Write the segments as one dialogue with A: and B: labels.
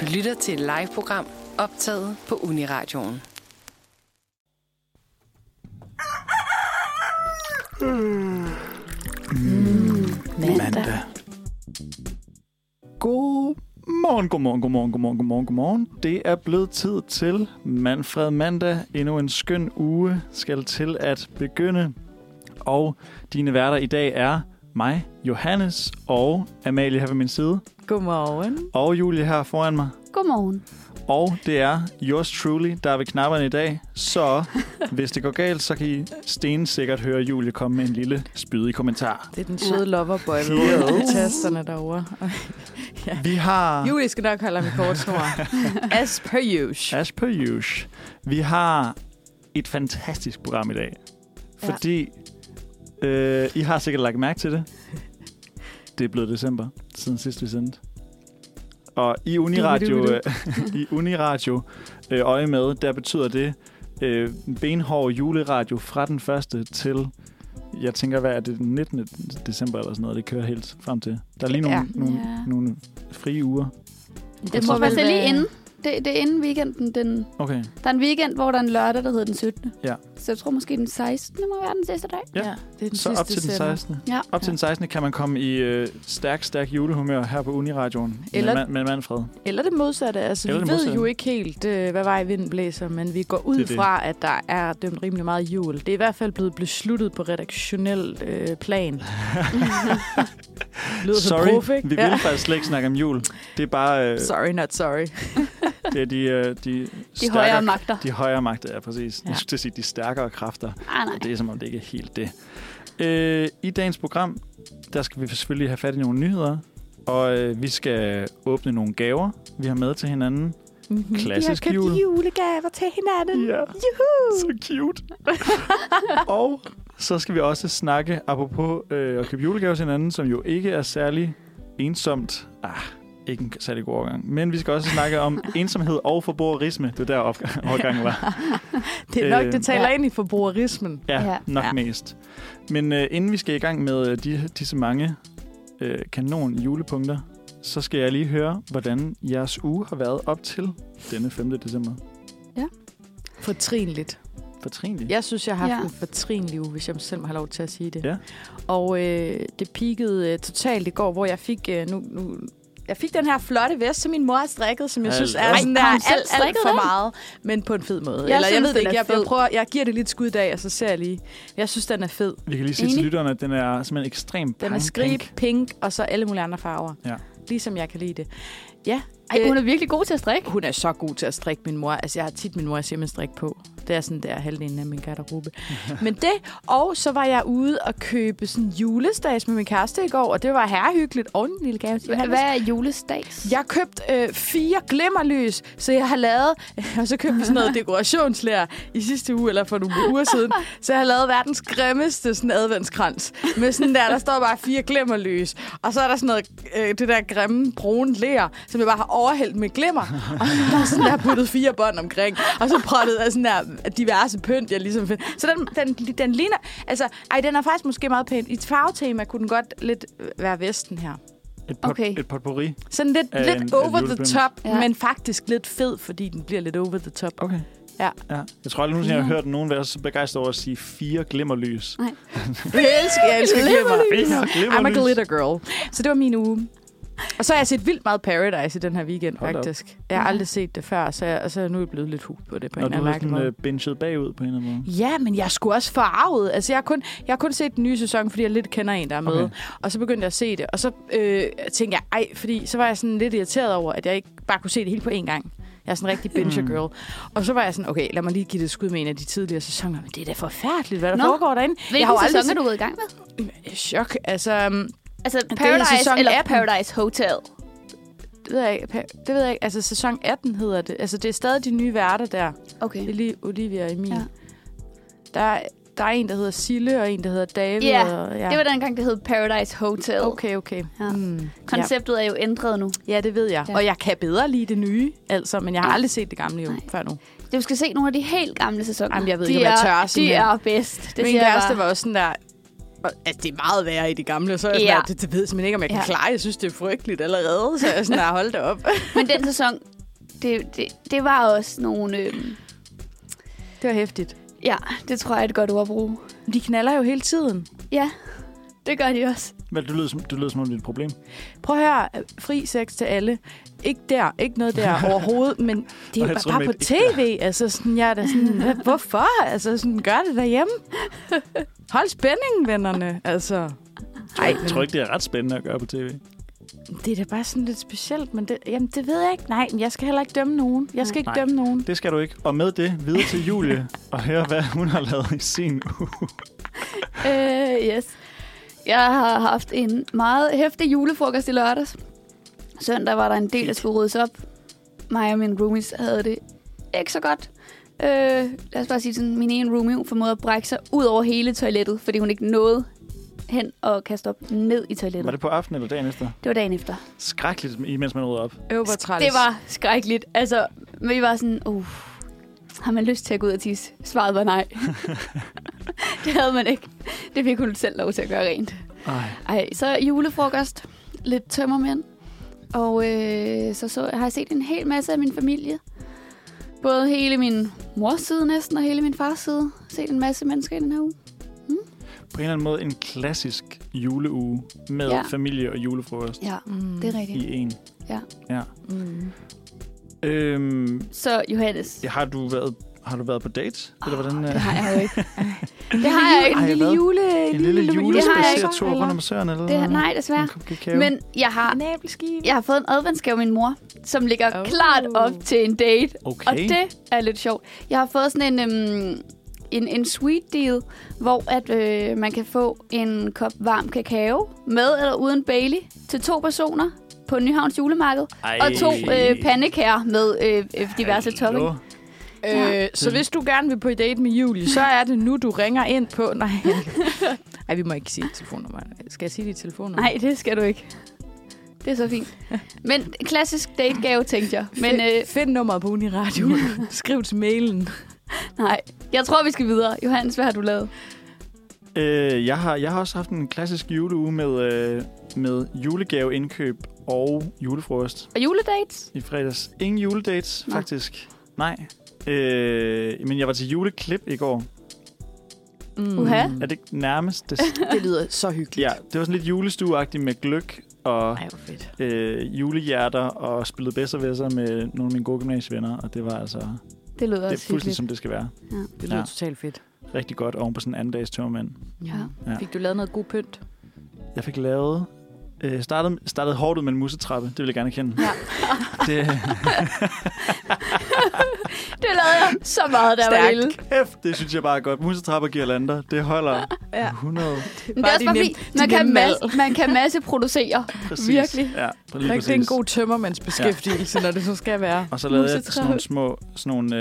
A: Du lytter til et live-program optaget på Uniradioen.
B: mandag. God morgen, god morgen, god morgen, god morgen, god morgen, god morgen. Det er blevet tid til Manfred Mandag. Endnu en skøn uge skal til at begynde. Og dine værter i dag er mig, Johannes og Amalie her ved min side.
C: Godmorgen.
B: Og Julie her foran mig.
D: Godmorgen.
B: Og det er yours truly, der er ved knapperne i dag. Så hvis det går galt, så kan I stensikkert høre Julie komme med en lille spydig kommentar.
C: Det er den søde loverboy med
B: Yes.
C: yes. tasterne derovre.
B: Vi har...
C: Julie skal nok holde ham i kort snor. As per usual.
B: As per usual. Vi har et fantastisk program i dag.
D: Ja.
B: Fordi øh, I har sikkert lagt mærke til det. Det er blevet december, siden sidst vi sendte. Og i Uniradio,
C: Du, du,
B: i Uniradio øh, øje med, der betyder det øh, benhård juleradio fra den 1. til, jeg tænker, hvad er det, den 19. december eller sådan noget, det kører helt frem til. Der er lige nogle,
C: Ja.
B: nogle,
D: Ja.
B: nogle frie uger.
D: Det må være det er
C: øh,
D: lige inden. Det, det er inden weekenden. Den,
B: Okay,
D: der er en weekend, hvor der er en lørdag, der hedder den 17.
B: Ja.
D: Så jeg tror måske den 16. må være den sidste dag.
B: Ja.
C: det er den
B: så
C: sidste
B: op til den
C: sender.
B: 16.
D: Ja.
B: Op til den 16. kan man komme i øh, stærk, stærk julehumør her på Uniradioen Eller...
C: Eller-
B: med, med Manfred.
C: Eller det modsatte. Altså,
B: Eller
C: vi
B: det
C: ved
B: modsatte.
C: jo ikke helt, øh, hvad vej vinden blæser, men vi går ud
B: Det er det.
C: fra, at der er dømt rimelig meget jul. Det er i hvert fald blevet besluttet på redaktionel øh, plan. Lyder så
B: Sorry,
C: prof, ikke?
B: vi vil øh, faktisk slet ikke snakke om jul. Det er bare øh,
C: Sorry, not sorry.
B: det er de, øh, de,
D: De
B: stærkere-
D: højere magter.
B: De højere magter, ja, præcis. Ja.
C: Ja.
B: Jeg skulle til at sige, de stærkere kræfter.
D: Ah, nej.
B: Og det er som om, det ikke er helt det. Øh, I dagens program, der skal vi selvfølgelig have fat i nogle nyheder. Og øh, vi skal åbne nogle gaver, vi har med til hinanden.
C: Mm-hmm.
B: Klassisk
C: vi har købt
B: jul.
C: julegaver til hinanden.
B: Ja. Så cute. og så skal vi også snakke apropos øh, at købe julegaver til hinanden, som jo ikke er særlig ensomt. Ah, ikke en særlig god overgang. Men vi skal også snakke om ensomhed og forbrugerisme. Det er der opg- overgangen var.
C: Det er nok,
B: Øh,
C: det taler
D: Ja.
C: ind i forbrugerismen.
B: Ja, ja.
D: Ja.
B: nok ja.
C: Ja.
B: mest. Men øh, inden vi skal i gang med øh, de, disse mange øh, kanon julepunkter, så skal jeg lige høre, hvordan jeres uge har været op til denne 5. december.
C: Fortrinligt.
B: Fortrinligt.
C: Jeg synes, jeg har haft
D: Ja.
C: ja. en fortrinlig uge, hvis jeg selv må have lov til at sige det.
B: Ja.
C: Og øh, det peakede øh, totalt i går, hvor jeg fik... Øh, nu, nu, jeg fik den her flotte vest, som min mor har strikket, som jeg
B: Ej,
C: synes er
B: ej,
C: sådan der
D: har hun
C: alt,
D: selv
C: alt
D: strikket
C: for
D: den?
C: meget, men på en fed måde.
D: Jeg
C: Eller jeg
D: synes,
C: ved det
D: den
C: ikke,
D: er
C: jeg, jeg,
D: fed.
C: prøver, jeg giver det lidt skud i dag, og så ser jeg lige. Jeg synes, den er fed.
B: Vi kan lige sige til
D: Enig.
B: lytterne, at den er simpelthen ekstremt
C: Den er
B: pang-
C: skrib,
B: pink.
C: pink. pink og så alle mulige andre farver.
B: Ja.
C: Ligesom jeg kan lide det. Ja,
D: Ej,
C: øh,
D: hun er virkelig god til at strikke.
C: hun er så god til at strikke min mor. Altså, jeg har tit min mor at med strik på. Det er sådan der halvdelen af min garderobe. Men det, og så var jeg ude og købe sådan julestads med min kæreste i går, og det var herrehyggeligt og en lille gave. til
D: Hva-
C: Johannes.
D: Hvad er julestags?
C: Jeg købte øh, fire glimmerlys, så jeg har lavet, og så købte vi sådan noget dekorationslærer i sidste uge, eller for nogle uger siden, så jeg har lavet verdens grimmeste sådan adventskrans. Med sådan der, der står bare fire glimmerlys, og så er der sådan noget, øh, det der grimme brune lær, som jeg bare har overhældt med glimmer, og der er sådan der puttet fire bånd omkring, og så prøvet af sådan der diverse pynt, jeg ligesom finder. Så den, den, den ligner, altså, ej, den er faktisk måske meget pæn. I et farvetema kunne den godt lidt øh, være vesten her.
B: Et, pot, okay.
D: Okay.
B: et potpourri.
C: Sådan lidt,
B: Af
C: lidt
B: en- af
C: over the
B: julepynt.
C: top,
D: Ja.
C: ja. men faktisk lidt fed, fordi den bliver lidt over the top.
B: Okay.
C: Ja.
B: ja. Jeg tror aldrig nogensinde, jeg har hørt nogen være så begejstret over at sige fire glimmerlys.
D: Nej.
C: Jeg elsker, jeg elsker glimmer.
B: Fire
C: I'm a
B: glimmerlys.
C: glitter girl. Så det var min uge. Og så har jeg set vildt meget Paradise i den her weekend,
B: Hold da op.
C: faktisk. Jeg har aldrig set det før, så, jeg, og så er jeg nu blevet lidt hooked på det på en
B: Når
C: eller
B: du
C: anden
B: har
C: mærkelig
B: sådan
C: måde.
B: uh, binget bagud på en eller anden måde.
C: Ja, men jeg skulle også forarvet. Altså, jeg har, kun, jeg har kun set den nye sæson, fordi jeg lidt kender en, der er med.
B: Okay.
C: Okay. Og så begyndte jeg at se det. Og så øh, tænkte jeg, ej, fordi så var jeg sådan lidt irriteret over, at jeg ikke bare kunne se det hele på én gang. Jeg er sådan en
D: Hmm.
C: rigtig binger
B: Mm.
C: girl. Og så var jeg sådan, okay, lad mig lige give det et skud med en af de tidligere sæsoner. Men det er da forfærdeligt, hvad der
D: Nå.
C: foregår derinde. jeg
D: Hvilken
C: har jo aldrig
D: sæson er du gået i gang med?
C: set... Chok, altså... mm,
D: Altså
C: er
D: Paradise
C: sæson
D: eller
C: 18.
D: Paradise Hotel?
C: Det ved, jeg ikke, pa- det ved jeg ikke. Altså, sæson 18 hedder det. Altså, det er stadig de nye værter der.
D: Okay.
C: Det er lige Olivia og Emil.
D: Ja.
C: Ja. Der, er- der er en, der hedder Sille, og en, der hedder David.
D: Ja,
C: og, ja.
D: Det var dengang, det hed Paradise Hotel.
C: Okay, okay.
D: Ja.
C: Mm.
D: Konceptet er jo ændret nu.
C: Ja. ja, det ved jeg.
D: Ja.
C: Ja. Og jeg kan bedre lide det nye, altså, men jeg har
D: Ja.
C: aldrig set det gamle jo
D: Nej.
C: før nu.
D: Du skal se nogle af de helt gamle sæsoner.
C: Jamen, jeg ved
D: de
C: ikke, om jeg
D: er,
C: tør, sådan
D: De
C: en.
D: er bedst. Det
C: Det Min
D: siger jeg
C: kæreste
D: bare.
C: var også sådan der, "Og, altså, det er meget værre i det gamle, og så er jeg
D: Ja.
C: sådan, der, det, det ved jeg simpelthen ikke, om jeg kan
D: Ja.
C: klare. Jeg synes, det er frygteligt allerede, så jeg er sådan der, hold da op.
D: Men den sæson, det, det, det var også nogle... Øhm,
C: Det var hæftigt.
D: ja, det tror jeg er et godt ord at bruge.
C: De knaller jo hele tiden.
D: Ja, det gør de også.
B: Men du lyder som, du lyder som om, det er et problem.
C: Prøv at høre, fri sex til alle. Ikke der, ikke noget der overhovedet, men det er
B: Og
C: jo
B: jeg tror,
C: bare
B: med
C: på
B: et ikke
C: tv. Altså, sådan, jeg er da sådan, "Hvad- hvorfor? Altså, sådan, gør det derhjemme. Hold spændingen, vennerne. Altså,
B: Jeg tror ikke, det er ret spændende at gøre på tv.
C: det er da bare sådan lidt specielt, men det, jamen, det ved jeg ikke. Nej, men jeg skal heller ikke dømme nogen. Jeg skal ikke
B: Nej.
C: dømme nogen.
B: Det skal du ikke. Og med det videre til Julie og høre, hvad hun har lavet i sin uge.
D: Øh, yes. Jeg har haft en meget hæftig julefrokost i lørdags. Søndag var der en del, der skulle ryddes op. Mig og min roomies havde det ikke så godt. Øh, lad os bare sige sådan, min ene roomie hun formåede at brække sig ud over hele toilettet, fordi hun ikke nåede hen og kaste op ned i toilettet.
B: Var det på aftenen eller dagen efter?
D: det var dagen efter.
B: Skrækkeligt, imens man rydder op.
C: Øv, hvor træls.
D: Det var skrækkeligt. Altså, vi var sådan, uh, har man lyst til at gå ud og tisse? Svaret var nej. det havde man ikke. Det fik hun selv lov til at gøre rent.
B: Ej.
D: Ej, så julefrokost. Lidt tømmermænd. Og øh, så, så har jeg set en hel masse af min familie. Både hele min mors side næsten, og hele min fars side. Set en masse mennesker i den her uge.
B: På en eller anden måde en klassisk juleuge med ja.
D: Ja.
B: familie og julefrokost
D: Ja,
C: Mm.
D: det er rigtigt.
B: i en.
C: Mm.
B: Øhm,
D: Så Johannes, Ah,
B: ja, har, du været, har du været på date? Eller hvordan,
D: det
B: øh,
D: har jeg jo ikke. det har jeg ikke.
B: Ej,
C: En lille
B: hvad?
C: jule...
B: en lille
D: ikke.
B: julespaceret tur
C: eller?
B: rundt om søerne? Eller
D: Det,
B: noget?
D: nej, desværre.
B: En kop kakao?
D: Men jeg har
C: Nabelskib.
D: Jeg har fået en adventsgave af min mor, som ligger
C: Oh.
D: oh. klart op til en date.
B: okay.
D: Og det er lidt sjovt. Jeg har fået sådan en, øhm, en, en sweet deal, hvor at, øh, man kan få en kop varm kakao med eller uden Bailey til to personer på Nyhavns julemarked.
B: Ej.
D: Og to øh, pandekager med øh, øh, diverse
B: Hallo.
D: topping.
C: Øh, så hvis du gerne vil på date med Julie, så er det nu, du ringer ind på... Nej, Ej, vi må ikke sige telefonnummer. Skal jeg sige dit telefonnummer?
D: Nej, det skal du ikke. Det er så fint. Men klassisk dategave, tænkte jeg. Men øh,
C: Find- Find nummeret på Uniradio. Skriv til mailen.
D: øh, nej, jeg tror, vi skal videre. Johannes, hvad har du lavet?
B: Øh, jeg, har, jeg har også haft en klassisk juleuge med, øh, med julegaveindkøb og julefrokost
D: Og juledates?
B: i fredags. Ingen juledates,
D: Nå.
B: faktisk. Nej. Øh, men jeg var til juleklip i går.
C: Mm.
D: Uha.
B: Er det ikke nærmest det?
C: Det lyder så hyggeligt.
B: ja, det var sådan lidt julestueagtigt med gløk og
C: Ej, hvor fedt.
B: øh, julehjerter og spillede bedstervæsser med nogle af mine gode gymnasievenner, og det var altså det
D: Det lyder
B: er
D: også
B: fuldstændig,
D: hyggeligt.
B: som det skal være.
C: Det lyder
B: Ja.
C: totalt fedt.
B: Rigtig godt oven på sådan en anden dags tørmand.
D: Ja.
B: Ja.
C: Fik du lavet noget god pynt?
B: Jeg fik lavet... Øh, startede, startede hårdt ud med en musetrappe, det vil jeg gerne kende.
C: Ja.
B: det,
D: Det lavede jeg så meget, der var
C: Stærkt.
D: lille.
B: kæft, det synes jeg bare er godt. Musetrappe og girlander, det holder
C: Ja.
B: 100
D: Men det er også bare fordi, man kan,
C: mad.
D: masse, man kan masseproducere.
B: præcis.
D: Virkelig?
B: Ja, lige
C: Det
B: præcis.
C: er en god tømmermandsbeskæftigelse, når det så skal være.
B: Og så lavede jeg sådan
D: Musetrappe.
B: nogle små, sådan nogle,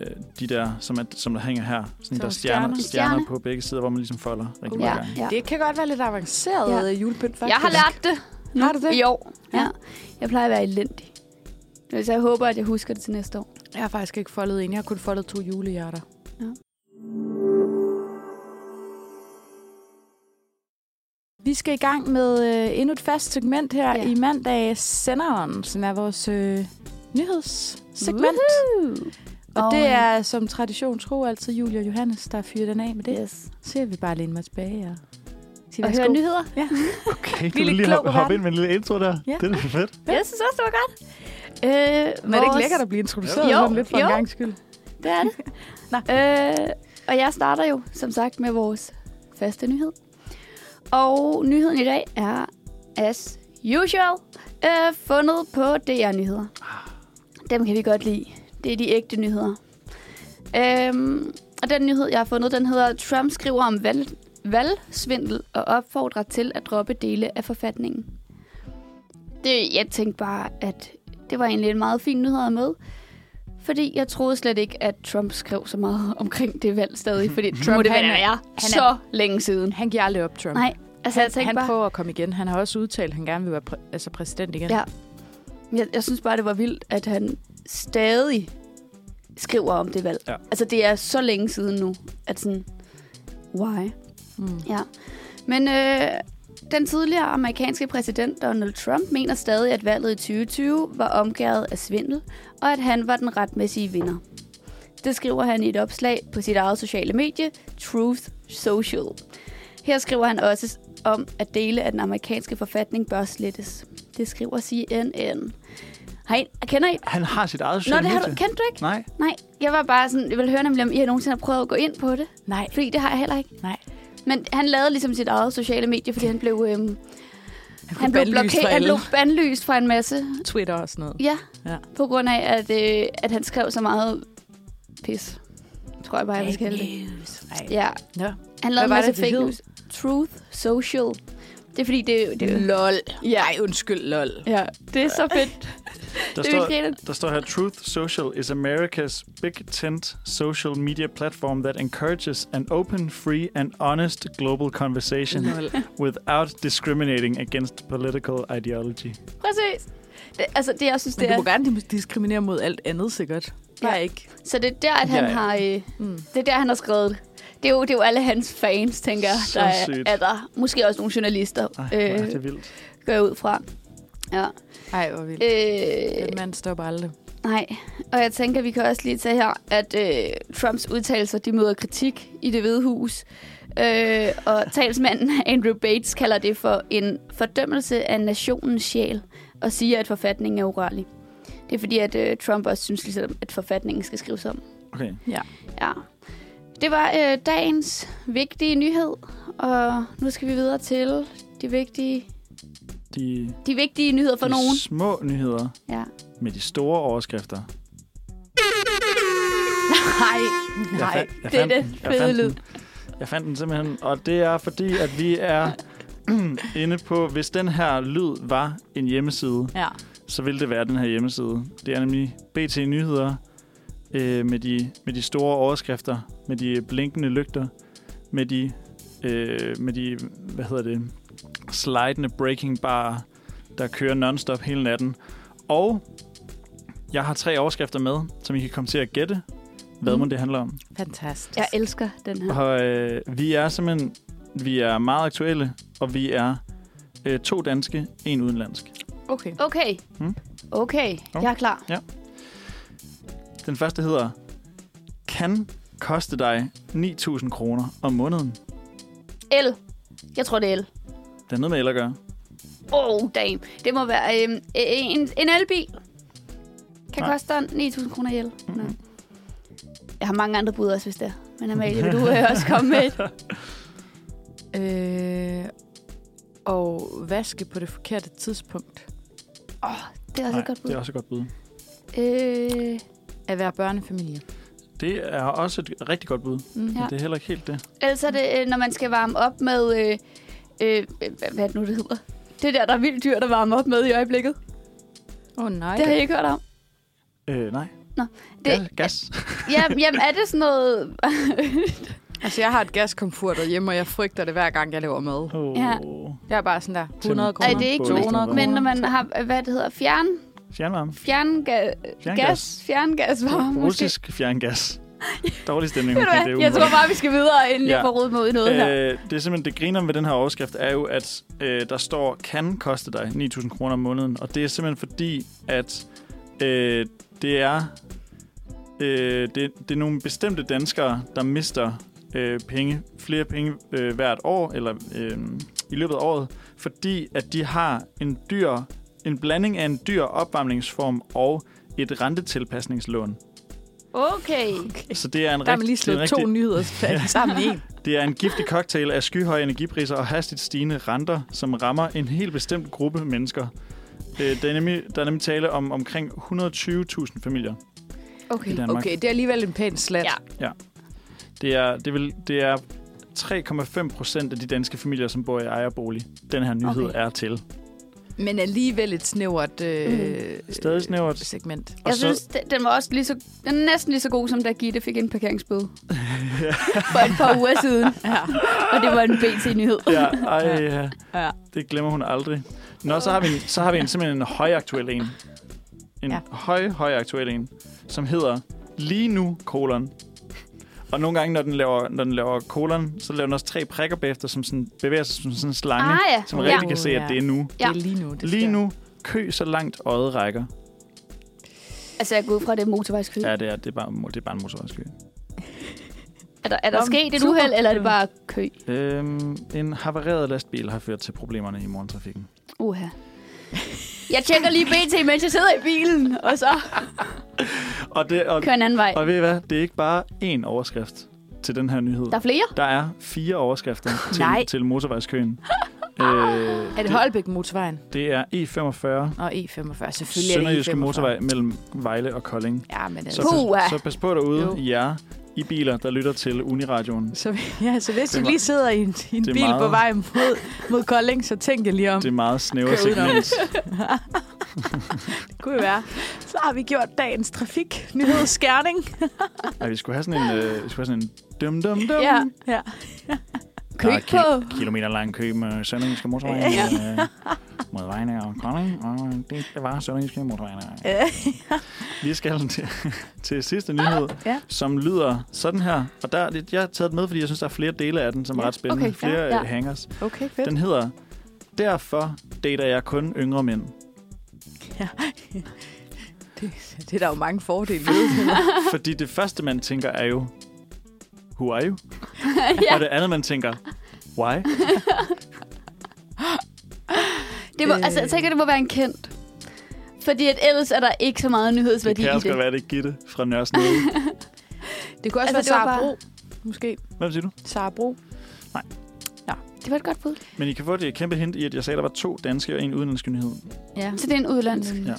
B: øh, de der, som, er, som der hænger her. Sådan
C: Som
B: der stjerner,
C: stjerner.
B: stjerner,
D: Stjerner.
B: på begge sider, hvor man ligesom folder rigtig
D: Ja,
B: mange gange.
D: ja.
C: Det kan godt være lidt avanceret
D: Ja.
C: øh, julepynt, faktisk.
D: Jeg har lært det
C: Har du det?
D: i år. Ja. Jeg plejer at være elendig. Så jeg håber, at jeg husker det til næste år.
C: Jeg har faktisk ikke foldet en. Jeg har kun foldet to julehjerter.
D: Ja.
C: Vi skal i gang med øh, endnu et fast segment her ja.
D: Ja.
C: i mandag senderen, som er vores øh, nyhedssegment.
D: Woohoo!
C: Og
D: Og- øh,
C: det er som tradition tro altid Julie og Johannes, der fyrer den af med det.
D: Yes.
C: Så ser vi bare læne mig tilbage og sige
D: Og høre
C: værsgo.
D: nyheder.
B: Okay, du
C: Lille
B: vil lige
C: klog
B: hoppe,
C: verden.
B: hoppe ind med en lille intro der.
C: Ja.
B: Det er da fedt.
D: Jeg synes også, det var godt. Øh,
C: Men er det ikke
D: vores-
C: lækkert at blive introduceret
D: Jo,
C: sådan lidt for en
D: jo.
C: gang skyld?
D: Det er det.
C: Nå.
D: øh, og jeg starter jo, som sagt, med vores faste nyhed. Og nyheden i dag er, as usual, øh, fundet på DR Nyheder.
C: Ah.
D: Dem kan vi godt lide. Det er de ægte nyheder. Øhm, og den nyhed, jeg har fundet, den hedder, Trump skriver om valg, valgsvindel og opfordrer til at droppe dele af forfatningen. Det, jeg tænkte bare, at det var egentlig en meget fin nyhed at have med. Fordi jeg troede slet ikke, at Trump skrev så meget omkring det valg stadig, fordi Trump
C: det
D: det han
C: være?
D: er,
C: er-
D: så længe siden.
C: Han giver aldrig op, Trump.
D: Nej, altså jeg tænkte
C: han
D: bare,
C: prøver at komme igen. Han har også udtalt, at han gerne vil være præ- altså præsident igen.
D: Ja. jeg, jeg synes bare, det var vildt, at han stadig skriver om det valg.
B: Ja.
D: Altså det er så længe siden nu, at sådan, why?
C: Mm.
D: Ja. Men øh, Den tidligere amerikanske præsident Donald Trump mener stadig, at valget i 2020 var omgået af svindel, og at han var den retmæssige vinder. Det skriver han i et opslag på sit eget sociale medie, Truth Social. Her skriver han også om, at dele af den amerikanske forfatning bør slettes. Det skriver CNN. Har I, kender I?
B: Han har sit eget
D: Nå,
B: sociale
D: det har du,
B: medie.
D: kendte du ikke?
B: Nej.
D: Nej, jeg var bare sådan, jeg ville høre nemlig, om I har nogensinde har prøvet at gå ind på det.
C: Nej.
D: Fordi det har jeg heller ikke.
C: Nej.
D: Men han lavede ligesom sit eget sociale medie, fordi han blev, øhm, han blev,
C: bandlyst fra
D: blokeret, han
C: alle.
D: blev bandlyst fra en masse.
C: Twitter og sådan noget.
D: Ja,
C: Ja.
D: på grund af, at, øh, at han skrev så meget pis. Tror jeg bare, jeg vil kalde det.
C: Ej.
D: Ja,
C: Nå.
D: han lavede en
C: var
D: masse
C: det, det
D: fake
C: hed?
D: news. Truth Social. Det er fordi, det, det,
C: Lol.
D: Ja.
C: Ej, undskyld, lol.
D: ja, det er så fedt.
B: Der
D: Det er
B: står,
D: virkelig
B: der står her, Truth Social is America's big tent social media platform that encourages an open, free and honest global conversation
C: Lol.
B: without discriminating against political ideology.
D: Præcis. Det, altså, det jeg synes,
C: Men
D: det
C: du
D: er...
C: må gerne diskriminere mod alt andet, sikkert. Bare
D: Ja.
C: ikke.
D: Så det er der, at han
B: Ja, ja.
D: har... Øh,
C: Mm.
D: Det er der, han har skrevet det. Det er jo, det er jo alle hans fans, tænker jeg,
B: Så
D: der er,
B: sygt.
D: er der. Måske også nogle journalister,
B: Ej, øh,
D: øh,
B: det er vildt.
D: går jeg ud fra. Ja.
C: Ej, hvor vildt.
D: Øh,
C: Den mand stopper aldrig.
D: nej, og jeg tænker, vi kan også lige tage her, at øh, Trumps udtalelser, de møder kritik i det hvide hus. Øh, og talsmanden Andrew Bates kalder det for en fordømmelse af nationens sjæl, og siger, at forfatningen er urørlig. Det er fordi, at øh, Trump også synes, ligesom, at forfatningen skal skrives om.
B: Okay.
D: Ja. Det var øh, dagens vigtige nyhed, og nu skal vi videre til de vigtige,
B: De,
D: de vigtige nyheder for
B: de
D: nogen.
B: små nyheder
D: Ja.
B: med de store overskrifter.
C: Nej, nej.
B: fa- jeg
D: det er
B: fandt
D: den
B: den. Jeg
D: fede
B: fandt
D: lyd.
B: den. Jeg fandt den simpelthen, og det er fordi, at vi er inde på, hvis den her lyd var en hjemmeside,
C: Ja.
B: så ville det være den her hjemmeside. Det er nemlig BT Nyheder øh, med, de, med de store overskrifter, med de blinkende lygter, med de, øh, med de hvad hedder det, slidende breaking bar, der kører nonstop hele natten. Og jeg har tre overskrifter med, som I kan komme til at gætte, hvad mm.
D: Mhm.
C: Mm.
B: må det handler om.
C: Fantastisk.
D: Jeg elsker den her.
B: Og øh, vi er simpelthen vi er meget aktuelle, og vi er øh, to danske, en udenlandsk.
C: Okay.
D: Okay.
B: Mm.
D: Okay,
B: Jo.
D: jeg er klar.
B: Den første hedder, kan koste dig 9.000 kroner om måneden.
D: L. Jeg tror, det er L.
B: Det er noget med el at gøre.
D: Oh, damn. Det må være øhm, en, en elbil. Kan
B: Nej.
D: koste dig 9.000 kroner i el. Nå. Jeg har mange andre bud også, hvis det er. Men Amalie, vil du øh, også komme med et?
C: Øh, og vaske på det forkerte tidspunkt.
D: Det er også et godt bud.
B: det er også et godt bud.
D: Øh,
C: At være børnefamilie.
B: Det er også et rigtig godt bud,
C: Mm.
B: ja.
D: Ja.
B: men Mm-hmm. det er heller ikke helt det.
D: Ellers er det, øh, når man skal varme op med... Øh, øh, hvad- hvad er det nu, det hedder? Det der, der er vildt dyrt at varme op med i øjeblikket. Okay.
C: Åh oh, nej.
D: Det har jeg ikke hørt om.
B: Øh, nej.
D: Nå,
B: Gas.
D: det-
B: gas.
D: Jamen, jamen er det sådan noget...
C: Altså, jeg har et gaskomfort derhjemme, og jeg frygter det hver gang, jeg laver mad.
B: Oh.
D: Ja.
C: Jeg er bare sådan der, 100
B: Kroner.
D: Nej,
C: kroner.
D: det er ikke
C: 200
D: men,
B: kroner.
D: men når man har, hvad det hedder, fjern,
B: Fjernvarme.
D: fjernga,
B: Fjerngas.
D: gas, fjerngas varme, måske.
B: Russisk fjerngas. Dårlig stemning.
D: Ved du
B: omkring
D: hvad?
B: det,
D: Jeg tror
B: umiddelbart.
D: bare, vi skal videre, inden
B: Ja.
D: ja. jeg får rodet mig ud i noget øh, her.
B: Øh, det er simpelthen, det griner med den her overskrift, er jo, at øh, der står, kan koste dig 9.000 kroner om måneden. Og det er simpelthen fordi, at øh, det er øh, det, det er nogle bestemte danskere, der mister øh, penge, flere penge øh, hvert år, eller øh, i løbet af året, fordi at de har en dyr, en blanding af en dyr opvarmningsform og et rentetilpasningslån.
D: Okay.
B: Så det er en
C: Der har man
B: rigtig-
C: lige
B: det er en
C: slået
B: rigtig-
C: to nyheder fat- sammen i en.
B: det er en giftig cocktail af skyhøje energipriser og hastigt stigende renter, som rammer en helt bestemt gruppe mennesker. Øh, Der er nemlig, der er nemlig tale om omkring 120.000 familier
D: Okay.
B: i Danmark.
C: Okay, det er alligevel en pæn slat.
D: Ja.
B: Det er, det vil, det er 3,5 procent af de danske familier, som bor i ejerbolig. Den her nyhed
D: Okay.
B: okay. er til.
C: Men alligevel et snævert øh,
B: Stadig snævert.
C: segment.
B: Og
D: Jeg
B: så-
D: synes, den- den var også lige så, den er næsten lige så god, som da Gitte fik en parkeringsbøde. For et par uger siden.
C: Ja.
D: Og det var en BT-nyhed.
B: Ja, ej, ja.
C: Ja.
B: det glemmer hun aldrig. Nå, så har vi, en, så har vi en, simpelthen en højaktuel en. En ja.
C: Ja.
B: høj, højaktuel en, som hedder Lige nu, kolon. Og nogle gange, når den laver, når den laver kolon, så laver den også tre prikker bagefter, som sådan, bevæger sig som sådan en slange,
D: Ah, ja.
B: som
D: Ja.
B: rigtig kan se,
C: Ja.
B: at det er nu.
D: Ja.
C: Det er lige nu, det
B: Lige
C: sker.
B: nu, kø så langt øjet rækker.
D: Altså, jeg går ud fra det er motorvejskø. Ja.
C: Mm.
B: Ja, det er, det er, bare, det er bare en motorvejskø.
D: Er der, er der
C: Nå,
D: sket et
C: super.
D: uheld, eller er det bare kø?
B: Øhm, en havareret lastbil har ført til problemerne i morgentrafikken.
D: Uha. Jeg tjekker lige BT, mens jeg sidder i bilen, og så
B: Og, det, og,
D: kører en anden vej.
B: og ved I hvad? Det er ikke bare én overskrift til den her nyhed.
D: Der er flere.
B: Der er fire overskrifter
C: Nej.
B: til, til motorvejskøen. øh,
C: Er det Holbæk motorvejen
B: det er E45,
C: og E45? Selvfølgelig er det
B: Sønderjyske
C: E45.
B: motorvej mellem Vejle og Kolding.
C: Ja, men
B: Så,
C: altså...
D: Puha.
B: pas, så pas på derude,
C: Jo.
B: jer i biler, der lytter til Uniradioen.
C: Så, ja, så hvis
B: Det er
C: du lige sidder i en, i en
B: det er
C: bil meget... på
B: meget-
C: vej mod, mod Kolding, så tænk jer lige om.
B: Det
C: Det,
B: er meget snævre
C: Kør udenom.
B: segment.
C: det kunne jo være. Så har vi gjort dagens trafik. Nyhedsskærning.
B: Ej, vi skulle have sådan en, øh, vi skulle have sådan en dum dum dum.
D: Ja.
C: Ja.
D: Kø
B: Der er
D: på.
B: ki- kilometer lang kø med Sønderjyske motorvej ja. øh, mod vejene og Kolding, og det, det var Sønderjyske motorvejen.
C: Øh.
B: Vi skal til, til sidste nyhed,
C: Ja.
B: som lyder sådan her. Og der, det- jeg har taget den med, fordi jeg synes, der er flere dele af den, som er
C: Ja,
B: ret spændende.
C: okay, ja,
B: flere øh,
D: ja.
B: hangers.
C: Okay, fedt.
B: Den hedder, Derfor dater jeg kun yngre mænd.
C: Ja. Det, det er der jo mange fordele ved.
B: Fordi det første, man tænker, er jo, who are you?
D: Ja.
B: Og det andet, man tænker, why?
D: Det må,
C: Øh.
D: altså, jeg tænker, det må være en kendt. Fordi at ellers er der ikke så meget
B: Det
D: nyhedsværdi
B: kan
D: i
B: også godt
D: det.
B: være, det er Gitte fra Nørresnede.
C: Det kunne også altså, være
D: Altså, det var
C: Sara
D: bare-
C: Bro. Måske
B: Hvem siger du?
C: Sara Bro.
D: Det var et godt bud.
B: Men I kan få det kæmpe hint i, at jeg sagde, at der var to danske og en udenlandsk nyhed.
C: Ja.
D: Så det er en udlandsk.
B: Ja.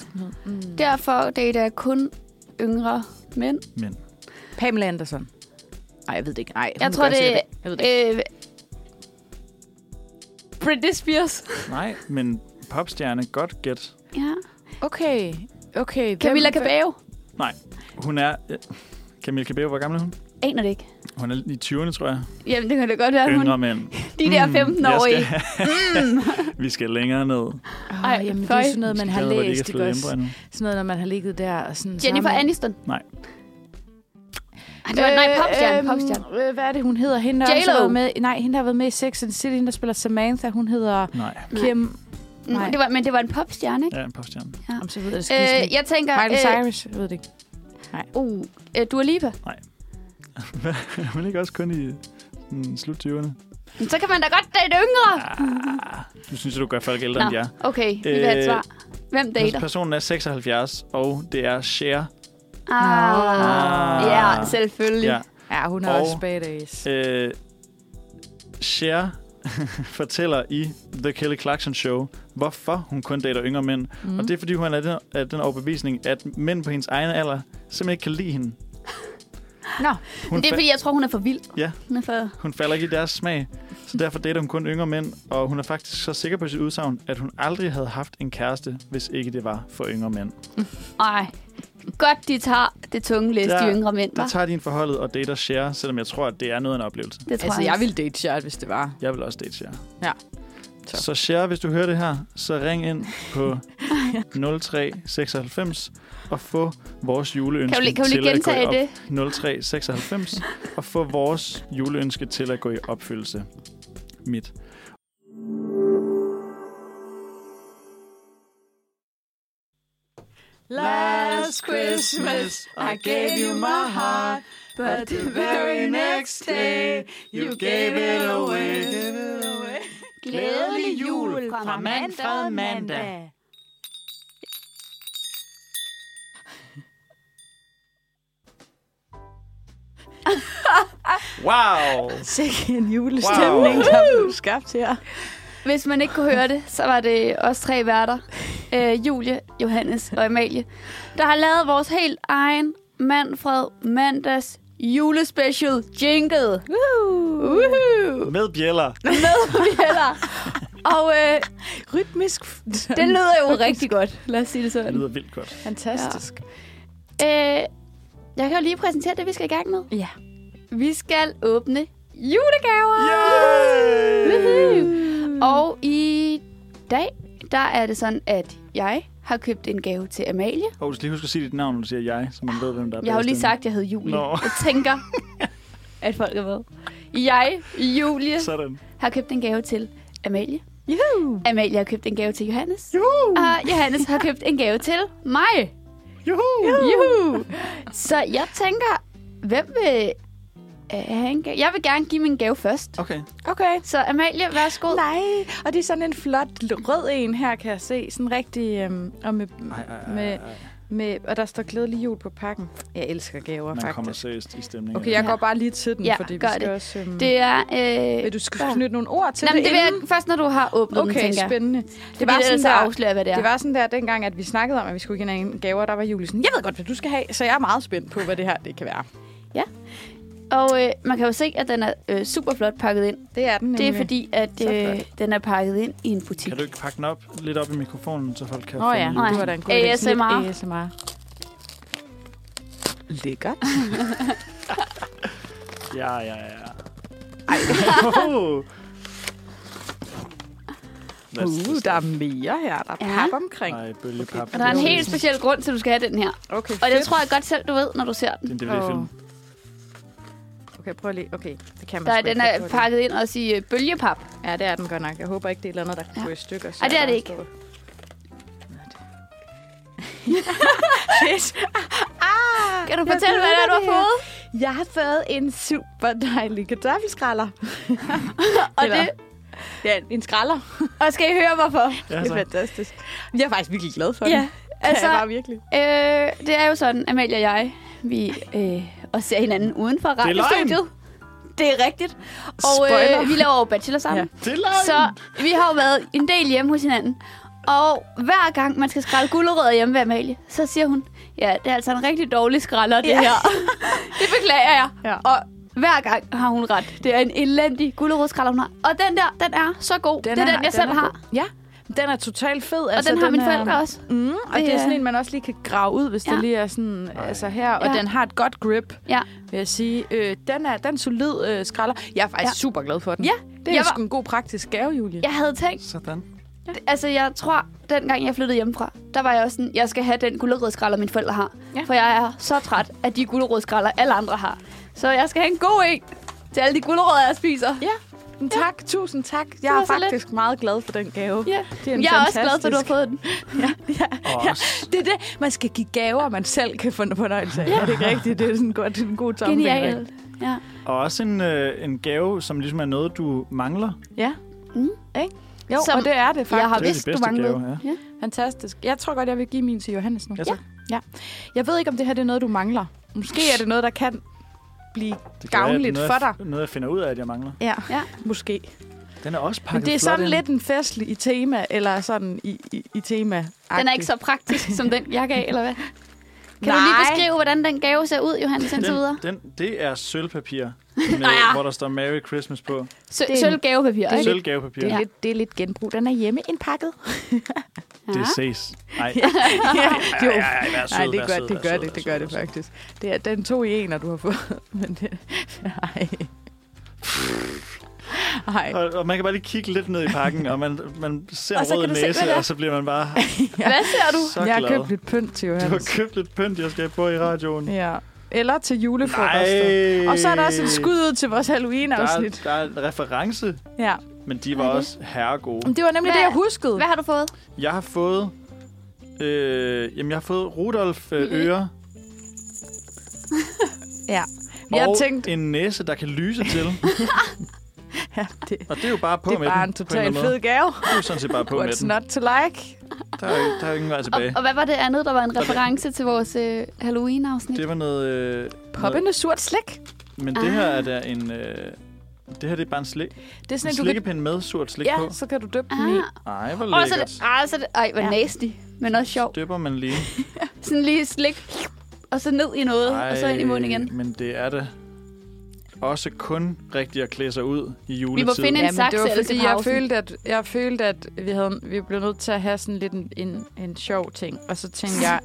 C: Mm. Der.
D: Derfor dater jeg kun yngre mænd.
B: Men
C: Pamela Andersen. Nej, jeg ved det ikke. Nej,
D: Jeg
C: hun
D: tror,
C: gør
D: det-
C: sikkert Jeg ved det ikke.
D: Øh, Britney Spears.
B: nej, men popstjerne, godt gæt.
D: Ja.
C: Okay. Okay. hvem-
D: Camilla Cabello.
B: Hun er... øh, Camille Cabello, hvor gammel er hun?
D: Aner det ikke.
B: Hun er i 20'erne, tror jeg.
D: Jamen, det kan det godt være, hun...
B: Yngre mænd.
D: De der
B: Mm,
D: 15-årige.
B: jeg skal- Vi skal længere ned.
C: Åh,
D: Ej,
C: jamen, det
D: føj.
C: er sådan noget, man
B: Vi skal
C: har
B: derned, hvor de ikke
C: læst.
B: er
C: Ikke
B: flyttet
C: også?
B: hjemmefra endnu.
C: Sådan noget, når man har ligget der. Og sådan,
D: Jennifer
C: sammen-
D: Aniston.
B: Nej.
D: Ej, Altså, det var, nej, popstjerne. popstjerne.
C: øh, hvad er det, hun hedder? Hende, der
D: J.Lo.
C: også har været med, nej, hende, der har været med i Sex and the City. Hende, der spiller Samantha. Hun hedder
B: Nej,
C: Kim...
D: Mm,
C: nej.
D: Det var, men det var en popstjerne, ikke?
B: ja, en popstjerne.
C: Om så ved jeg, det skal
D: Øh,
C: øh,
D: jeg tænker...
C: Miley
D: øh,
C: Cyrus. Jeg ved det ikke.
D: Uh, øh, Dua Lipa.
B: Men ikke også kun i mm, slut 20'erne.
D: Men Så kan man da godt date yngre.
B: Ah, du synes, at du gør folk ældre
D: Nå,
B: end jer.
D: Okay, vi vil have et
B: Øh,
D: svar. Hvem dater?
B: Personen er 76, og det er Cher.
D: Ah,
B: Nå.
D: ja, selvfølgelig.
B: Ja.
C: Ja, hun er
B: og-
C: og, også badass.
B: Øh, Cher fortæller i The Kelly Clarkson Show, hvorfor hun kun dater yngre mænd. Mm. Og det er, fordi hun er af den, af den overbevisning, at mænd på hendes egen alder simpelthen ikke kan lide hende.
C: Nå,
B: Hun,
D: Men det er,
B: fa-
D: fordi jeg tror, hun er for vild.
B: Ja.
D: Hun er for...
B: hun falder ikke i deres smag, så derfor dater hun kun yngre mænd. Og hun er faktisk så sikker på sit udsagn, at hun aldrig havde haft en kæreste, hvis ikke det var for yngre mænd.
D: Ej. Godt, de tager det tunge læs, de
B: Der-
D: yngre mænd, hva'?
B: Der tager de en forholdet og dater Cher, selvom jeg tror, at det er noget af en oplevelse.
D: Det tror
C: altså,
D: jeg.
C: jeg ville date Jared, hvis det var.
B: Jeg vil også date Cher.
C: Ja.
B: Så.
C: Så.
B: så Cher, hvis du hører det her, så ring ind på 0396 og få vores juleønske
D: Kan du lige- kan du lige
B: til at gå
D: gentage
B: i op. 0396 og få vores juleønske til at gå i opfyldelse. Mit.
C: Last Christmas, I gave you my heart, but the very next day, you gave it away.
D: Glædelig jul fra
C: Manfred Mandag.
B: Wow!
C: Sikke en julestemning, wow. der blev skabt her.
D: Hvis man ikke kunne høre det, så var det os tre værter. Øh, Julie, Johannes og Amalie. Der har lavet vores helt egen Manfred Mandags julespecial jingle. Woohoo!
B: Med bjæller.
D: Eller, og øh,
C: Rytmisk.
D: den lyder jo rigtig godt. Lad os sige det
B: Det
D: sådan.
B: lyder vildt godt.
C: Fantastisk.
D: Øh, jeg kan jo lige præsentere det, vi skal i gang med.
C: Ja.
D: Vi skal åbne julegaver.
B: Yay!
D: Woohoo! Og i dag, der er det sådan, at jeg har købt en gave til Amalie.
B: Og du skal lige huske at sige dit navn, når du siger jeg, så man ved, hvem der er
D: Jeg har jo
B: bag
D: lige
B: stemmen.
D: sagt, at jeg hed Julie.
B: Nå.
D: Jeg tænker, at folk er med. Jeg, Julie,
B: Sådan.
D: har købt en gave til Amalie.
C: Juhu!
D: Amalie har købt en gave til Johannes.
B: Juhu!
D: Og Johannes har købt en gave til mig.
B: Juhu!
D: Juhu! Så jeg tænker, hvem vil øh, have en gave? Jeg vil gerne give min gave først.
B: Okay.
C: Okay.
D: Så Amalie, værsgo.
C: Nej, og det er sådan en flot rød en her, kan jeg se. Sådan rigtig... Øhm, og, med,
B: Ej, ej, ej,
C: med,
B: ej.
C: med, og der står glædelig jul på pakken. Jeg elsker gaver,
B: Man kommer
C: faktisk.
B: seriøst i stemningen.
C: Okay, jeg
D: Ja.
C: går bare lige til den,
D: Ja,
C: fordi vi
D: gør
C: skal
D: det.
C: også... Øhm,
D: Det er...
C: vil
D: Øh,
C: du skal knytte nogle ord til
D: nej, men
C: det
D: det vil jeg
C: inden?
D: først, når du har åbnet den,
C: Okay,
D: tænker jeg.
C: spændende.
D: Det var sådan, så
C: der-
D: afslører, hvad det er.
C: Det var sådan der, dengang, at vi snakkede om, at vi skulle give hinanden gaver, der var Julie sådan, jeg ved godt, hvad du skal have, så jeg er meget spændt på, hvad det her det kan være.
D: Og øh, man kan jo se, at den er øh, super flot pakket ind.
C: Det er den
D: Det er
C: nemlig.
D: fordi, at
C: Så
D: øh, den er pakket ind i en butik.
B: Kan du ikke pakke den op lidt op i mikrofonen, så folk kan
C: Nå ja,
B: finde
C: det var da en god idé. Sådan
D: ASMR.
C: lidt ASMR. Lækkert.
B: Ja, ja, ja.
C: Ej,
B: Oh.
C: uh, der er mere her. Der er
D: Ja.
C: pap omkring.
B: Ej, bølgepap.
D: Og der er en helt speciel grund til, at du skal have den her.
C: Okay,
D: Og det
C: fedt.
D: tror jeg godt selv, du ved, når du ser den.
B: Det er en DVD-film.
C: Okay, prøv lige. Okay, det kan man
D: Der er,
C: sgu
D: den
C: ikke
D: er
C: få det.
D: pakket ind også i øh, bølgepap.
C: Ja, det er den godt nok. Jeg håber ikke, det er et eller andet, der kan
D: Ja.
C: gå i stykker. Så
D: Ej, det er
C: jeg
D: det
C: bare
D: ikke.
C: står- Shit. ah,
D: Kan du
C: jeg
D: fortælle,
C: ved,
D: hvad det er, du har
C: her.
D: fået?
C: Jeg har fået en super dejlig kartoffelskræller.
D: Og,
C: Eller-
D: det,
C: Ja, en skralder.
D: og skal I høre, hvorfor?
B: Ja,
C: Det er
B: så.
C: fantastisk. Jeg er faktisk virkelig glad for
D: Ja,
C: den.
D: altså-
C: Altså, jeg var virkelig.
D: Øh, det er jo sådan, Amalie og jeg, vi øh, også ser hinanden uden for
B: løgn!
D: radiostudiet. Det er rigtigt. Og
C: Spoiler.
D: øh, vi laver jo bachelor sammen.
C: Ja.
B: Det er løgn!
D: Så vi har jo været en del hjemme hos hinanden. Og hver gang man skal skrælle gulerødder hjemme ved Amalie, så siger hun, ja, det er altså en rigtig dårlig skralder, det
C: Ja.
D: her. det beklager jeg.
C: Ja.
D: Og hver gang har hun ret. Det er en elendig gulerødskræller, hun har. Og den der, den er så god. det er den, jeg selv
C: er
D: har.
C: god. Altså, Ja, den er totalt fed.
D: Og den har mine forældre også.
C: Mm, og det
D: Det
C: er
D: er-
C: sådan en, man også lige kan grave ud, hvis ja.
D: Ja.
C: det lige er sådan altså her. Og
D: Ja.
C: ja. den har et godt grip,
D: Ja.
C: vil jeg sige. Øh, den, er, den er solid øh, skralder. Jeg er faktisk
D: Ja.
C: ja. super glad for den.
D: Ja,
C: det er
D: jeg
C: var...
D: var-
C: sgu en god praktisk gave, Julie.
D: Jeg havde tænkt,
B: Sådan.
D: altså jeg tror, dengang jeg flyttede hjemmefra, der var jeg også sådan, jeg skal have den gulerødskræller, mine forældre har.
C: Ja.
D: For jeg er så træt af de gulerødskræller, alle andre har. Så jeg skal have en god en til alle de gulerødder, jeg spiser.
C: Men Tak, tusind tak. Jeg
D: var
C: er
D: så lidt.
C: faktisk meget glad for den gave.
D: Ja.
C: Det er en
D: jeg er også glad for, at du har
C: fantastisk-
D: fået den.
B: Og
C: Ja,
B: også,
C: det er det. Man skal give gaver, man selv kan få fornøjelse af. Ja. Er det ikke rigtigt? Det er sådan en god, en god tommelfingerregel.
D: Genial. Ja.
B: og også en, øh, en gave, som ligesom er noget, du mangler.
C: Ja.
D: Mm.
C: Ikke? Jo,
D: Som
C: og det er det faktisk.
D: Jeg har
B: Det er de
D: vidst, du
B: bedste
D: manglede.
B: gaver, ja.
D: Ja.
C: Fantastisk. Jeg tror godt, jeg vil give min til Johannes nu.
B: Ja, tak.
C: ja. Jeg ved ikke, om det her det er noget, du mangler. Måske er det noget, der kan blive
B: Det kan være, at
C: gavnligt
B: noget,
C: for
B: jeg-
C: dig.
B: Noget, jeg finder ud af, at jeg mangler.
C: Ja.
D: Ja.
C: Måske.
B: Den er også pakket
C: Men det er
B: flot
C: sådan
B: ind.
C: lidt en festlig i tema, eller sådan i, i, i tema
D: Den er ikke så praktisk som den, jeg gav, eller hvad? Kan du lige
C: Nej.
D: beskrive, hvordan den gave ser ud, Johannes, indtil videre?
B: den, den, det er sølvpapir, med,
D: ja.
B: hvor der står Merry Christmas på.
D: Sø-
C: Det er-
D: Sølvgavepapir,
C: det er
D: ikke?
B: Sølvgavepapir.
C: Det er,
B: Det,
D: Ja.
C: lidt, det er lidt genbrug. Den er hjemme indpakket.
B: det ses. Nej,
C: ja, jo.
B: ej, ej, vær sød,
C: Nej, det
B: vær
C: gør,
B: sød,
C: det
B: vær
C: gør
B: sød,
C: det,
B: vær
C: det gør
B: sød,
C: det
B: vær sød.
C: faktisk. Det er den to i en, du har fået. Men det, nej. Nej.
B: Og, og man kan bare lige kigge lidt ned i pakken, og man, man ser
D: Og
B: en
D: så
B: rød
D: kan du se,
B: næse,
D: hvad det er.
B: og så bliver man bare
D: Hvad ser du?
B: så
C: jeg har
B: glad.
C: købt lidt pynt til
B: Du har
C: Johannes.
B: købt lidt pynt, jeg skal på i radioen.
C: Ja. Eller til julefrokoster.
B: Nej.
C: Og så er der også et skud ud til vores
B: der er,
C: Halloween-afsnit.
B: der er en reference,
C: Ja.
B: men de
D: Hvad er
B: var
D: det?
B: også herregode.
C: Men det var nemlig
D: Hvad-
C: det, jeg huskede.
D: Hvad har du fået?
B: Jeg har fået... Øh, jamen, jeg har fået Rudolf øh, Øre
C: Ja. Vi har
B: og
C: tænkt,
B: en næse, der kan lyse til.
C: ja, det,
B: Og det er jo bare på
C: det er
B: med
C: bare
B: den,
C: en
B: på eller
C: total
B: anden
C: fed
B: måde.
C: gave.
B: Det er jo sådan set bare på med
C: What's
B: den.
C: not to like?
B: Der er, jo- der er jo ingen vej
D: Og,
B: tilbage.
D: og hvad var det andet, der var en reference til vores øh, Halloween-afsnit?
B: Det var noget... Øh, noget
C: Poppende surt slik.
B: men det her
D: Ah.
B: er der en... Øh, det her det er bare en, slik,
C: Det er
B: en
C: sådan, at du kan...
B: slikkepind med surt slik på.
C: Ja, så kan du døbe den i.
D: Ah.
B: Ej, hvor
D: Og så er
B: lækkert.
D: det, ah, så er det, ej, hvor
C: Ja.
D: nasty, men også sjov.
B: Døber man lige.
D: Sådan lige slik, og så ned i noget, og så ind i munden igen.
B: men det er det. Også kun rigtigt at klæde sig ud i
D: Vi
B: juletid.
D: må finde en
C: men
D: saks
C: det var
D: eller
C: fordi,
D: til
C: jeg
D: pausen.
C: følte, at, jeg følte, at vi, havde, vi blev nødt til at have sådan lidt en, en, en sjov ting. Og så tænkte jeg,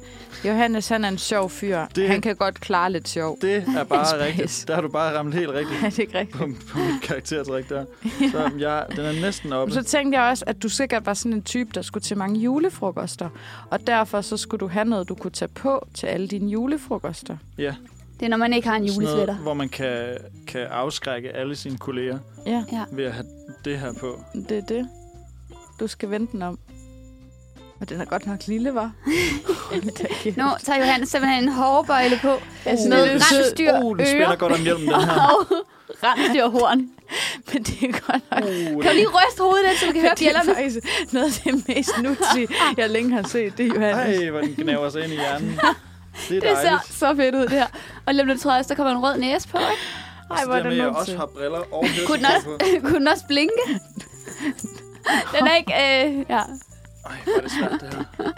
C: Johannes han er en sjov fyr.
B: Det-
C: Det... Han kan godt klare lidt sjov.
B: Det er bare
C: Space.
B: rigtigt. Der har du bare ramt helt rigtigt
C: Er det ikke rigtigt?
B: på, på mit karaktertræk der. Så jeg, den er næsten oppe.
C: Så tænkte jeg også, at du sikkert var sådan en type, der skulle til mange julefrokoster. Og derfor så skulle du have noget, du kunne tage på til alle dine julefrokoster.
B: Ja.
D: Det er, når man ikke har en
B: Sådan
D: julesvætter.
B: Noget, hvor man kan, kan afskrække alle sine kolleger
C: Ja,
B: ved at have det her på.
C: det er det. Du skal vende den om. Og den er godt nok lille, var.
D: Nu tager Johannes simpelthen en hårbøjle på med
B: det er sød.
D: rensdyr,
B: Uh, den spiller
D: ører
B: godt om hjelmen, den her.
D: og rensdyrhorn.
C: Men det er godt nok...
B: Uh,
D: Kan du lige ryste hovedet lidt, så du kan høre
C: Det er
D: bjællerne?
C: faktisk noget af det mest nuttige, jeg længe har set. Det er Johannes.
B: Ej, hvor den gnaver sig ind i hjernen. Det er
D: Det ser
B: dejligt.
D: så fedt ud, det her. Og lige om lidt tror jeg også, der kommer en rød næse på, ikke?
C: Ej, hvor er
B: det der
C: det
B: med, at jeg også
C: nuttigt.
B: har briller og
D: Kunne den også,
B: høretelefoner på.
D: kunne den også blinke? Den er ikke... Øh, ja.
B: Ej, hvor er det svært, det her.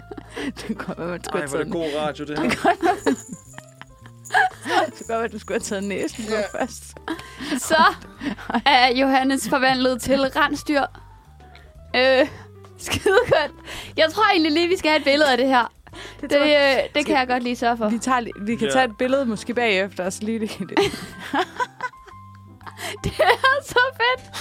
C: Det kommer, man skulle
B: Ej,
C: have
B: hvor er det god radio,
C: taget
B: det her.
C: Det godt, at du skulle have taget næsen på
B: Ja.
C: først.
D: Så er Johannes forvandlet til rensdyr. Øh, skidekønt. Jeg tror egentlig lige, vi skal have et billede af det her.
C: Det,
D: Det,
C: tror jeg.
D: øh, det kan jeg godt lige sørge for.
C: vi, tager, lige- vi kan
B: Ja.
C: tage et billede måske bagefter, og så lige det. det.
D: Det er så fedt.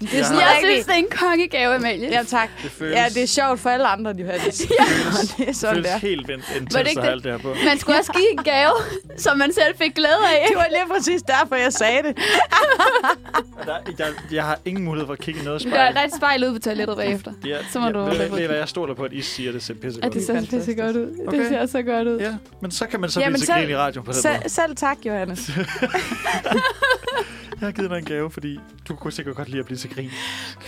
C: Det er
B: Ja.
C: sådan
D: Jeg
C: rigtig-
D: synes, det er en kongegave, Amalie.
C: Ja, tak.
B: Det føles,
C: Ja, det er sjovt for alle andre, Johannes. ja. det er sådan
B: føles
C: der.
B: helt vildt
D: Var det
B: intenst
D: ikke
B: at have
D: det?
B: alt det her på.
D: Man skulle også give en gave, som man selv fik glæde af.
C: Det var lige præcis derfor, jeg sagde det.
B: Og Der, jeg, jeg har ingen mulighed for at kigge i noget
D: Der er
B: spejl.
D: et rigtig spejl ude på toilettet bagefter.
B: Ja,
D: så må
B: ja,
D: du-
B: ved, ved, ved, hvad jeg stoler på, at I siger, at det ser pisse
D: Ja,
B: godt
D: det ser
C: Fantastisk.
D: pisse godt ud.
B: Okay.
D: Det ser så godt ud.
B: Ja, men så kan man så
C: Ja,
B: blive
C: men
B: til
C: så-
B: grin i radioen på den
C: Se,
B: måde.
C: selv tak, Johannes.
B: Jeg har givet dig en gave, fordi du kunne sikkert godt lide at blive til grin.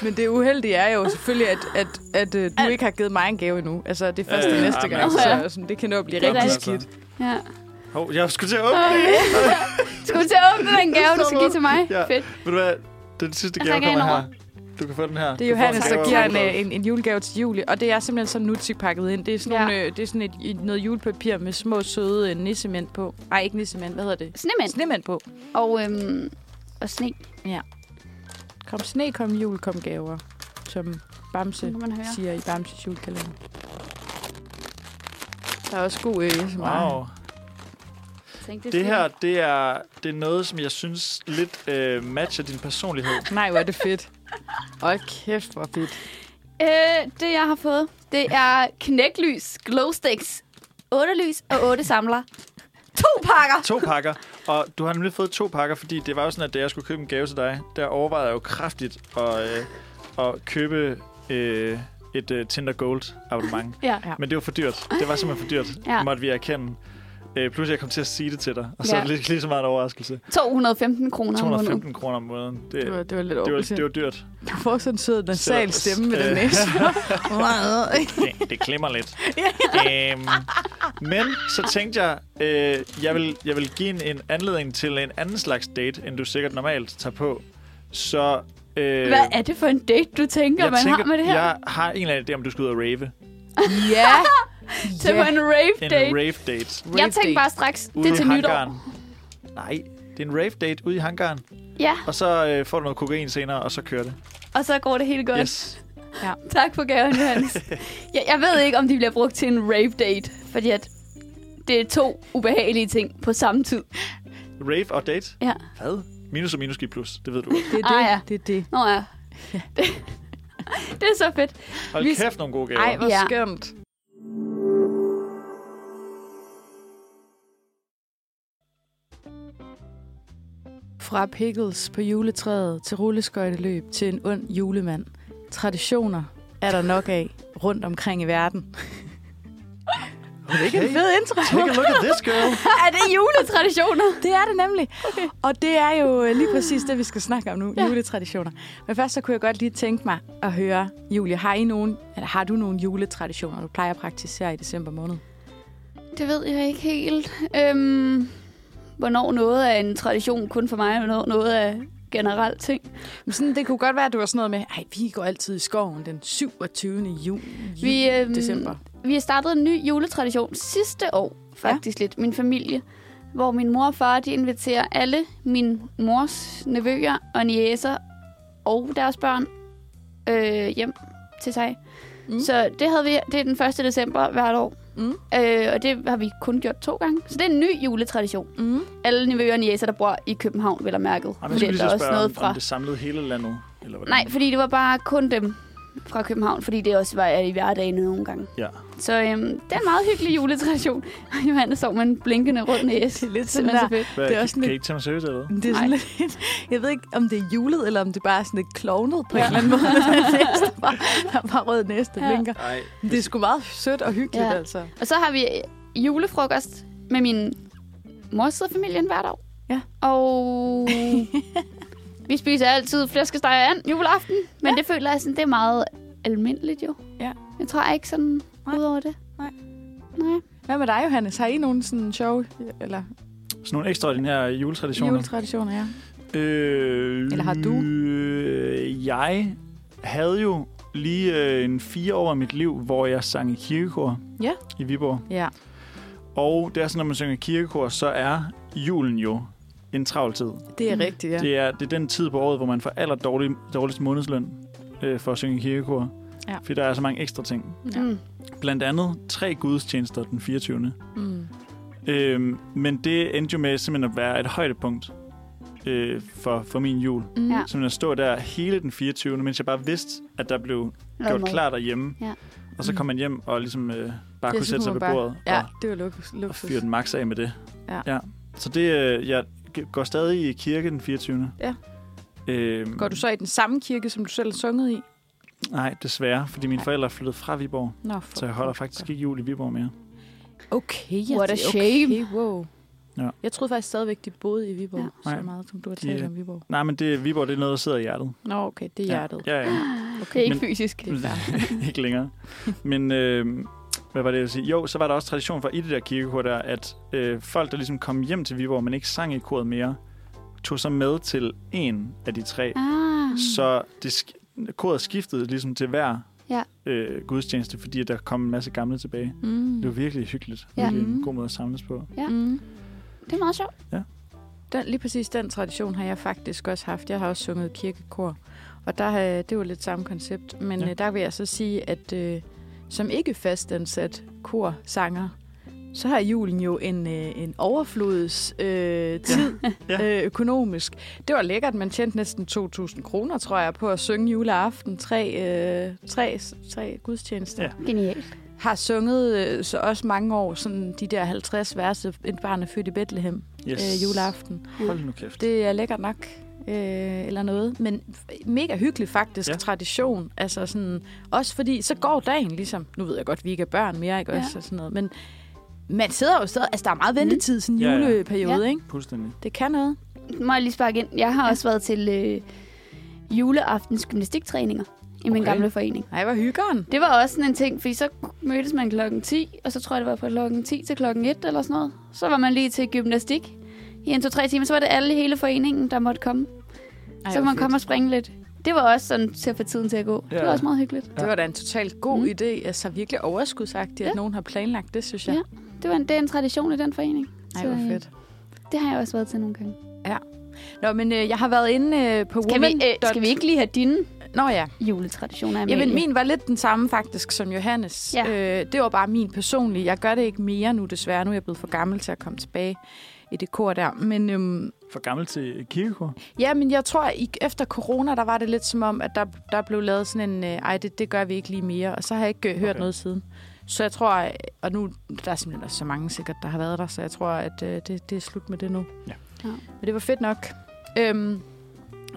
C: Men det uheldige er jo selvfølgelig, at, at, at, at du ikke har givet mig en gave endnu. Altså, det er først
B: Ja,
C: øh,
B: ja,
C: næste
B: men
C: gang,
B: altså-
C: så sådan, det kan nå at blive
D: Det er
C: rigtig
D: rigtigt.
C: skidt.
D: Ja.
B: Hov, jeg skulle til at åbne.
D: Skal du til at åbne den gave, du skal give til mig?
B: Ja.
D: Fedt.
B: Ved du hvad? Den sidste
D: Jeg
B: gave
D: ringer
B: kommer her.
D: ind
B: Du kan få den her.
C: Det er
B: Du får
C: Johannes,
B: gave
C: der
B: af
C: giver en,
B: Rudolf.
C: øh, en, en julegave til Julie, og det er simpelthen sådan nutsik pakket ind. Det er sådan,
D: Ja.
C: nogle, øh, det er sådan et, et, noget julepapir med små, søde øh, nissemænd på. Nej, ikke nissemænd. Hvad hedder det?
D: Snemænd.
C: Snemænd på.
D: Og, øhm, og sne,
C: Kom sne, kom jul, kom gaver, som Bamse
D: kan man høre.
C: siger i Bamses julekalender. Der er også god øh, som wow.
B: Wow.
D: Tænk,
B: Det her, det er, det er noget, som jeg synes lidt øh, matcher din personlighed.
C: Nej, hvor er det fedt. Hold kæft, hvor fedt.
D: Øh, det, jeg har fået, det er knæklys, glowsticks, otte lys og otte samler. To pakker!
B: To pakker. Og du har nemlig fået to pakker, fordi det var jo sådan, at da jeg skulle købe en gave til dig, der overvejede jeg jo kraftigt at, øh, at købe øh, et øh, Tinder Gold abonnement.
D: Ja.
C: Ja.
B: Men det var for dyrt. Det var simpelthen for dyrt,
D: Ja.
B: ja. måtte vi erkende. Øh, plus jeg kom til at sige det til dig, og så
D: Ja.
B: ja. lige, lige så meget en overraskelse.
D: 215 kroner om måneden.
B: 215 kroner om måneden. Det, det,
C: Det var,
B: var,
C: det var lidt
B: det, var,
C: overbevisende.
B: det var dyrt.
C: Du får sådan en sød nasal
B: Så-
C: stemme med den
B: øh.
C: næse.
B: Det, det klemmer lidt. øhm, men så tænkte jeg, øh, jeg, vil, jeg vil give en, en anledning til en anden slags date, end du sikkert normalt tager på. Så... Øh,
D: Hvad er det for en date, du tænker, man har med det her?
B: Jeg har en eller anden idé, om du skal ud og rave.
C: ja.
D: Til på en rave
B: En
D: date.
B: rave date.
D: jeg
C: Rave
D: tænkte
C: date.
D: bare straks,
B: Ude
D: det er
B: i
D: til nytår.
B: hangaren. Nej, det er en rave date ude i hangaren.
D: Ja,
B: Og så øh, får du noget kokain senere, og så kører det.
D: og så går det helt godt.
B: Yes.
D: Tak for gaven, Johannes. jeg, jeg ved ikke, om de bliver brugt til en rave date, fordi at det er to ubehagelige ting på samme tid.
B: Rave og date?
D: Ja.
B: Hvad? Minus og minus giver plus, det ved du.
C: Det er det.
D: Ah, ja.
C: Det er det.
D: Nå ja. Det, det er så fedt.
B: Hold
C: Vi-
B: kæft, nogle gode gaver.
C: Ej, hvor
D: Ja.
C: skønt. Fra pickles på juletræet til rulleskøjteløb til en ond julemand. Traditioner er der nok af rundt omkring i verden.
B: okay.
C: Det er en fed intro.
B: Take a look at this girl.
D: Er det juletraditioner?
C: Det er det nemlig. Okay. Og det er jo øh, lige præcis det, vi skal snakke om nu. Ja. Juletraditioner. Men først så kunne jeg godt lige tænke mig at høre, Julie, har, I nogen, eller har du nogle juletraditioner, du plejer at praktisere i december måned?
D: Det ved jeg ikke helt. Øhm, hvornår noget er en tradition kun for mig, og hvornår noget er generelt ting.
C: Men sådan, det kunne godt være, at du var sådan noget med, ej, vi går altid i skoven den 27. juni.
D: Vi, øhm,
C: december.
D: Vi har startet en ny juletradition sidste år, faktisk lidt, min familie. Hvor min mor og far, de inviterer alle min mors nevøer og niæser og deres børn øh, hjem til sig.
C: Mm.
D: Mm. Så det havde vi, det er den 1. december hvert år.
C: Mm.
D: Øh, og det har vi kun gjort to gange. Så det er en ny juletradition.
C: Mm.
D: Alle nevøer og niæser, der bor i København, vil have mærket.
B: Ej, men jeg
D: Fordi
B: skulle lige
D: der er
B: så
D: også
B: spørge,
D: noget
B: om,
D: fra...
B: om det samlede hele landet. Eller hvordan?
D: Nej, fordi det var bare kun dem. fra København, fordi det også var i hverdagen nogle gange.
B: Ja.
D: Så øhm, det er en meget hyggelig juletradition. Og Johannes står med en blinkende rund næse.
C: Det er lidt sådan
D: Simpelthen så
C: der.
D: fedt.
B: Hvad,
C: Det
B: det
C: er
B: er
C: også
B: kan,
C: lidt-
B: kan I ikke tage mig seriøst eller hvad?
C: Det er sådan
D: Nej.
C: lidt, jeg ved ikke, om det er julet, eller om det bare er sådan lidt klovnet på en eller anden måde. Der er bare, der er bare rød næste
D: Ja.
C: ja. blinker.
B: Nej.
C: Men Det er sgu meget sødt og hyggeligt,
D: Ja.
C: ja. altså.
D: Og så har vi øh, julefrokost med min mors side af familien hvert år.
C: Ja.
D: Og vi spiser altid flæskesteg og and juleaften. Men ja. det føler jeg sådan, det er meget almindeligt jo.
C: Ja.
D: Jeg tror ikke sådan
C: Nej.
D: ud over det.
C: Nej.
D: Nej.
C: Hvad med dig, Johannes? Har I nogen sådan sjove eller
B: Sådan nogle ekstraordinære juletraditioner.
C: juletraditioner? Ja.
B: Øh,
C: Eller har du?
B: Øh, jeg havde jo lige øh, en fire år af mit liv, hvor jeg sang i kirkekor
C: Ja.
B: i Viborg.
C: ja.
B: Og det er sådan, når man synger i kirkekor, så er julen jo en travl tid. Ja.
C: Det er
D: Mm.
C: rigtigt, ja.
B: Det, er, det er den tid på året, hvor man får aller dårlig, dårligst månedsløn øh, for at synge i kirkekor.
C: Ja.
B: Fordi der er så mange ekstra ting.
C: Ja.
D: Mm.
B: Blandt andet tre gudstjenester den 24.
C: Mm.
B: Øhm, men det endte jo med simpelthen at være et højdepunkt øh, for, for min jul.
C: Mm.
D: Ja.
C: Ja.
B: Simpelthen at stå der hele den 24. mens jeg bare vidste, at der blev
D: Lad
B: gjort
D: mig.
B: klar derhjemme.
D: Ja.
B: Og så kom man hjem og ligesom øh, bare
C: Ja,
B: kunne
C: så
B: sætte
C: kunne
B: sig
C: man
B: ved
C: bare-
B: bordet
C: ja,
B: og,
C: det var lukus,
B: og
C: luksus.
B: fyre den max af med det.
C: Ja.
B: ja. Så det, øh, jeg g- går stadig i kirke den 24.
C: Ja.
B: Øhm,
C: Går du så i den samme kirke, som du selv har sunget i?
B: Nej, desværre, fordi mine forældre er flyttet fra Viborg,
C: Nå, for
B: så jeg holder faktisk ikke jul i Viborg mere.
C: Okay, ja,
D: What a
C: det er
D: shame.
C: Okay, wow.
B: Ja.
C: Ja. Jeg troede faktisk stadigvæk, de boede i Viborg,
D: Ja.
C: ja.
B: Nej.
C: så meget som du har talt
B: De, øh,
C: yeah. om Viborg.
B: Nej, men det, Viborg, det er noget, der sidder i hjertet.
C: Nå, okay, det er hjertet.
B: Ja, ja. ja.
D: Det er ikke
B: Men-
D: fysisk.
B: ikke længere. Men øh, hvad var det, jeg ville sige? Jo, så var der også tradition for i det der kirkekor der, at øh, folk, der ligesom kom hjem til Viborg, men ikke sang i koret mere, tog sig med til en af de tre.
D: Ah.
B: Så det sk- koret skiftede ligesom til hver
D: Ja.
B: øh, gudstjeneste, fordi der kom en masse gamle tilbage.
C: Mm.
B: Det var virkelig hyggeligt.
D: Ja.
B: Ja. Virkelig en
C: Mhm.
B: god måde at samles på.
D: Ja.
C: Mm.
D: Det er meget sjovt.
C: Den, lige præcis den tradition har jeg faktisk også haft. Jeg har også sunget kirkekor, og der, øh, det var lidt samme koncept. Men
B: Ja.
C: ja. der vil jeg så sige, at øh, som ikke fastansat korsanger, så har julen jo en, øh, en overflods øh, tid
B: Ja.
C: ja. øh, økonomisk. Det var lækkert. Man tjente næsten 2.000 kroner, tror jeg, på at synge juleaften. Tre, øh, tre, tre gudstjenester.
B: Ja.
C: Ja.
D: Genialt.
C: Har sunget øh, så også mange år sådan de der 50 verser, et barn er født i Bethlehem yes. øh, juleaften.
B: Hold nu kæft.
C: Det er lækkert nok. Øh, eller noget, men f- mega hyggelig faktisk
B: Ja.
C: ja. tradition, altså sådan, også fordi, så går dagen ligesom, nu ved jeg godt, vi ikke er børn mere, ikke
D: Ja. Mhm.
C: også, og sådan noget, men man sidder jo stadig, altså der er meget ventetid, sådan en
B: Ja, ja.
C: juleperiode,
D: Ja.
C: ikke?
B: Fuldstændig.
C: Det kan noget.
D: Må jeg lige sparke ind? Jeg har også været til øh, juleaftens gymnastiktræninger i min
B: Okay.
D: gamle forening.
C: Ej, hvor hyggeren.
D: Det var også sådan en ting, fordi så mødtes man klokken 10, og så tror jeg, det var fra klokken 10 til klokken 1 eller sådan noget. Så var man lige til gymnastik i en, to, tre timer. Så var det alle i hele foreningen, der måtte komme.
C: Ej,
D: så kunne
C: hvor
D: man
C: fedt.
D: komme og springe lidt. Det var også sådan til at få tiden til at gå. Ja. Det
B: Ja.
D: var også meget hyggeligt.
C: Det var da en totalt god
D: Mm.
C: mm. idé, altså virkelig overskudsagtigt, at
D: Ja.
C: nogen har planlagt det, synes jeg.
D: Ja. Det, var en, det er en tradition i den forening.
C: Ej, hvor
D: øh,
C: fedt.
D: Det har jeg også været til nogle gange.
C: Nå, men øh, jeg har været inde øh, på
D: Skal vi,
C: woman.
D: øh, skal vi ikke lige have dine
C: Nå ja.
D: juletraditioner, Amalie?
C: Jamen, min var lidt den samme faktisk som Johannes.
D: Ja.
C: Øh, det var bare min personlige. Jeg gør det ikke mere nu desværre. Nu er jeg blevet for gammel til at komme tilbage i det kor der. Men øhm,
B: For gammel til kirkekor?
C: ja, men jeg tror, i, efter corona, der var det lidt som om, at der, der blev lavet sådan en, øh, ej, det, det gør vi ikke lige mere. Og så har jeg ikke øh, hørt
B: Okay.
C: okay. noget siden. Så jeg tror, øh, og nu der er simpelthen også så mange sikkert, der har været der, så jeg tror, at øh, det, det er slut med det nu.
B: Ja.
D: Ja.
C: Men det var fedt nok. Øhm,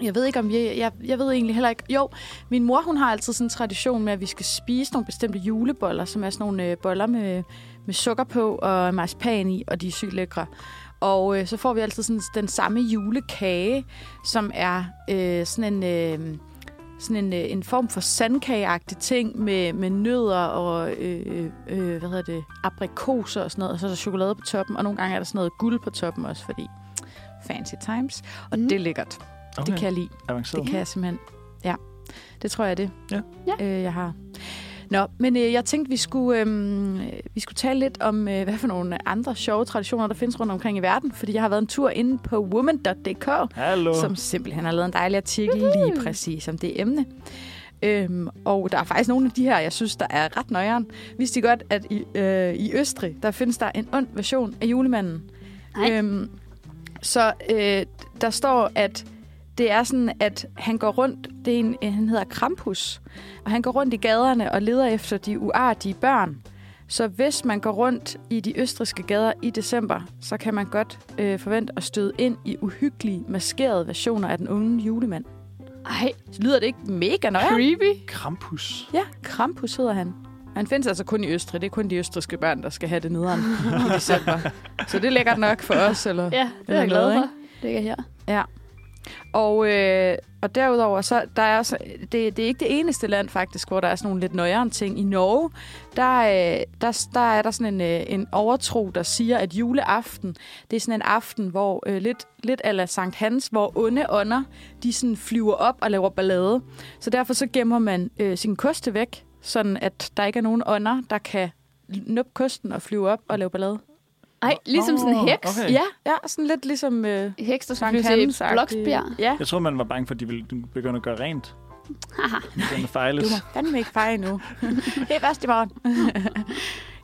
C: jeg ved ikke, om jeg, jeg, jeg ved egentlig heller ikke. Jo, min mor, hun har altid sådan en tradition med, at vi skal spise nogle bestemte juleboller, som er sådan nogle øh, boller med, med sukker på og marcipan i, og de er sygt lækre. Og øh, så får vi altid sådan den samme julekage, som er øh, sådan en... Øh, sådan en, øh, en form for sandkageagtig ting med, med nødder og øh, øh, hvad hedder det, aprikoser og sådan noget, og så er der chokolade på toppen, og nogle gange er der sådan noget guld på toppen også, fordi fancy times. Og
D: Mm.
C: mm. det er lækkert. Okay.
B: Okay.
C: Det kan jeg lide.
B: Avanceret.
C: Det kan jeg simpelthen. Ja, det tror jeg det,
B: Ja.
D: Ja.
C: Øh, jeg har. Nå, men øh, jeg tænkte, vi skulle, øh, vi skulle tale lidt om, øh, hvad for nogle andre sjove traditioner, der findes rundt omkring i verden. Fordi jeg har været en tur inde på woman.dk,
B: Hallo.
C: som simpelthen har lavet en dejlig artikel lige præcis om det emne. Øhm, og der er faktisk nogle af de her, jeg synes, der er ret nøjeren. Vidste I godt, at i, øh, i Østrig, der findes der en ond
D: øh,
C: version af julemanden?
D: Nej.
C: Øhm, så øh, der står, at det er sådan, at han går rundt, det er en, øh, han hedder Krampus, og han går rundt i gaderne og leder efter de uartige børn. Så hvis man går rundt i de østriske gader i december, så kan man godt øh, forvente at støde ind i uhyggelige, maskerede versioner af den unge julemand.
D: Ej,
C: Så lyder det ikke mega nøjere?
D: creepy.
B: Krampus.
C: Ja, Krampus hedder han. Han findes altså kun i Østrig. Det er kun de østrigske børn, der skal have det nederen i december. Så det er lækkert nok for os. Eller?
D: Ja, det
C: er
D: er jeg glad
C: glad,
D: for. Det er her.
C: Og, øh, og derudover, så der er også, det, det er ikke det eneste land faktisk, hvor der er sådan nogle lidt nøjere ting. I Norge, der, øh, der, der er der sådan en, øh, en overtro, der siger, at juleaften, det er sådan en aften, hvor øh, lidt, lidt ala Sankt Hans, hvor onde ånder, de sådan flyver op og laver ballade. Så derfor så gemmer man øh, sin koste væk, sådan at der ikke er nogen ånder, der kan nuppe kosten og flyve op og lave ballade.
D: Ej, ligesom sådan en
B: Åh,
D: heks.
B: okay.
C: Ja, ja sådan lidt ligesom øh,
D: Heks, der skulle
C: Sankt
D: flyve
C: Hans.
D: til Bloksbjerg.
C: Ja.
B: Jeg tror, man var bange for, at de ville begynde at gøre rent. Den fejles.
C: Du må fandme ikke fejre nu. det er først i morgen.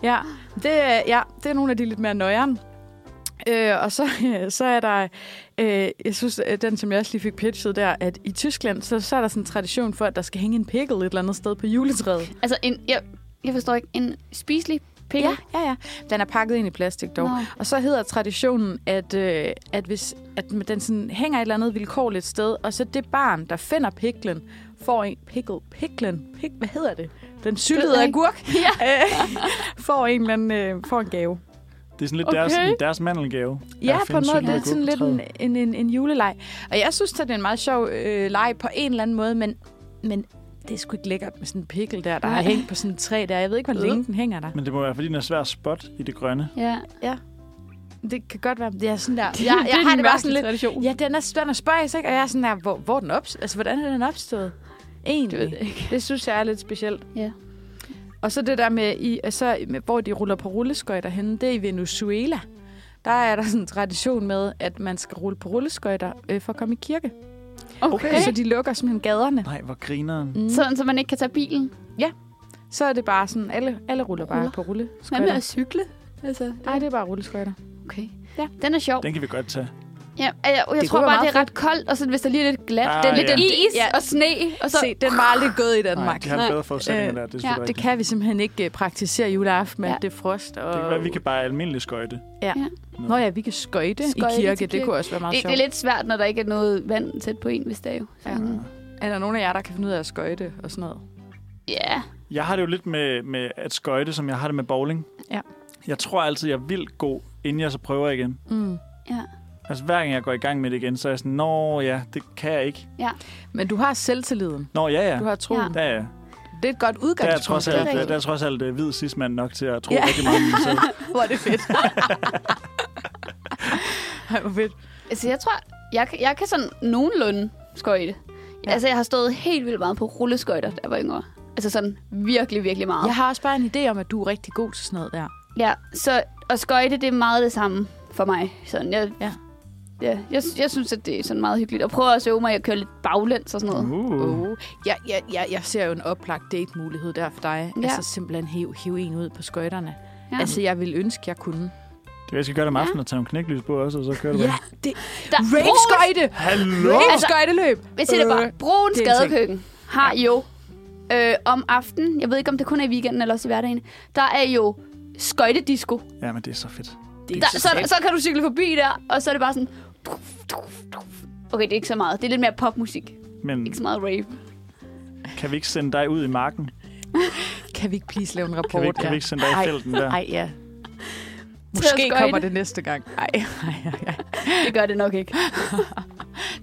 C: ja, det, er- ja, det er nogle af de lidt mere nøjeren. Øh, og så, så er der, øh, jeg synes, at den som jeg også lige fik pitchet der, at i Tyskland, så, så er der sådan en tradition for, at der skal hænge en pikkel et eller andet sted på juletræet.
D: Altså, en, jeg, jeg forstår ikke, en spiselig pik.
C: Ja, ja, ja. Den er pakket ind i plastik dog.
D: Nå.
C: Og så hedder traditionen, at, øh, at hvis at den sådan hænger et eller andet vilkårligt sted, og så det barn, der finder piklen, får en pikkel, piklen, pik, hvad hedder det? Den
D: ved
C: syltede
D: jeg ikke.
C: agurk ja. får, en eller anden, øh, får en gave.
B: Det er sådan lidt okay. deres,
D: Okay.
B: sådan deres mandelgave.
C: Ja,
B: At
C: på en
B: finde
C: måde.
B: syltede
C: Det er sådan lidt en,
B: agurketræer.
C: en, en, en juleleg. Og jeg synes, at det er en meget sjov øh, leg på en eller anden måde, men, men det er sgu ikke lækkert med sådan en pikkel der, der har
D: Nej.
C: hængt på sådan et træ der. Jeg ved ikke, hvor
D: Øh.
C: længe den hænger der.
B: Men det må være, fordi den er svær at spot i det grønne.
D: Ja.
C: Det kan godt være, det er sådan der. Jeg,
D: Det-
C: jeg,
D: det er
C: jeg har
D: en
C: det bare
D: mærkelig
C: sådan lidt,
D: tradition.
C: Ja, den er, den er spøjs, ikke? Og jeg er sådan der, hvor, hvor er den op, altså, hvordan er den opstået? Egentlig.
D: Det ved jeg ikke.
C: det synes jeg er lidt specielt.
D: Ja.
C: Og så det der med, i, så, med hvor de ruller på rulleskøjter henne, det er i Venezuela. Der er der sådan en tradition med, at man skal rulle på rulleskøjter øh, for at komme i kirke.
D: Okay.
C: Så de lukker simpelthen gaderne.
B: Nej, hvor grineren.
C: Mm. Så,
D: Sådan, så man ikke kan tage bilen.
C: så er det bare sådan, alle, alle ruller bare
D: Ruller.
C: på
D: Hvad med
C: rulleskøjter.
D: at cykle? Altså,
C: Nej, det er bare rulleskøjter.
D: okay.
C: Ja.
D: Den er sjov.
B: Den kan vi godt tage.
D: Ja, jeg, jeg, jeg
C: Det
D: tror
C: kunne være
D: bare, det
C: meget
D: er ret koldt, og så hvis der lige er lidt glat.
B: Ah,
D: Ah, det er lidt
B: ja.
D: is
C: Ja.
D: og sne, og så...
C: Så, Se, den var aldrig gået i
B: Nej,
C: Danmark.
B: de har
D: Nej.
B: bedre forudsætninger
C: Øh,
B: der. Det, er
D: ja,
B: selvfølgelig
C: Det
B: rigtigt.
C: kan vi simpelthen ikke øh, praktisere juleaften med,
D: Ja.
C: ja. det er frost. Og...
B: det kan være, vi kan bare almindelig skøjte.
C: Nå ja, vi kan skøjte,
D: Skøjte
C: i
D: til
C: kirke.
D: kirke. E,
C: Det kunne også være meget
D: Det, det
C: sjovt.
D: er lidt svært, når der ikke er noget vand tæt på en, hvis det er jo.
C: Ja.
D: Sådan.
C: Er der nogen af jer, der kan finde ud af at skøjte og sådan noget?
D: Ja.
B: Jeg har det jo lidt med, med at skøjte, som jeg har det med bowling.
C: Ja.
B: Jeg tror altid, jeg er vildt god, inden jeg så prøver igen.
C: Mm.
B: Altså hver gang jeg går i gang med det igen, så er jeg sådan, nå ja, det kan jeg ikke.
C: Men du har selvtilliden.
B: Nå ja, ja.
C: Du har troen.
D: Ja.
C: Ja.
B: Der er,
C: Det er et godt
B: der er
C: udgangspunkt.
B: trods
D: det er
B: alt, der,
D: rigtigt.
B: der er trods alt øh, hvid sidstmand nok til at tro
C: Ja.
B: ja. rigtig meget. om sig selv.
C: Hvor er det fedt. Ej, hvor fedt.
D: Altså, jeg tror, jeg, kan- jeg kan sådan nogenlunde skøjte. Ja.
C: Ja.
D: Altså, jeg har stået helt vildt meget på rulleskøjter, der var yngre. Altså sådan virkelig, virkelig meget.
C: Jeg har også bare en idé om, at du er rigtig god til sådan noget der.
B: Mm.
D: Ja, så at skøjte, det er meget det samme for mig. Sådan, jeg,
C: Ja.
D: Ja, jeg, jeg synes, at det er sådan meget hyggeligt. Og prøver også at øve mig at køre lidt baglæns og sådan noget.
B: Uh.
C: Oh. Jeg, jeg, jeg, jeg ser jo en oplagt date-mulighed der for dig.
D: Ja.
C: Ja. Altså simpelthen hive, hive en ud på skøjterne.
D: Ja.
C: Ja. Altså, jeg ville ønske, jeg kunne.
B: Det jeg skal gøre det om
D: Ja.
B: aftenen og tage nogle knæklys på også, og så kører det bare.
C: det...
D: Der,
C: Rave-skøjte!
B: Hallo!
C: Rave-skøjteløb!
D: Hvis Altså, jeg det bare,
C: Øh,
D: brug en
C: det er en ting.
D: skadekøkken har jo øh, om aftenen, jeg ved ikke om det kun er i weekenden eller også i hverdagen, der er jo skøjtedisco.
B: Ja, men det er så fedt.
C: Det er
D: Der, så, så kan du cykle forbi der, og så er det bare sådan... Okay, det er ikke så meget. Det er lidt mere popmusik.
B: Men
D: Ikke så meget rave.
B: kan vi ikke sende dig ud i marken?
C: Øh, Kan vi ikke please lave en rapport?
B: Kan vi, ikke- kan vi
C: ja?
B: ikke sende dig i
C: Ej.
B: felten der?
C: Ej, ja.
D: Til
C: Måske
D: at skøjte.
C: kommer det næste gang. Ej, ej, ej, ej.
D: Det gør det nok ikke.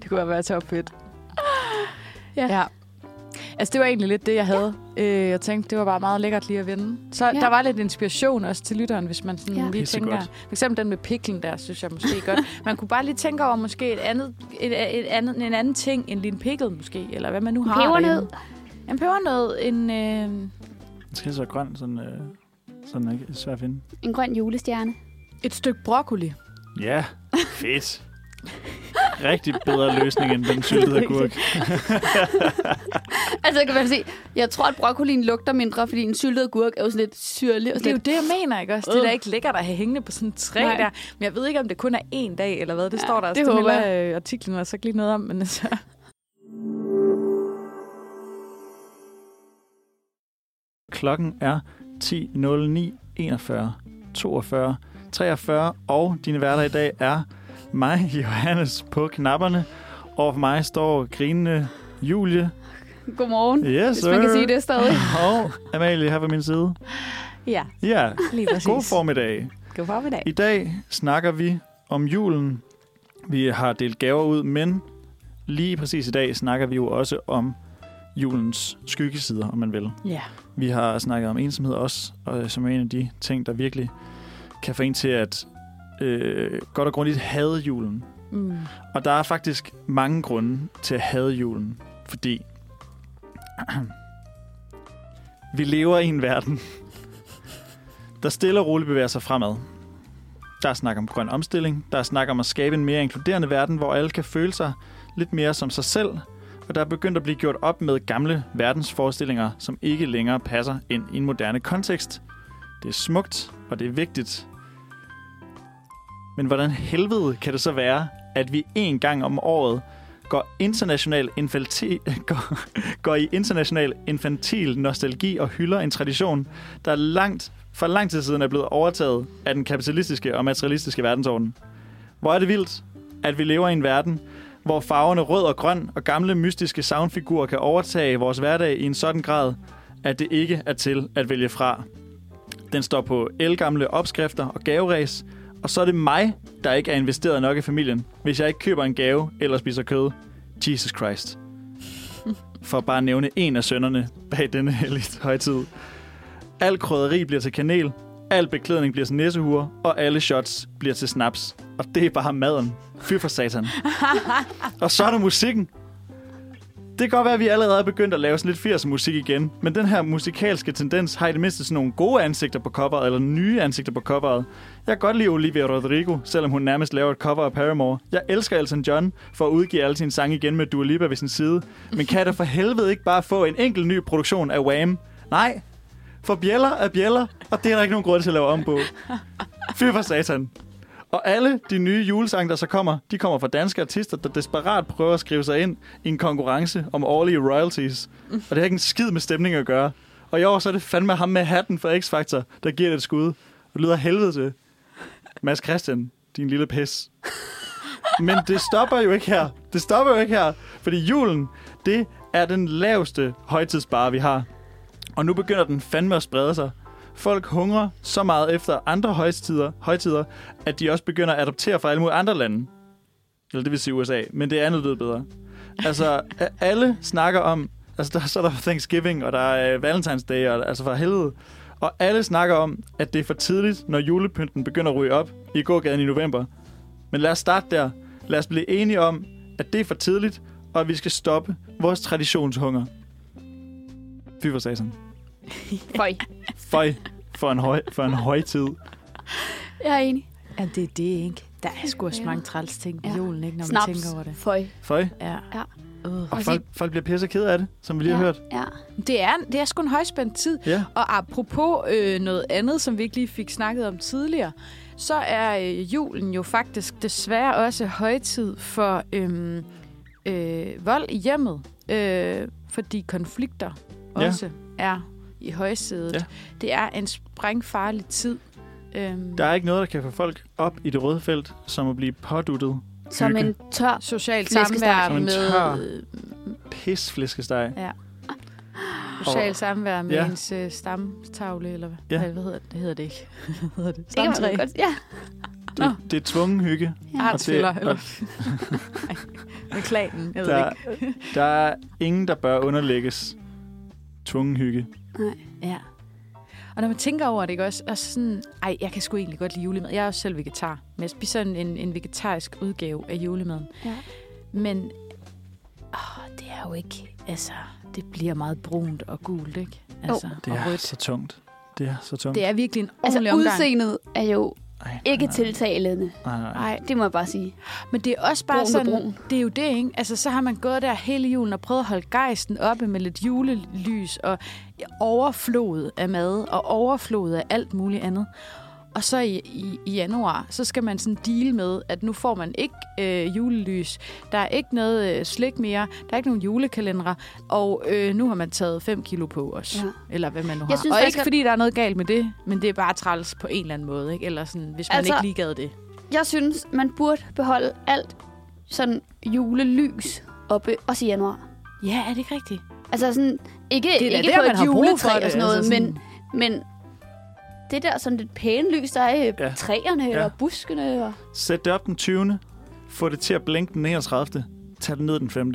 C: Det kunne være top fedt. Ja. ja. Altså, det var egentlig lidt det, jeg havde. Ja. Øh, jeg tænkte, det var bare meget lækkert lige at vinde. Så
D: Ja.
C: ja. der var lidt inspiration også til lytteren, hvis man sådan
D: Ja.
C: ja. lige
B: Pissegodt.
C: tænker... For eksempel den med piklen der, synes jeg måske godt. Man kunne bare lige tænke over måske et andet, et, et andet, en anden ting end lige en pikkel måske, eller hvad man nu har
D: Pebernød.
C: derhjemme. En pebernød, en... Øh,
B: Den skal så grøn, sådan, øh, sådan er ikke svær at finde.
D: En grøn julestjerne.
C: et stykke broccoli.
B: Ja, fedt. rigtig bedre løsning end den syltede agurk.
D: Altså, jeg kan man sige, jeg tror, at broccolien lugter mindre, fordi en syltet agurk er jo sådan lidt syrlig. Og
C: Det er
D: sådan
C: jo
D: lidt,
C: det, jeg mener, ikke også? Det er da ikke lækkert at have hængende på sådan en træ
D: Nej.
C: der. Men jeg ved ikke, om det kun er én dag eller hvad. Det
D: Ja,
C: ja, står der også.
D: det
C: Det
D: håber
C: jeg. artiklen var så ikke lige noget om, men altså...
B: Klokken er 10.09, 41, 42, 43, og dine værter i dag er mig, Johannes, på knapperne. Og for mig står grinende Julie,
D: Godmorgen,
B: yes,
D: hvis man kan
B: sir.
D: sige det stadig.
B: og Amalie her på min side.
C: Ja,
B: Ja,
C: lige præcis.
B: god formiddag.
C: God formiddag.
B: I dag snakker vi om julen. Vi har delt gaver ud, men lige præcis i dag snakker vi jo også om julens skyggesider, om man vil.
C: Ja.
B: Vi har snakket om ensomhed også, og øh, som er en af de ting, der virkelig kan få en til at øh, godt og grundigt hade julen.
C: Mm.
B: Og der er faktisk mange grunde til at hade julen, fordi vi lever i en verden, der stille og roligt bevæger sig fremad. Der er snak om grøn omstilling, der er snak om at skabe en mere inkluderende verden, hvor alle kan føle sig lidt mere som sig selv, og der er begyndt at blive gjort op med gamle verdensforestillinger, som ikke længere passer ind i en moderne kontekst. Det er smukt, og det er vigtigt, men hvordan helvede kan det så være, at vi en gang om året går, international infantil, går, går i international infantil nostalgi og hylder en tradition, der langt for lang tid siden er blevet overtaget af den kapitalistiske og materialistiske verdensorden. Hvor er det vildt, at vi lever i en verden, hvor farverne rød og grøn og gamle mystiske soundfigurer kan overtage vores hverdag i en sådan grad, at det ikke er til at vælge fra. Den står på elgamle opskrifter og gaveræs, og så er det mig, der ikke er investeret nok i familien, hvis jeg ikke køber en gave eller spiser kød. Jesus Christ. For bare at nævne en af sønderne bag denne hellige højtid. Al krydderi bliver til kanel, al beklædning bliver til næsehure, og alle shots bliver til snaps. Og det er bare maden. Fy for satan. og så er der musikken. Det kan godt være, at vi allerede er begyndt at lave sådan lidt 80'er musik igen, men den her musikalske tendens har i det mindste sådan nogle gode ansigter på coveret, eller nye ansigter på coveret. Jeg kan godt lide Olivia Rodrigo, selvom hun nærmest laver et cover af Paramore. Jeg elsker Elton John for at udgive alle sine sange igen med Dua Lipa ved sin side. Men kan jeg da for helvede ikke bare få en enkelt ny produktion af Wham? Nej, for bjæller er bjæller, og det er der ikke nogen grund til at lave om på. Fy for satan. Og alle de nye julesange, der så kommer, de kommer fra danske artister, der desperat prøver at skrive sig ind i en konkurrence om årlige royalties. Og det har ikke en skid med stemning at gøre. Og i år så er det fandme ham med hatten fra X-Factor, der giver det et skud. Det lyder af helvede til. Mads Christian, din lille pis. Men det stopper jo ikke her. Det stopper jo ikke her. Fordi julen, det er den laveste højtidsbare, vi har. Og nu begynder den fandme at sprede sig. Folk hungrer så meget efter andre højtider, højtider at de også begynder at adoptere fra alle mulige andre lande. Eller det vil sige USA, men det er andet lyder bedre. Altså, a- alle snakker om... Altså, der, så er der Thanksgiving, og der er øh, Valentine's Day, og altså for helvede. Og alle snakker om, at det er for tidligt, når julepynten begynder at ryge op i gågaden i november. Men lad os starte der. Lad os blive enige om, at det er for tidligt, og at vi skal stoppe vores traditionshunger. Fy for satan.
D: Føj.
B: Føj for en, høj, for en højtid.
D: Jeg er enig.
C: Ja, det er det, ikke? Der er sgu også mange træls ting ved
D: Ja.
C: julen, ikke, når man
D: Snaps.
C: tænker over det.
D: Føj.
B: Føj.
C: Ja.
D: Ja.
C: Uh.
B: Og
D: Og
B: folk, folk bliver pisse ked af det, som vi lige har
D: ja.
B: hørt.
D: Ja.
C: Det, er, det er sgu en højspændt tid.
B: Ja.
C: Og apropos øh, noget andet, som vi ikke lige fik snakket om tidligere, så er øh, julen jo faktisk desværre også højtid for øhm, øh, vold i hjemmet, øh, fordi konflikter
B: Ja.
C: også er i højsædet.
B: Ja.
C: Det er en sprængfarlig tid. Øhm,
B: Der er ikke noget, der kan få folk op i det røde felt, som at blive påduttet.
D: Som en tør.
C: socialt
D: Flæskesteg.
C: samvær
B: Som en tør.
C: med
B: Pisflæskesteg.
C: socialt samvær med
B: Ja.
C: ja. ens øh, stamtavle, eller hvad,
B: Ja.
C: ja. hvad hedder det? Det hedder det ikke. Hvad hedder det?
D: Det kan man
C: Stamtræ.
D: godt. Ja.
B: Det, det er tvungen hygge.
C: Artsfælder,
B: Og det-
C: eller... Nej, med klanen, jeg ved
B: Der,
C: ikke.
B: der er ingen, der bør underlægges tvungen hygge.
C: Ja. Og når man tænker over det, ikke også? Og sådan, ej, jeg kan sgu egentlig godt lide julemad. Jeg er også selv vegetar, men jeg spiser en, en, en vegetarisk udgave af julemaden.
D: Ja.
C: Men åh, det er jo ikke, altså, det bliver meget brunt og gult, ikke? Altså,
B: Det
C: og
B: er
C: rødt.
B: så tungt. Det er så tungt.
C: Det er virkelig en
D: Altså,
C: ordentlig omgang.
D: udseendet er jo
B: Ej, nej,
D: Ikke
B: nej,
D: tiltalende.
B: Nej, nej.
D: Nej, det må jeg bare sige.
C: Men det er også bare
D: Broen ved
C: sådan,
D: broen.
C: det er jo det, ikke? Altså, så har man gået der hele julen og prøvet at holde gejsten oppe med lidt julelys og overflod af mad og overflod af alt muligt andet. Og så i, i, i januar, så skal man sådan deal med, at nu får man ikke øh, julelys, der er ikke noget øh, slik mere, der er ikke nogen julekalendere, og øh, nu har man taget 5 kilo på os, ja.
D: Ja.
C: eller hvad man nu har.
D: Jeg synes
C: og
D: faktisk,
C: ikke
D: at-
C: fordi der er noget galt med det, men det er bare træls på en eller anden måde, ikke? Eller sådan, hvis man altså,
D: Altså-
C: ikke lige gad det.
D: Jeg synes, man burde beholde alt sådan julelys oppe, også i januar.
C: Ja, er det ikke rigtigt?
D: Altså sådan, ikke,
C: Det er da
D: ikke
C: der,
D: på
C: man
D: et
C: har brug for
D: juletræ
C: det,
D: og sådan noget,
C: altså sådan-
D: men, men det der sådan lidt pæne lys, der er i
B: Ja.
D: ja. træerne
B: Ja.
D: ja. og buskene. Og...
B: Sæt det op den 20. Få det til at blinke den 31. Tag det ned den 5.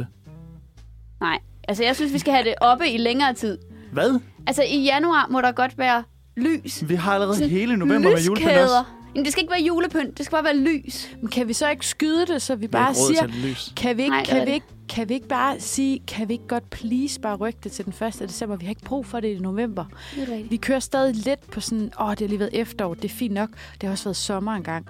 D: Nej, altså jeg synes, vi skal have det oppe i længere tid.
B: Hvad?
D: Altså i januar må der godt være lys.
B: Vi har allerede
D: Sådan
B: hele november med julepynt også.
D: Lyskæder. Jamen, det skal ikke være julepynt, det skal bare være lys.
C: Men kan vi så ikke skyde det, så vi
B: Jeg har
C: bare
B: ikke råd
C: siger,
B: til det lys.
C: kan vi, ikke,
D: Nej, det
C: kan,
D: er
C: vi
D: det.
C: ikke, kan vi ikke bare sige, kan vi ikke godt please bare rykke det til den 1. december? Vi har ikke brug for det i november.
D: Det er rigtigt.
C: Vi kører stadig lidt på sådan, åh, det har lige været efterår, det er fint nok. Det har også været sommer engang.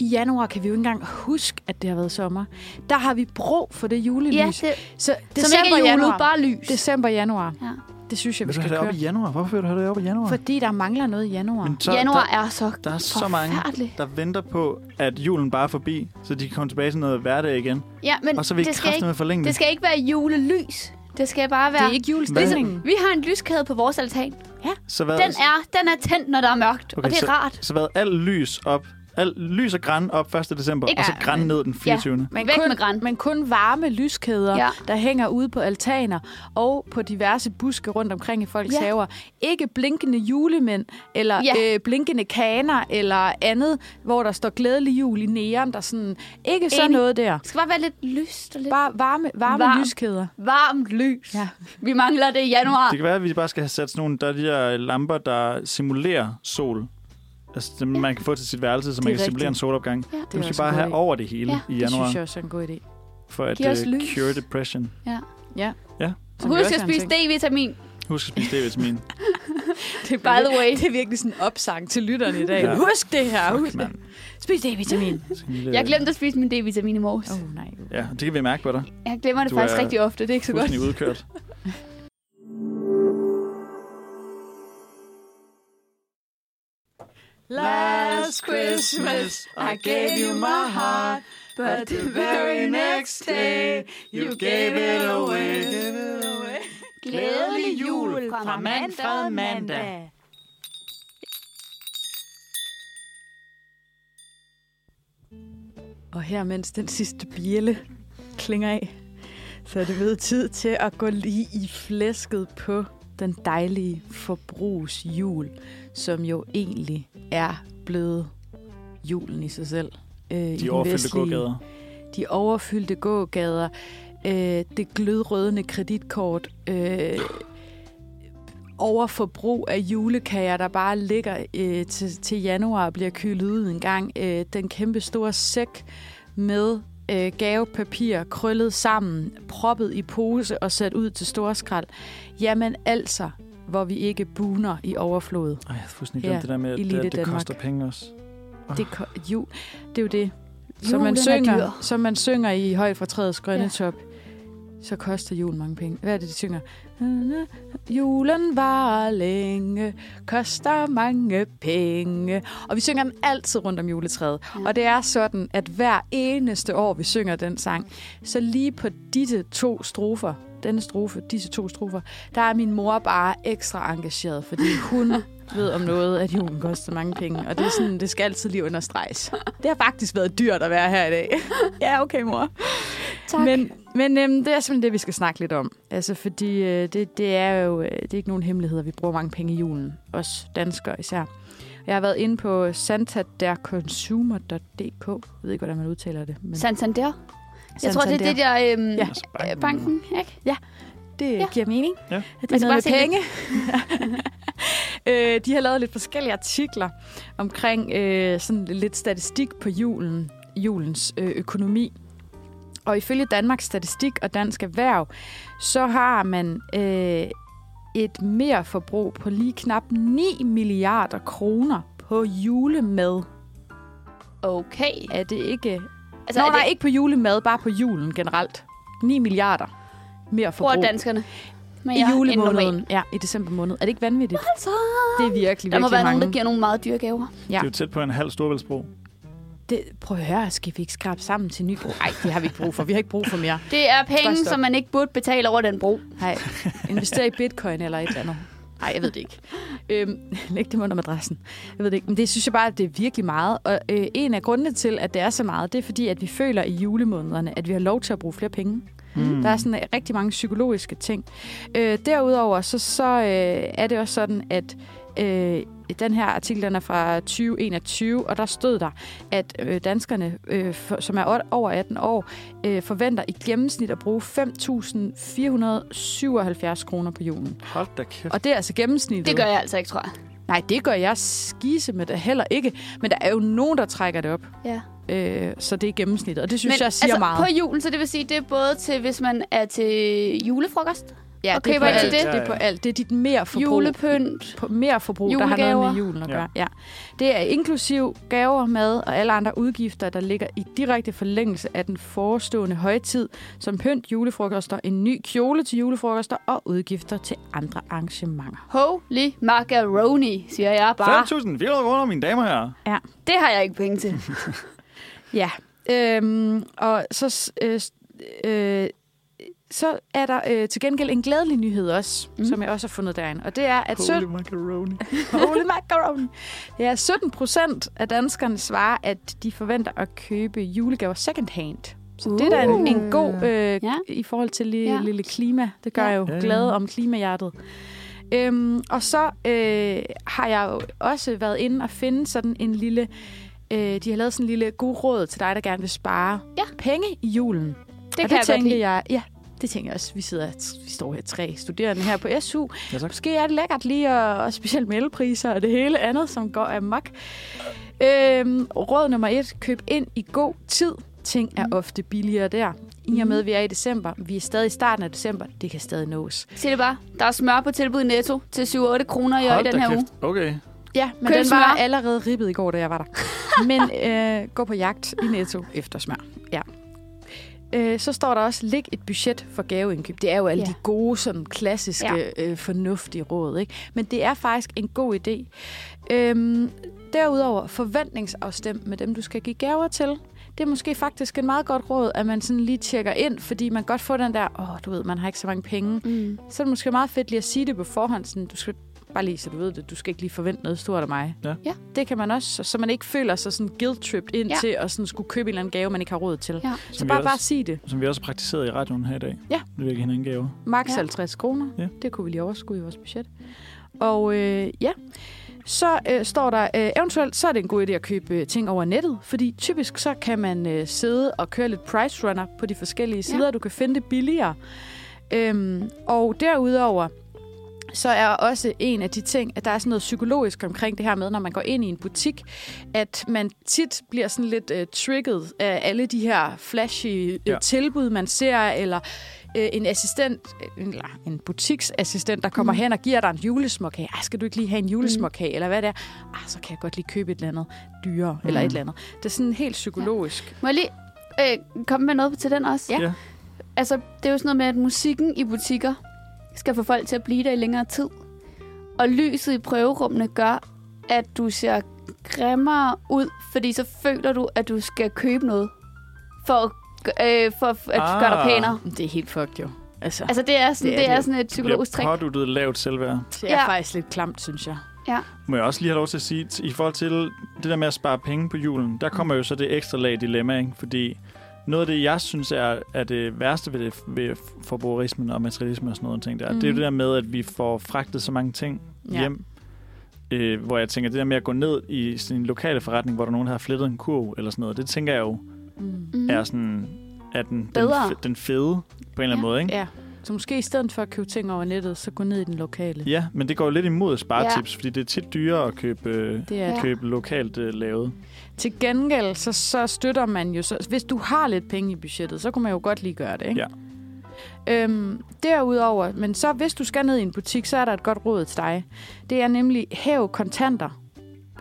C: I januar kan vi jo ikke engang huske, at det har været sommer. Der har vi brug for det julelys.
D: Ja, det,
C: Så
D: som ikke
C: december,
D: er julet,
C: januar.
D: bare lys.
C: December, januar.
D: Ja.
C: Det synes jeg, vi
B: Vil du
C: skal
B: have det
C: køre.
B: op i januar? Hvorfor vil du have det op i januar?
C: Fordi der mangler noget i januar.
B: Men så,
D: januar
B: der,
D: er så
B: der er så mange,
D: forfærdelig.
B: der venter på, at julen bare er forbi, så de kan komme tilbage til noget hverdag igen.
D: Ja, men
B: Og så vil I
D: det, skal
B: kraften
D: ikke,
B: med forlænge
D: det
B: det.
D: skal ikke være julelys. Det skal bare
C: Det
D: være...
C: er ikke
B: julestemningen.
C: julestemningen.
D: Vi har en lyskæde på vores altan.
B: Så hvad,
D: Den er, den er tændt, når der er mørkt,
B: altså. Okay,
D: og det er rart.
B: så hvad alt lys op, alt lys og græn op 1. december,
D: Ikke-
B: og så
D: Ja,
B: græn ned den 24. Ja.
D: Men Væk
C: kun,
D: med græn.
C: Men kun varme lyskæder, ja.
D: Ja.
C: der hænger ude på altaner og på diverse buske rundt omkring i folks ja.
D: Ja.
C: haver. Ikke blinkende julemænd, eller ja.
D: Ja.
C: øh, blinkende kaner, eller andet, hvor der står glædelig jul i næren. Der sådan, ikke sådan
D: Enig.
C: noget der.
D: Det skal bare være lidt lyst og lidt
C: Bare varme, varme Varm.
D: Varm.
C: lyskæder.
D: varmt lys.
C: Ja.
D: Vi mangler det i januar.
B: Det kan være, at vi bare skal have sat sådan nogle der er de der lamper, der simulerer sol. Altså, dem, man kan få til sit værelse, så man kan
C: rigtigt.
B: simulere en solopgang.
D: Ja.
C: Det er
B: Det skal
C: også
B: bare
C: en god
B: have
C: idé.
B: over det hele ja, i
D: Ja,
C: Det
B: januar,
C: synes jeg også er en god idé.
B: for at
D: Giv os
B: uh,
D: lys.
B: cure depression.
C: Ja.
B: Ja.
C: Som vi
D: Husk
C: også
D: at
C: har
D: spise
C: tænkt.
D: D-vitamin,
B: Husk at spise D-vitamin.
C: Det er,
D: by the
C: virkelig-
D: way.
C: det er virkelig sådan en opsang til lytterne i dag.
B: Ja.
C: Ja. Husk det her.
B: Fuck,
C: Husk det.
B: mand.
C: Spis D-vitamin.
B: Sådan en lille-
D: Jeg glemte at spise min D-vitamin i morges.
C: Åh, oh, nej.
B: Ja, det kan vi mærke på dig.
D: Jeg glemmer det
B: Du
D: faktisk
B: er
D: rigtig ofte, det er ikke så godt.
B: Fuldstændig udkørt.
C: Last Christmas, I gave you my heart, but the very next day, you gave it away.
D: Glædelig jul fra mandag mandag.
C: Og her, mens den sidste bjælle klinger af, så er det ved tid til at gå lige i flæsket på den dejlige forbrugsjul, som jo egentlig er blevet julen i sig selv. Øh, i den
B: De overfyldte
C: vestlige-
B: gågader.
C: de overfyldte gågader, øh, det glødrødende kreditkort, øh, overforbrug af julekager, der bare ligger øh, til, til januar og bliver kylet ud en gang, øh, den kæmpe store sæk med øh, gavepapir krøllet sammen, proppet i pose og sat ud til storskrald. Jamen altså, hvor vi ikke buner i overflod.
B: Ej, jeg havde fuldstændig glemt
C: Ja,
B: det der med, at
C: i lille
B: det, at det
C: Danmark.
B: koster penge også.
C: Det, ko- jo, det er jo det. Som
D: Ah. Julen
C: man,
D: er
C: synger,
D: dyr.
C: som man synger i Højt fra træets grønne ja.
D: Ja.
C: top, så koster jul mange penge. Hvad er det, de synger? Na-na, Julen var længe, koster mange penge. Og vi synger den altid rundt om juletræet. Ja. Og det er sådan, at hver eneste år, vi synger den sang, så lige på disse to strofer, denne strofe, disse to strofer, der er min mor bare ekstra engageret, fordi hun ved om noget, at julen koster mange penge. Og det, er sådan, det skal altid lige understreges. Det har faktisk været dyrt at være her i dag. ja, okay, mor.
D: Tak.
C: Men, men øhm, det er simpelthen det, vi skal snakke lidt om. Altså, fordi øh, det, det er jo øh, det er ikke nogen hemmeligheder. Vi bruger mange penge i julen. Os danskere især. Jeg har været inde på santaderconsumer.dk. Jeg ved ikke, hvordan man udtaler det. Men
D: Santander. Jeg tror, det er det der øhm,
C: Ja.
D: ja.
B: Altså, banken.
D: banken, ikke?
C: Det
D: Ja.
C: giver mening.
B: Ja.
C: At det
D: Man
C: er
D: skal
C: noget med
D: bare
C: penge. Øh, de har lavet lidt forskellige artikler omkring øh, sådan lidt statistik på julen, julens øh, økonomi. Og ifølge Danmarks Statistik og Dansk Erhverv, så har man øh, et mere forbrug på lige knap 9 milliarder kroner på julemad
D: Okay.
C: Er det ikke...
D: Altså,
C: Altså, Nå,
D: er
C: nej,
D: det,
C: ikke på julemad, bare på julen generelt. 9 milliarder mere
D: bruger
C: forbrug
D: danskerne mere
C: i
D: end normalt.
C: julemåneden. Ja, i december måned. Er det ikke vanvittigt?
D: Altså,
C: Det er virkelig,
D: der må
C: virkelig
D: være
C: mange.
D: nogen, der giver nogle meget dyre gaver.
B: Det er jo tæt på en halv storvældsbro.
C: Det, prøv at høre, skal vi ikke skrabe sammen til Nybro? Nej, det har vi ikke brug for. Vi har ikke brug for mere.
D: Det er penge,
C: Spørgsmål.
D: som man ikke burde betale over den bro.
C: Nej, invester i bitcoin eller et eller andet. Nej, jeg ved det ikke. Øhm, læg dem under madrassen. Jeg ved det ikke. Men det synes jeg bare, at det er virkelig meget. Og øh, en af grundene til, at det er så meget, det er fordi, at vi føler i julemånederne, at vi har lov til at bruge flere penge. Mm. Der er sådan øh, rigtig mange psykologiske ting. Øh, derudover så, så øh, er det også sådan, at øh, den her artikel den er fra 2021, og der stod der, at øh, danskerne, øh, for, som er o- over 18 år, øh, forventer i gennemsnit at bruge 5.477 kroner på julen.
B: Hold da kæft.
C: Og det er altså gennemsnittet.
D: Det gør jeg altså ikke, tror jeg.
C: Nej, det gør jeg skise med det heller ikke. Men der er jo nogen, der trækker det op.
D: Ja.
C: Øh, så det er gennemsnittet, og det synes Men, jeg siger altså, meget.
D: på julen, så det vil sige, det er både til, hvis man er til julefrokost,
C: ja,
D: og køber
C: det er på
D: ind til
C: alt.
D: det.
C: Det er på alt. Det er dit mere forbrug.
D: julepynt.
C: på mere forbrug, der har noget
D: Julegaver.
C: med julen at
B: Ja.
C: gøre. Ja. Det er inklusiv gaver, mad og alle andre udgifter, der ligger i direkte forlængelse af den forestående højtid, som pynt, julefrokoster, en ny kjole til julefrokoster og udgifter til andre arrangementer.
D: Holy macaroni, siger jeg bare.
B: 5.400 kroner, mine damer og herrer.
D: Det har jeg ikke penge til.
C: Ja, øhm, og så, s- øh, s- øh, så er der øh, til gengæld en glædelig nyhed også, mm. som jeg også har fundet derinde, og det er, at søn-
B: Holy macaroni.
C: Holy macaroni. Ja, 17 procent af danskerne svarer, at de forventer at købe julegaver second hand. Så uh. det er da en, en god, øh, ja.
D: Ja.
C: i forhold til lille, ja.
D: Ja.
C: lille klima. Det gør
D: Ja.
C: ja. jeg jo
B: Ja, ja.
C: ja. glad om klimahjertet. Øhm, og så øh, har jeg jo også været inde og finde sådan en lille... Øh, de har lavet sådan en lille god råd til dig, der gerne vil spare
D: Ja.
C: penge i julen.
D: Det
C: og
D: kan
C: det
D: jeg godt
C: tænkte
D: lide.
C: jeg, ja, det tænker jeg også. Vi, sidder, vi står her tre studerende her på SU.
B: Ja, tak.
C: Måske er det lækkert lige at, og specielt med elpriser og det hele andet, som går amok. Øhm, råd nummer et. Køb ind i god tid. Ting
D: Mm.
C: er ofte billigere der. I og med, at vi er i december. Vi er stadig i starten af december. Det kan stadig nås.
D: Se det bare. Der er smør på tilbud i Netto til 7-8 kroner i, år i
B: Hold
D: den
B: da
D: her uge.
B: kæft. Okay.
C: Ja, men
D: Køb
C: den
D: smør.
C: var allerede ribbet i går, da jeg var der. Men øh, gå på jagt i Netto efter smør. Ja. Øh, så står der også, læg et budget for gaveindkøb. Det er jo alle
D: Ja.
C: ja. de gode, sådan klassiske, ja. øh, fornuftige råd. Ikke? Men det er faktisk en god idé. Øhm, derudover, forventningsafstem med dem, du skal give gaver til. Det er måske faktisk en meget godt råd, at man sådan lige tjekker ind, fordi man godt får den der, åh, du ved, man har ikke så mange penge
D: Mm.
C: så er det måske meget fedt lige at sige det på forhånd. Sådan, du skal bare lige, så du ved det, du skal ikke lige forvente noget stort af mig.
B: Ja.
D: Ja.
C: Det kan man også, så- så man ikke føler sig sådan guilt-tripped ind
D: Ja.
C: ja. til at sådan skulle købe en eller anden gave, man ikke har råd til.
D: Ja.
C: Så
B: Som vi
C: bare,
B: også-
C: bare sige det.
B: Som vi også praktiserede i radioen her i dag.
C: Ja.
B: Det virker hinanden gaver.
C: Max
D: Ja.
C: ja. 50 kroner.
B: Ja.
C: Ja. Det kunne vi lige overskue i vores budget. Og øh, ja, så øh, står der, øh, eventuelt så er det en god idé at købe øh, ting over nettet, fordi typisk så kan man øh, sidde og køre lidt price runner på de forskellige sider, ja. du kan finde det billigere. Øhm, og derudover, så er også en af de ting, at der er sådan noget psykologisk omkring det her med, når man går ind i en butik, at man tit bliver sådan lidt øh, trigget af alle de her flashy øh,
B: Ja.
C: ja. tilbud, man ser, eller øh, en assistent, øh, eller en butiksassistent, der kommer mm. hen og giver dig en julesmokkage. Ej, skal du ikke lige have en julesmokkage, mm. eller hvad det er? Ah, så kan jeg godt lige købe et eller andet dyrere, mm. eller et eller andet. Det er sådan helt psykologisk.
D: Må jeg lige øh, komme med noget til den også?
C: Ja.
B: Ja.
D: Altså, det er jo sådan noget med, at musikken i butikker skal få folk til at blive der i længere tid. Og lyset i prøverummene gør, at du ser grimmere ud, fordi så føler du, at du skal købe noget for at, g- øh, for at ah. gøre dig
B: Ah.
D: pænere.
C: Det er helt fucked jo. Altså,
D: Altså, det er sådan,
C: Det
D: det er,
C: er
D: det er
C: det.
D: sådan et psykologisk trick.
B: Bliver påduttet lavt selvværd.
C: det er
D: ja.
C: ja. faktisk lidt klamt, synes jeg.
B: Må jeg også lige have lov til at sige, t- i forhold til det der med at spare penge på julen, der kommer jo så det ekstra lag dilemma, ikke? fordi noget af det, jeg synes er, er det værste ved, det, ved forbrugerismen og materialismen og sådan noget, ting der, mm. det er jo
C: Mhm.
B: det der med, at vi får fragtet så mange ting ja.
C: Ja.
B: hjem, øh, hvor jeg tænker, det der med at gå ned i sin lokale forretning, hvor der er nogen der har flettet en kurv eller sådan noget, det tænker jeg jo
C: Mm.
D: Mm.
B: er sådan, er den, den,
D: Bedre.
B: fe- den fede på en eller anden
D: Ja.
B: måde, ikke?
C: Ja, så måske i stedet for at købe ting over nettet, så gå ned i den lokale.
B: Ja, men det går jo lidt imod sparetips, ja. fordi det er tit dyrere at købe, øh,
C: Det er
D: Ja.
C: ja.
B: købe lokalt øh, lavet.
C: Til gengæld, så, så støtter man jo... Så, hvis du har lidt penge i budgettet, så kunne man jo godt lige gøre det, ikke?
B: Ja.
C: Øhm, derudover, men så hvis du skal ned i en butik, så er der et godt råd til dig. Det er nemlig, hæv kontanter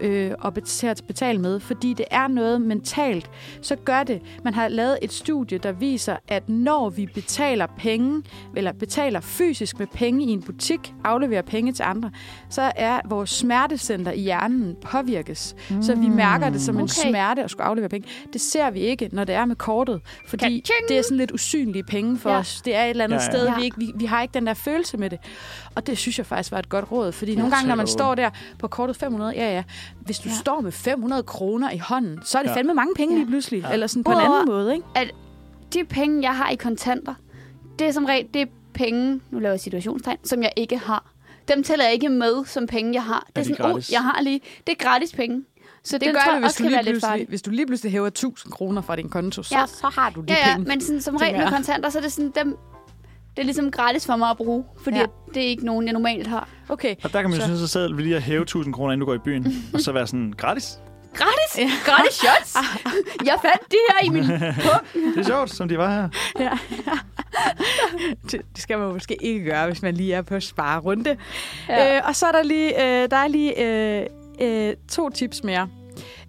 C: øh, og bet- til at betale med, fordi det er noget mentalt, så gør det. Man har lavet et studie, der viser, at når vi betaler penge, eller betaler fysisk med penge i en butik, afleverer penge til andre, så er vores smertecenter i hjernen påvirkes. Mm, så vi mærker det som en
D: okay.
C: smerte at skulle aflevere penge. Det ser vi ikke, når det er med kortet, fordi
D: Ka-ching!
C: det er sådan lidt usynlige penge for
D: Ja.
C: ja. os. Det er et eller andet
B: Ja, ja.
C: sted,
D: Ja.
C: vi, ikke, vi, vi har ikke den der følelse med det. Og det synes jeg faktisk var et godt råd, fordi nogle gange, når man
B: tak.
C: står der på kortet 500, ja ja, hvis du
D: Ja.
C: ja. står med 500 kroner i hånden, så er det
B: Ja.
C: ja. fandme mange penge
D: Ja.
C: lige pludselig.
B: Ja.
C: Ja. Eller sådan på en
D: Udover-
C: anden måde, ikke?
D: De penge, jeg har i kontanter, det er som regel det er penge, nu laver jeg situationstegn, som jeg ikke har. Dem tæller jeg ikke med som penge, jeg har. Det er,
B: de
D: sådan, oh,
B: gratis?
D: jeg har lige. Det er gratis penge. Så det,
C: Det, det
D: tror
C: gør det,
D: jeg
C: hvis
D: også
C: du,
D: kan
C: lige
D: være lidt farligt.
C: pludselig, hvis du lige pludselig hæver 1000 kroner fra din konto, så,
D: Ja.
C: ja. så har du de
D: Ja, ja,
C: penge.
D: men sådan, som regel
C: tænker
D: med
C: jeg.
D: kontanter, så er det sådan, dem, det er ligesom gratis for mig at bruge, fordi
C: Ja.
D: ja. det er ikke nogen, jeg normalt har.
C: Okay,
B: Og der kan man jo
C: Så-
B: synes sig selv ved lige at hæve 1000 kroner, inden du går i byen. og så være sådan, gratis.
D: Gratis? Ja. Gratis shots? jeg fandt det her i min...
B: Det er sjovt, som de var her.
C: det, det skal man måske ikke gøre, hvis man lige er på sparerunde.
D: Ja.
C: Ja. Øh, og så er der lige, øh, der er lige øh, øh, to tips mere.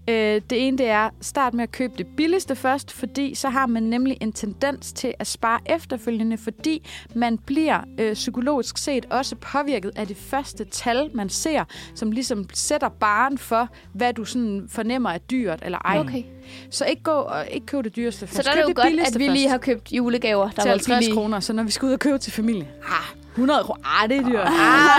C: Øh, det ene det er, start med at købe det billigste først, fordi så har man nemlig en tendens til at spare efterfølgende, fordi man bliver øh, psykologisk set også påvirket af det første tal, man ser, som ligesom sætter baren for, hvad du sådan fornemmer er dyrt eller ej.
D: Okay.
C: Så ikke gå og ikke købe det dyreste først.
D: Så der er
C: Køb
D: det jo
C: det
D: godt,
C: billigste
D: at vi
C: først
D: lige har købt julegaver, der
C: til
D: var
C: 50
D: billige.
C: kroner, så når vi skal ud og købe til familie. Ah, 100 kroner. Ah, det er dyrt. Ah,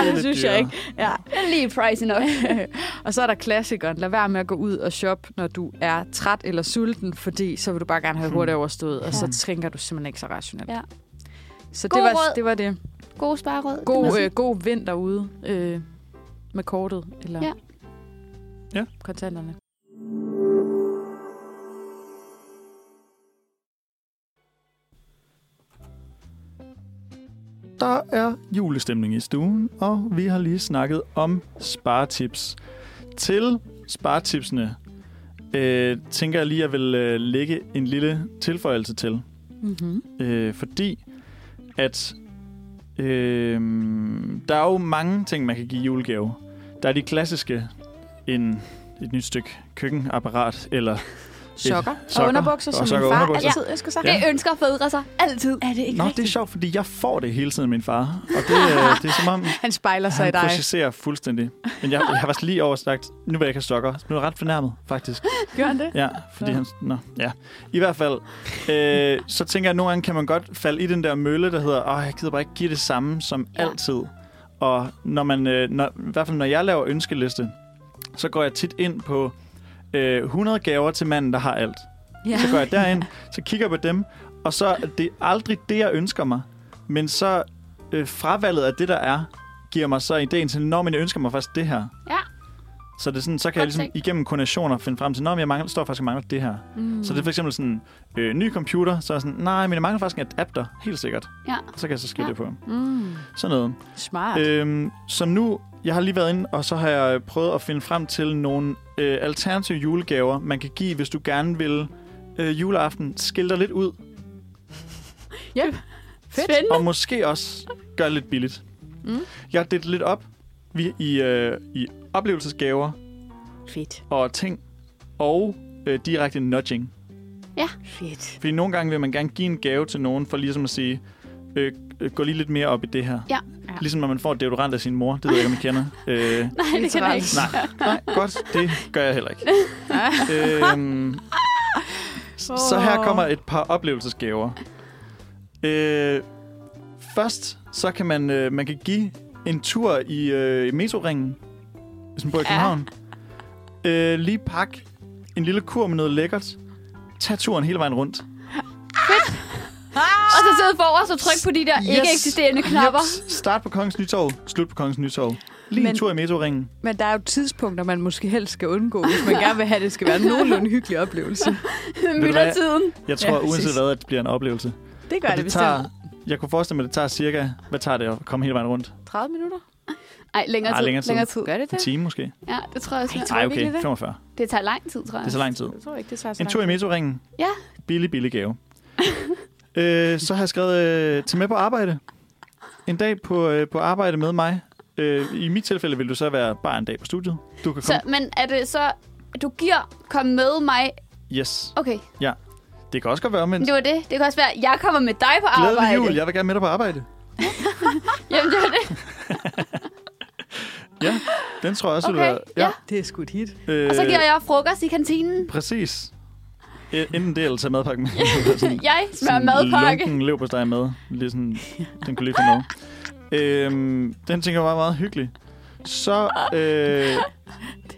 B: det er
C: det synes
B: dyrt.
C: jeg ikke. Ja.
D: Det er lige pricey nok.
C: og så er der klassikeren. Lad være med at gå ud og shoppe, når du er træt eller sulten, fordi så vil du bare gerne have hurtigt overstået, og så tænker du simpelthen ikke så rationelt.
D: Hmm. Ja.
C: Så
D: God
C: det var,
D: råd.
C: det var det.
D: Gode spareråd. kan man
C: God,
D: sige.
C: øh, god vinter ude øh, med kortet eller
D: Ja.
B: Ja.
C: kontanterne.
B: Der er julestemning i stuen, og vi har lige snakket om sparetips. Til sparetipsene øh, tænker jeg lige, at jeg vil øh, lægge en lille tilføjelse til.
C: Mm-hmm.
B: Øh, fordi at øh, der er jo mange ting, man kan give i julegave. Der er de klassiske, en, et nyt stykke køkkenapparat, eller
C: Sokker.
B: sokker
C: og underbukser,
B: og
C: som
B: sokker
C: min
B: og
C: far
B: underbukser.
C: altid ønsker sig.
D: Det ønsker fædre sig altid.
C: Er det ikke
B: Nå,
C: rigtigt?
B: det er sjovt, fordi jeg får det hele tiden af min far. Og det, øh, det er som om,
C: Han spejler sig i
B: han
C: dig.
B: processerer fuldstændig. Men jeg, jeg har faktisk lige over sagt, nu vil jeg ikke have sokker. Nu er jeg ret fornærmet, faktisk.
C: Gør han det?
B: Ja, fordi
C: Nå.
B: han... Nå, ja. I hvert fald, øh, så tænker jeg, at nogle gange kan man godt falde i den der mølle, der hedder, åh, jeg gider bare ikke give det samme som
D: Ja.
B: ja. altid. Og når man, øh, når, i hvert fald når jeg laver ønskeliste, så går jeg tit ind på øh, 100 gaver til manden, der har alt.
C: Ja.
B: Så går jeg derind, så kigger jeg på dem, og så er det aldrig det, jeg ønsker mig. Men så øh, fravalget af det, der er, giver mig så ideen til, når men jeg ønsker mig faktisk det her.
D: Ja.
B: Så, det er sådan, så kan
D: Godt
B: jeg ligesom
D: tænkt.
B: igennem kombinationer finde frem til, når jeg mangler, står faktisk og mangler det her. Mm. Så det er for eksempel sådan, øh, ny computer, så er jeg sådan, nej, men jeg mangler faktisk en adapter, helt sikkert.
D: Ja.
B: Så kan jeg så skrive
D: Ja.
B: ja. det på.
C: Mm.
B: Sådan noget.
C: Smart.
B: Øhm, så nu, jeg har lige været inde, og så har jeg øh, prøvet at finde frem til nogle øh, alternative julegaver, man kan give, hvis du gerne vil øh, juleaften skille dig lidt ud,
C: Yep. Fedt.
D: Spændende.
B: og måske også gøre det lidt billigt.
C: Mm.
B: Jeg har delt lidt op vi, i, øh, i oplevelsesgaver
C: Fedt.
B: og ting, og øh, direkte nudging.
C: Fedt.
B: Fordi nogle gange vil man gerne give en gave til nogen, for ligesom at sige, øh, øh, gå lige lidt mere op i det her.
D: Ja.
C: Ja.
B: Ligesom når man får et deodorant af sin mor, det ved jeg ikke, om I kender. Øh,
D: Nej, det kan jeg ikke.
B: Nej, nej, godt, det gør jeg heller ikke. øhm, så her kommer et par oplevelsesgaver. Øh, først, så kan man, øh, man kan give en tur i, øh, i metroringen, hvis man bor i København. Øh, lige pak en lille kur med noget lækkert. Tag turen hele vejen rundt.
D: Og så sidde forrest og trykke på de der ikke eksisterende knapper.
B: Jeps. Start på Kongens Nytorv, slut på Kongens Nytorv. Lige Men... en
C: Men-
B: tur i metroringen.
C: Men der er jo tidspunkter, man måske helst skal undgå, hvis man gerne vil have, at det skal være en nogenlunde hyggelig oplevelse.
B: du hvad?
D: Myldretiden.
B: Jeg
C: Ja,
B: tror, ja,
C: præcis.
B: uanset hvad, at det bliver en oplevelse.
C: Det gør
B: Og det tager, jeg kunne forestille mig, at det tager cirka... Hvad tager det at komme hele vejen rundt?
C: 30 minutter.
D: Nej, længere
B: Ej,
D: tid.
B: længere tid.
D: Længere tid.
C: Gør det
B: En
C: det?
B: time måske?
D: Ja, det tror jeg også.
C: Ej,
D: jeg-
C: Tror
B: Nej,
C: du ikke, det
B: okay.
C: er det?
B: 45.
D: Det tager lang tid, tror jeg.
B: Det er så lang tid.
C: Jeg tror ikke, det tager så
B: En tur i metroringen.
D: Ja.
B: Billig, billig gave. øh, så har jeg skrevet, øh, til med på arbejde. En dag på, øh, på arbejde med mig. Øh, I mit tilfælde vil du så være bare en dag på studiet. Du kan komme.
D: Så, men er det så, du giver, kom med mig.
B: Yes.
D: Okay,
B: Det kan også godt være, men
D: det var det. Det kan også være, jeg kommer med dig på arbejde.
B: glædelig jul. Jeg vil gerne med dig på arbejde.
D: Jamen, det var det.
B: Ja, den tror jeg også vil
D: Okay,
B: være.
D: ja.
C: Det er sgu et hit.
B: Øh,
D: Og så giver jeg frokost i kantinen.
B: Præcis. Øh, Enten det, eller tage madpakken med. Sådan-
D: Jeg smører
B: sådan
D: madpakke.
B: Lunken lever på dig med. Lige sådan, den kunne lige få noget. Øhm, den tænker jeg var meget hyggelig. Så øh,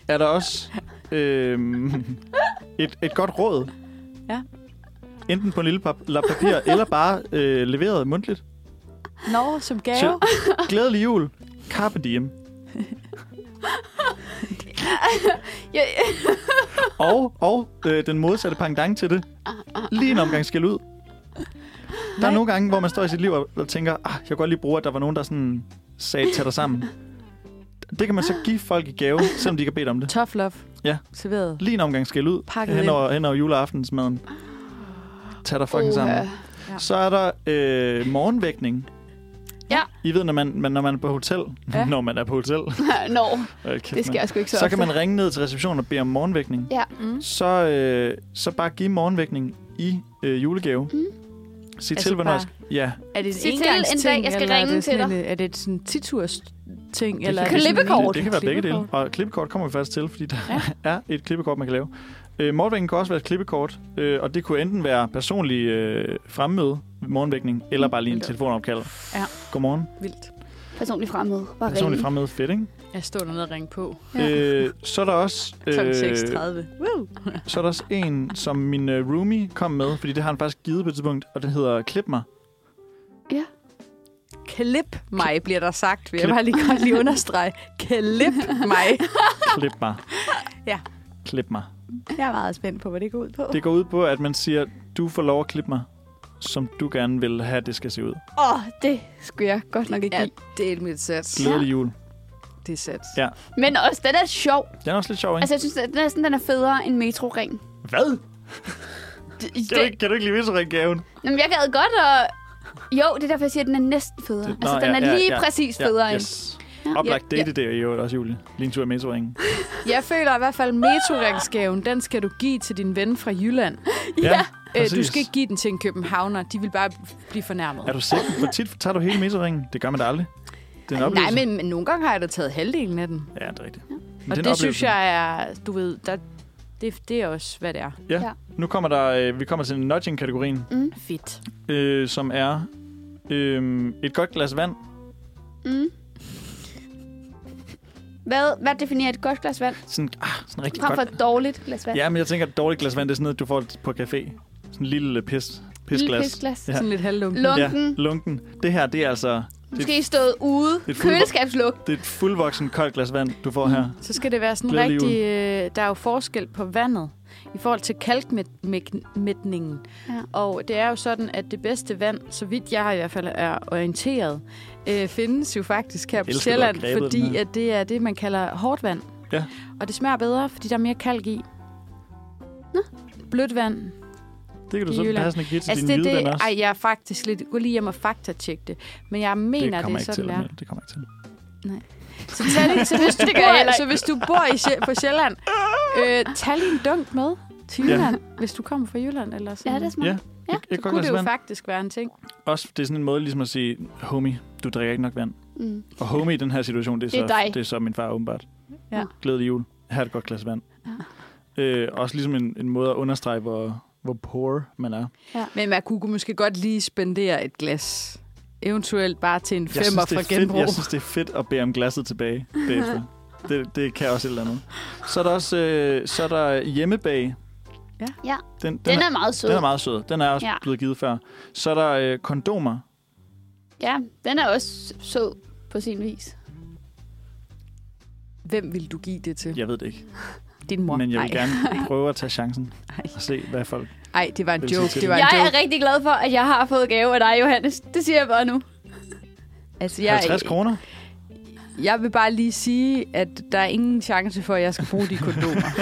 B: er der også øh, et, et godt råd.
C: Ja.
B: Enten på en lille pap- lap papir, eller bare øh, leveret mundtligt.
C: Nå, som gave.
B: Så, glædelig jul. Carpe diem.
D: Ja, ja.
B: Og, og øh, den modsatte pangdang til det. Lige en omgang skæld ud. Der er
C: Nej.
B: nogle gange, hvor man står i sit liv og og tænker, ah, jeg kunne godt lige bruge, at der var nogen, der sådan sagde, tag dig sammen. Det kan man så give folk i gave, selvom de ikke har bedt om det.
C: Tough love.
B: Ja.
C: Serveret.
B: Lige en omgang skæld ud.
C: Pakket
B: Hen over, hen over juleaftensmaden. Tag dig fucking sammen.
C: Ja.
B: Så er der øh, morgenvækning.
D: Ja.
B: I ved, når man, man, når man er på hotel.
C: Ja.
B: Når man er på hotel.
D: Nå, no,
B: Øh, kæft,
D: det
B: mand.
D: sker jeg sgu ikke så,
B: Så
D: ofte.
B: kan man ringe ned til receptionen og bede om morgenvækning.
D: Ja.
C: Mm.
B: Så, øh, så bare give morgenvækning i øh, julegave. Mm. Sig
C: Altså
B: til, hvornår...
C: bare-
B: skal- Ja,
C: Er det
D: Sig til en dag,
C: engangsting,
D: jeg skal
C: eller er
D: ringe
C: det
D: til
C: sådan en- Er det et sådan 10 turs ting? Eller er
B: kan-
C: det sådan en-
B: det,
D: Klippekort.
B: det kan være begge dele.
C: Klippekort.
B: Og klippekort kommer vi faktisk til, fordi der
C: Ja.
B: ja. er et klippekort, man kan lave. Øh, morgenvækning kan også være et klippekort, øh, og det kunne enten være personlig øh, fremmøde, morgenvækning, eller bare lige en
C: Eller-
B: telefonopkald.
C: Ja.
B: Godmorgen.
C: Vildt.
D: Personlig fremmede. Bare
B: Personlig
D: ringe.
B: fremmøde, fedt, ikke?
C: Jeg står dernede og ringer på.
D: Ja.
B: Øh, så er der også... øh,
C: Kl. 6.30. Woo!
B: så er der også en, som min øh, roomie kom med, fordi det har han faktisk givet på et tidspunkt, og det hedder Klip mig.
C: Klip mig, bliver der sagt. Vil jeg
B: Klip.
C: bare lige godt lige understrege. Klip mig.
B: Klip mig.
C: Ja.
B: Klip mig.
C: Jeg er meget spændt på, hvad det går ud på.
B: Det går ud på, at man siger, du får lov at klippe mig, som du gerne vil have, det skal se ud.
D: Åh, oh, det skulle jeg godt nok ikke
C: Ja,
D: ja.
C: det er mit sats.
B: Glædelig jul.
C: Det er sats.
B: Ja.
D: Men også, den er sjov.
B: Den er også lidt sjov, ikke?
D: Altså, jeg synes, at næsten den er federe end metroring.
B: Hvad?
D: Det,
B: Kan du ikke, kan du ikke lige vise ringe gaven?
D: Jamen, jeg gad godt at... Jo, det er derfor, jeg siger, at den er næsten federe.
B: Det-
D: Det, altså,
B: Nå,
D: den
B: ja,
D: er
B: ja,
D: lige
B: ja.
D: præcis federe
B: Ja,
D: end...
B: yes. Oplagt
C: Ja.
B: date det er i øvrigt også, Julie. Lige en tur i metroringen.
C: Jeg føler i hvert fald, metoringsgaven, den skal du give til din ven fra Jylland.
B: Ja,
C: Øh, du
B: præcis.
C: skal ikke give den til en københavner. De vil bare blive fornærmet.
B: Er du sikker? Hvor tit tager du hele metroringen? Det gør man da aldrig. Det er en
C: Nej,
B: oplevelse.
C: men, men nogle gange har jeg da taget halvdelen af den.
B: Ja, det er rigtigt. Men er en
C: Og det, det
B: oplevelse.
C: synes jeg er, du ved, der, det, det er også, hvad det er.
B: Nu kommer der, øh, vi kommer til nudging-kategorien,
C: Fedt.
B: øh, som er øh, et godt glas vand.
D: Mm. Hvad, hvad definerer et godt glas vand?
B: Sådan, ah, sådan rigtig
D: Frem
B: godt.
D: for et dårligt glas vand.
B: Ja, men jeg tænker, at et dårligt glas vand, det er sådan noget, du får på café. Sådan en lille pis,
D: Lille
B: pisglas.
D: pisglas.
B: Ja.
C: Ja. Sådan lidt halvlunken.
D: Lund-
B: Ja,
D: Lunken.
B: lunken. Det her, det er altså det,
D: Måske stået ude.
B: er fuld-
D: Køleskabslugt.
B: det er et fuldvoksen koldt glas vand, du
C: Mm.
B: får her.
C: Så skal det være sådan
B: Glædelig
C: rigtig... Øh, der er jo forskel på vandet i forhold til kalkmætningen.
D: Ja.
C: Og det er jo sådan, at det bedste vand, så vidt jeg i hvert fald er orienteret, øh, findes jo faktisk her på
B: elsker, du har
C: Sjælland,
B: grebet den
C: fordi
B: her.
C: at det er det, man kalder hårdt vand.
B: Ja.
C: Og det smager bedre, fordi der er mere kalk i. Blødt vand.
B: Det kan du
C: I
B: så
C: Jylland.
B: have sådan at give til
C: Altså,
B: dine
C: det,
B: hvide
C: det,
B: venner også.
C: ej, jeg er faktisk lidt... Gå lige hjem og faktatjekke det. Men jeg mener, det,
B: kommer
C: det er
B: ikke
C: sådan,
B: til,
C: det er.
B: Mel. det kommer ikke til.
C: Så, tag lige, så, hvis, du
D: Det gør jeg heller
C: bor,
D: ikke.
C: så hvis du bor i, Sjæ- på Sjælland, øh, tag lige en dunk med til
B: Ja.
C: Jylland, ja. hvis du kommer fra Jylland eller sådan.
D: Ja, det er smart.
B: Ja,
D: Ja,
B: et, et
C: så
B: godt
C: kunne
B: glas
C: det jo
B: vand.
C: faktisk være en ting.
B: Også, det er sådan en måde ligesom at sige, homie, du drikker ikke nok vand.
D: Mm.
B: Og homie i den her situation, det er,
D: Det er
B: så,
D: dig.
B: det er så min far åbenbart.
C: Ja.
B: Glædelig jul. Her er et godt glas vand. Øh, også ligesom en, en måde at understrege, hvor, hvor poor man er.
C: Men man kunne måske godt lige spendere et glas. Eventuelt bare til en
B: Jeg
C: femmer
B: synes, det
C: fra
B: er fedt,
C: genbrug.
B: jeg synes, det er fedt at bede om glasset tilbage bagefter. det, det kan også et eller andet. Så er der også øh, så er der hjemmebag.
C: Ja.
D: Ja.
B: Den, den,
D: Den
B: er,
D: er meget sød.
B: den er meget sød. Den er også ja.
D: Ja.
B: blevet givet før. Så er der øh, kondomer.
D: Ja, den er også sød på sin vis.
C: Hvem vil du give det til?
B: Jeg ved det ikke.
C: Din mor.
B: Men jeg vil
C: Ej.
B: gerne prøve at tage chancen og se, hvad folk...
C: Ej, det var en
B: Vil du sige
C: joke.
B: til
C: Det var en
D: Jeg
C: joke.
D: er rigtig glad for, at jeg har fået gave af dig, Johannes. Det siger jeg bare nu.
C: Altså,
B: 50 kroner?
C: jeg vil bare lige sige, at der er ingen chance for, at jeg skal bruge de kondomer.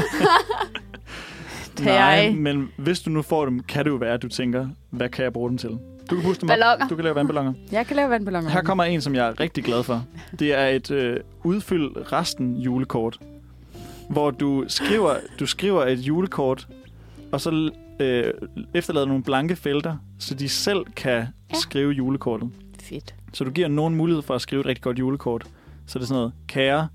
C: Tag
B: Nej,
C: jeg.
B: men hvis du nu får dem, kan det jo være, at du tænker, hvad kan jeg bruge dem til? Du kan puste dem
D: Balloner.
B: op. Du kan lave vandballoner.
C: Jeg kan lave vandballoner.
B: Her kommer en, som jeg er rigtig glad for. Det er et øh, udfyld resten julekort, hvor du skriver, du skriver et julekort, og så øh, efterlader nogle blanke felter, så de selv kan ja. skrive julekortet.
C: Fedt.
B: Så du giver nogen mulighed for at skrive et rigtig godt julekort. Så det er sådan noget, kære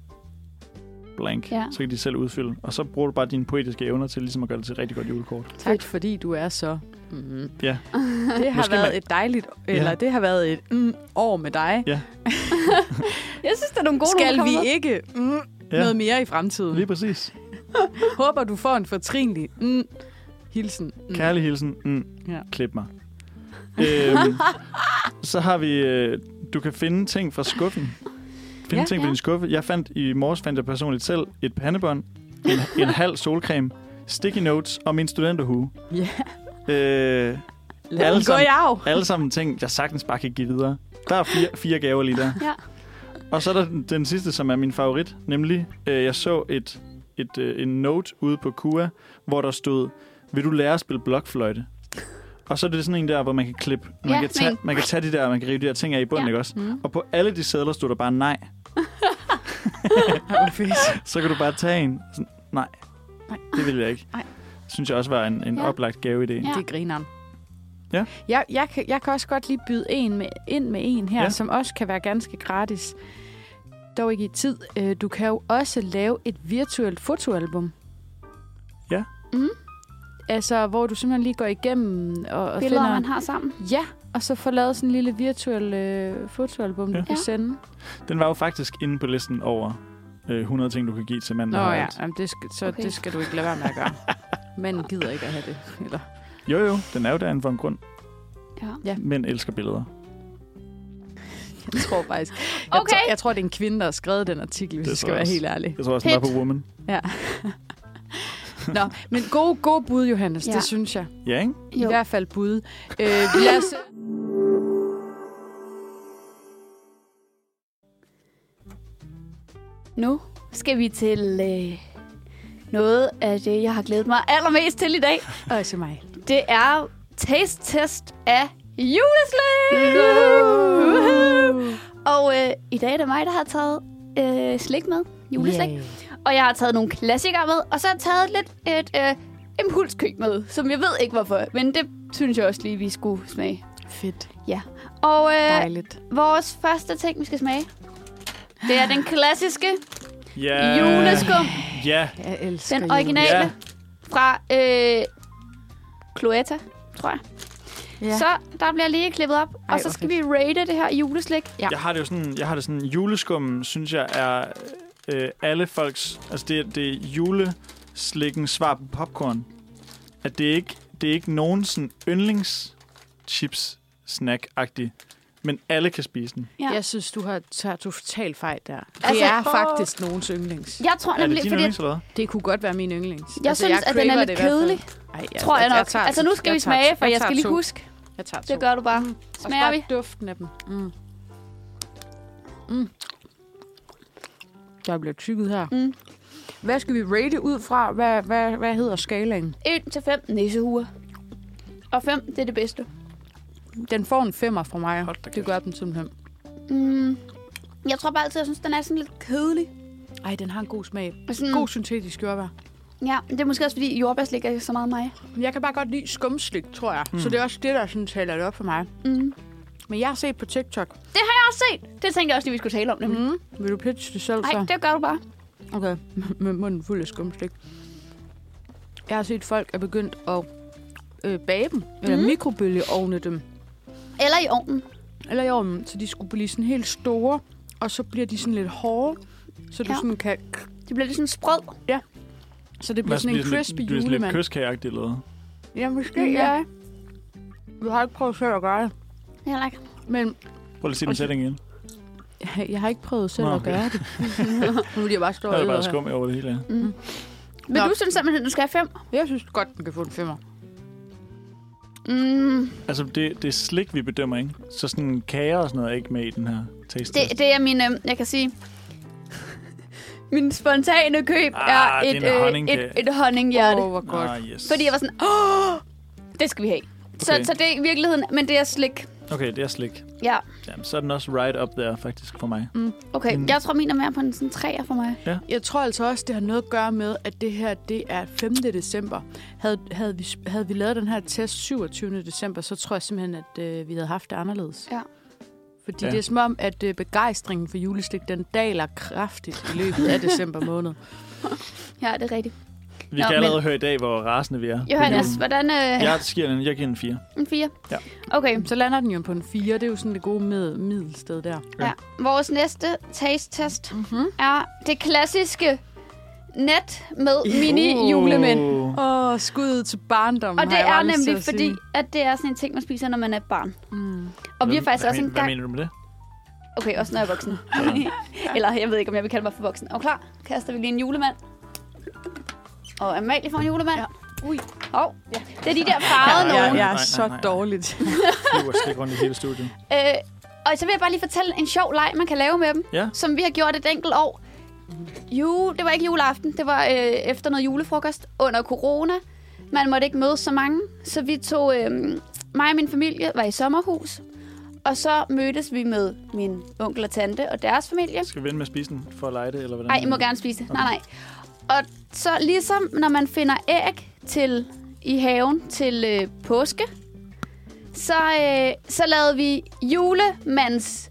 B: blank,
D: Ja.
B: ja. så kan de selv udfylde. Og så bruger du bare dine poetiske evner til ligesom at gøre det til et rigtig godt julekort.
C: Tak, fordi du er så... Mm.
B: Ja.
C: Det har
B: Måske
C: været
B: man-
C: et dejligt... Eller
B: Ja.
C: det har været et mm, år med dig.
D: Jeg synes, der er nogle gode
C: Skal
D: nogle, der
C: vi
D: kommer med.
C: ikke mm,
B: Ja,
C: noget mere i fremtiden?
B: lige præcis.
C: Håber, du får en fortrinlig mm, hilsen. Mm.
B: Kærlig hilsen. Mm.
C: Ja.
B: Ja. Klip mig. øhm, så har vi... øh, Du kan finde ting fra skuffen. Finde
C: Ja,
B: ja, ting fra
D: ja.
B: din skuffe. Jeg fandt i morges fandt jeg personligt selv et pandebånd, en, en halv solcreme, sticky notes og min studenterhue.
C: Ja.
B: Øh,
C: Lad
B: Alle
C: den gå i
B: sammen.
C: arv.
B: alle sammen ting, jeg sagtens bare kan give videre. Der er fire, fire gaver lige der.
D: Ja.
B: Og så er der den- den sidste, som er min favorit, nemlig øh, jeg så et, et øh, en note ude på KUA, hvor der stod, vil du lære at spille blokfløjte? Og så er det sådan en der, hvor man kan klippe, man,
D: Ja,
B: kan, tage,
D: men-
B: man kan tage de der, man kan rive de der ting af i bunden,
D: Ja.
B: ja. ikke også?
C: Mm.
B: Og på alle de sædler stod der bare nej.
C: Åh, fedt.
B: Så kan du bare tage en. Sådan, nej,
C: Nej.
B: det vil jeg ikke.
C: Nej.
B: Synes jeg også var en, en
D: Ja.
B: ja. oplagt gaveidé.
D: Ja.
B: Ja.
C: Det er grineren.
B: Ja.
C: Jeg, jeg, kan, jeg kan også godt lige byde en med, ind med en her, ja.
B: Ja.
C: som også kan være ganske gratis. Dog ikke i tid. Øh, Du kan jo også lave et virtuelt fotoalbum. Mm.
B: Ja.
D: Mhm.
C: Altså, hvor du simpelthen lige går igennem og, og
D: Billeder,
C: finder...
D: man har sammen.
C: Ja, og så får lavet sådan en lille virtuel øh, fotoalbum, ja.
B: Ja.
C: du kan
D: Ja.
C: sende.
B: Den var jo faktisk inde på listen over øh, 100 ting, du kan give til manden.
C: Nå
B: der har
C: ja,
B: alt.
C: Jamen, det skal, så okay.
D: Okay.
C: det skal du ikke lade være med at gøre. Manden gider ikke at have det. Eller,
B: Jo jo, den er jo derinde for en grund.
D: Ja.
B: Mænd elsker billeder.
C: jeg tror faktisk... Jeg,
D: Okay.
C: tror, jeg tror, det er en kvinde, der har skrevet den artikel, hvis
B: Det tror
C: jeg skal
B: jeg
C: være
B: også.
C: helt ærlig.
B: Jeg tror også, den var
D: Fedt.
B: på Woman.
C: Nå, men gode, gode bud, Johannes. Ja.
D: Ja.
C: Det synes jeg.
B: Ja, ikke?
C: I
D: Jo.
C: hvert fald bud. Øh, lad os...
D: Nu skal vi til øh, noget af det, jeg har glædet mig allermest til i dag.
C: Øj, se mig.
D: Det er taste test af juleslik! Woohoo! Og øh, i dag er det mig, der har taget øh, slik med. Juleslik.
C: Yeah.
D: Og jeg har taget nogle klassikere med, og så har jeg taget lidt et øh, impulskøb med, som jeg ved ikke hvorfor, men det synes jeg også lige, vi skulle smage.
C: Fedt.
D: Og øh,
C: Dejligt.
D: vores første ting, vi skal smage, det er den klassiske
B: Ja.
D: juleskum.
B: Ja.
C: Jeg elsker
D: Den
C: jul.
D: originale
B: Ja.
D: fra øh, Cloetta, tror jeg.
C: Ja.
D: Ja. Så der bliver lige klippet op, Ej, og
C: hvor
D: så skal vi rate det her juleslik.
C: Ja.
B: Jeg har det jo sådan, jeg har det sådan juleskum, synes jeg er øh, alle folks, altså det, er- det er juleslikken svar på popcorn. At det er ikke det er ikke nogen sådan yndlings chips snack agtig men alle kan spise den.
D: Ja.
C: Jeg synes, du har taget totalt fejl der. Det
D: Altså-
C: er faktisk nogens yndlings.
D: Jeg tror
B: er det
D: nemlig,
B: din
D: fordi
B: yndlings eller hvad?
C: Det kunne godt være min yndlings.
D: jeg altså, synes, jeg at den er
C: craver
D: lidt
C: det i hvert fald.
D: kedelig,
C: Ej, jeg,
D: tror jeg nok.
C: tager
D: altså nu
C: to.
D: skal vi
C: tager
D: smage,
C: to.
D: for jeg skal
C: tager
D: lige
C: to.
D: huske.
C: Jeg tager to. Mm.
D: Det gør du bare.
C: Også
D: Smager
C: bare
D: vi?
C: duften af dem. Mm. Mm. Der bliver tykket her.
D: Mm.
C: Hvad skal vi rate ud fra? Hvad, hvad, hvad hedder skalaen?
D: 1 til 5 næsehuer. Og 5, det er det bedste.
C: Den får en femmer fra mig.
B: Hold da
C: Det
B: kæft.
C: gør den simpelthen.
D: Mm. Jeg tror bare altid, jeg synes, den er sådan lidt kedelig.
C: Ej, den har en god smag.
D: Og Sådan,
C: God syntetisk jordbær.
D: Ja, men det er måske også, fordi jordbærslik er så meget mig.
C: Jeg kan bare godt lide skumslik, tror jeg. Mm. Så
B: Mm.
C: det er også det, der sådan tæller det op for mig.
D: Mm.
C: Men jeg har set på TikTok.
D: Jeg har set. Det tænkte jeg også lige, vi skulle tale om nemlig.
C: Mm. Vil du pitche det selv
D: Nej,
C: så?
D: det gør du bare.
C: Okay, med munden fuld af skumstik. Jeg har set folk er begyndt at øh, bage dem, eller mm.
D: Mhm.
C: mikrobølgeovne dem,
D: Eller i ovnen.
C: eller i ovnen, så de skulle blive sådan helt store, og så bliver de sådan lidt hårde, så du ja.
D: Ja.
C: sådan kan,
D: Det bliver lidt sådan sprød.
C: så det bliver sådan en
B: Det
C: crispy
B: er sådan lidt
C: julemand.
B: kyskageagtigt eller hvad?
C: Ja, måske
D: Mm,
C: ja. Jeg har ikke prøvet selv at gøre det,
D: Heller ikke.
C: men
B: Prøv lige at se den sætning igen.
C: jeg har ikke prøvet selv
B: Nå,
C: at
B: okay.
C: gøre det. nu er jeg bare stå
B: Der
C: og
B: er det bare
C: æder her.
B: skum over det hele. ja.
D: Men
C: Nå.
D: Nå. du synes simpelthen, du skal have 5?
C: Jeg synes godt, den kan få en femmer.
D: Mm.
B: Altså, det, det er slik, vi bedømmer, ikke? Så sådan kager og sådan noget er ikke med i den her taste
D: Det,
B: test.
D: det er min, øh, jeg kan sige... min spontane køb
B: Ah, det er
D: er et,
B: en
D: øh,
B: honningkage.
D: et, et honninghjerte.
C: Åh, hvor godt.
B: Ah, yes.
D: Fordi jeg var sådan, åh, det skal vi have. Så, så det er i virkeligheden, men det er slik.
B: Okay, det er slik.
D: Ja,
B: Jamen, så er den også right up there, faktisk, for mig.
D: okay.
B: Mm.
D: Jeg tror, min er mere på en sådan træer for mig.
C: Jeg tror altså også, det har noget at gøre med, at det her det er 5. december. Havde, havde, vi, havde vi lavet den her test 27. december, så tror jeg simpelthen, at øh, vi havde haft det anderledes.
D: Ja.
C: Fordi
B: Ja.
C: ja. det er som om, at øh, begejstringen for juleslik, den daler kraftigt i løbet af december måned.
D: Ja, det er rigtigt.
B: Vi
D: Nå,
B: kan allerede
D: men-
B: høre i dag, hvor rasende vi er.
D: Johannes,
B: Det er
D: hvordan... Øh,
B: jo- Jeg, giver den, jeg giver den 4.
D: En fire?
B: Ja.
D: Okay,
C: Så lander den jo på en 4. Det er jo sådan det gode med, middelsted der.
D: ja. Vores næste taste test
C: Mm-hmm.
D: er det klassiske net med
B: Uh.
D: mini-julemænd.
C: Og skuddet til barndommen
D: Og
C: har
D: det
C: jeg jo
D: er
C: aldrig
D: nemlig
C: set at sige.
D: fordi, at det er sådan en ting, man spiser, når man er et barn.
C: Mm.
D: Og vi har faktisk
B: hvad,
D: også
B: men-
D: en gang...
B: Hvad mener du med det?
D: Okay, også når jeg er voksen. Eller jeg ved ikke, om jeg vil kalde mig for voksen. Og klar, kaster vi lige en julemand. Og Amalie får en julemand.
C: Ja.
D: Ui. Hov. Det er de der
B: Ja,
D: farvede nogen.
B: ja,
C: Jeg,
B: ja.
C: jeg
B: Nej,
C: er
B: nej,
C: så
B: nej, nej.
C: dårligt.
B: Du er slik rundt i hele studiet.
D: Øh, og så vil jeg bare lige fortælle en sjov leg, man kan lave med dem,
B: Ja.
D: som vi har gjort et enkelt år. Jo, det var ikke juleaften, det var øh, efter noget julefrokost under corona. Man måtte ikke mødes så mange, så vi tog, øh, mig og min familie var i sommerhus, og så mødtes vi med min onkel og tante og deres familie.
B: Skal vi vende med at spise den for at lege det, eller hvordan?
D: Nej, I må gerne spise det. Nej, nej. Og så ligesom når man finder æg til i haven til øh, påske, så, øh, så lavede vi julemands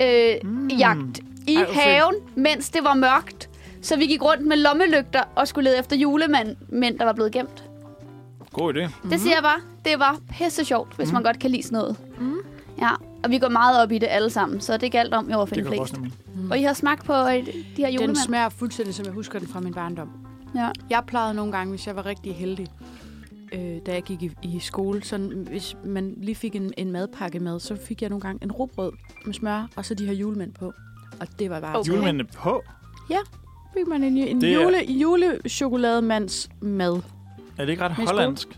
D: øh, mm. jagt i
B: Ej,
D: Ej,
B: hvor fedt.
D: haven, mens det var mørkt. Så vi gik rundt med lommelygter og skulle lede efter julemænd, mænd, der var blevet gemt. Mm.
B: God idé.
D: Det siger jeg bare, det var pisse sjovt, hvis mm. man godt kan lide sådan noget. Mm. Ja, og vi går meget op i det alle sammen, så det galt om i år at
B: Det
D: finde
B: kan godt
D: flest.
B: nemlig.
D: Og I har smagt på øh, de her
C: Den
D: julemænd?
C: smager fuldstændig, som jeg husker den fra min barndom.
D: Ja.
C: Jeg plejede nogle gange, hvis jeg var rigtig heldig, øh, da jeg gik i, i skole, så hvis man lige fik en, en madpakke med, så fik jeg nogle gange en rugbrød med smør, og så de her julemænd på. Og det var bare...
D: Okay.
C: Okay.
B: Julemændene på.
C: Fik man en, en
B: Det er-
C: jule, julechokolademands mad.
B: Er det ikke ret
C: skole.
B: hollandsk?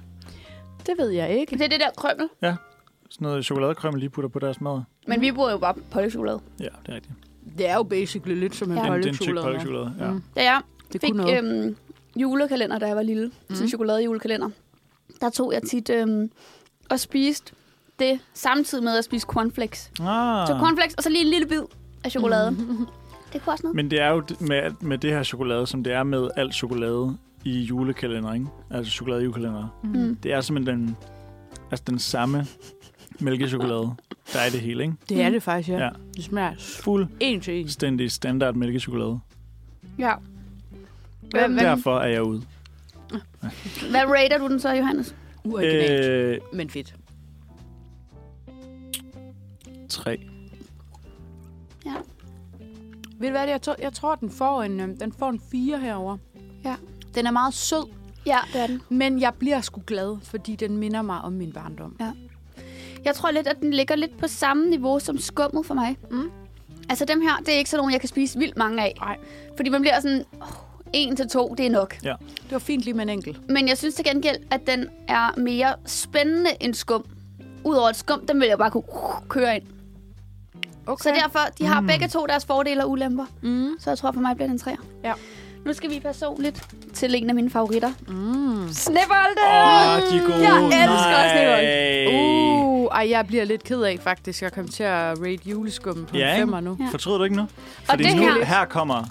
C: Det ved jeg ikke.
D: Det er det der krømmel.
B: Sådan noget chokoladekrømmel lige putter på deres mad.
D: Men vi bruger jo bare pålægtschokolade.
B: Ja, det er rigtigt.
C: Det er jo basically lidt som en
B: Det
C: ja.
D: Ja.
B: er en- det er en tyk
C: pålægschokolade.
B: pålægschokolade. Ja.
C: Mm.
D: Da jeg
C: Det
D: fik
C: kunne noget. Mhm.
D: øhm, julekalender, da jeg var lille, mm. sådan en chokoladejulekalender, der tog jeg tit øhm, og spiste det samtidig med at spise cornflakes.
B: Ah.
D: Mm. Så cornflakes, og så lige en lille bid af chokolade. Mm.
C: Mhm.
D: Det kunne også noget.
B: Men det er jo d- med, alt- med det her chokolade, som det er med alt chokolade i julekalender, ikke? Altså chokolade i julekalender.
D: Mm.
B: Det er simpelthen den, altså den samme mælkechokolade, der er i det hele, ikke?
C: Det er det faktisk, ja.
B: Ja.
C: ja. Det smager en til en.
B: Fuldstændig standard mælkechokolade.
D: Ja. Hvad,
C: Hvad-
D: hvad,
B: Derfor er jeg ude.
D: hvad rater du den så, Johannes?
C: Uoriginalt,
B: Øh,
C: øh... men fedt.
B: tre.
C: Ved du hvad, det er? jeg tror, jeg tror den, får en, øhm, den får en 4 herover.
D: Ja.
C: Den er meget sød,
D: Ja, det er den.
C: Men jeg bliver sgu glad, fordi den minder mig om min barndom.
D: Jeg tror lidt, at den ligger lidt på samme niveau som skummet for mig.
C: Mm.
D: Altså dem her, det er ikke sådan nogle, jeg kan spise vildt mange af.
C: Nej.
D: Fordi man bliver sådan, oh, en til to, det er nok.
C: Det var fint lige med en enkelt.
D: Men jeg synes til gengæld, at den er mere spændende end skum. Udover at skum, den vil jeg bare kunne uh, køre ind. Okay. Så derfor, de har mm. begge to deres fordele og ulemper.
C: Mm.
D: Så jeg tror, for mig bliver den træer.
C: Ja.
D: Nu skal vi personligt til en af mine favoritter.
C: Mm.
D: Snibbolde!
B: Åh, oh, de er gode.
D: Jeg elsker også Snibbolde.
B: Nej.
C: Uh, ej, jeg bliver lidt ked af faktisk. Jeg kom til at rate juleskum på
B: Ja,
C: ja,
B: ikke?
C: femmer nu.
D: Ja.
B: Fortryder du ikke nu? Fordi
D: det
B: nu,
D: her-
B: her kommer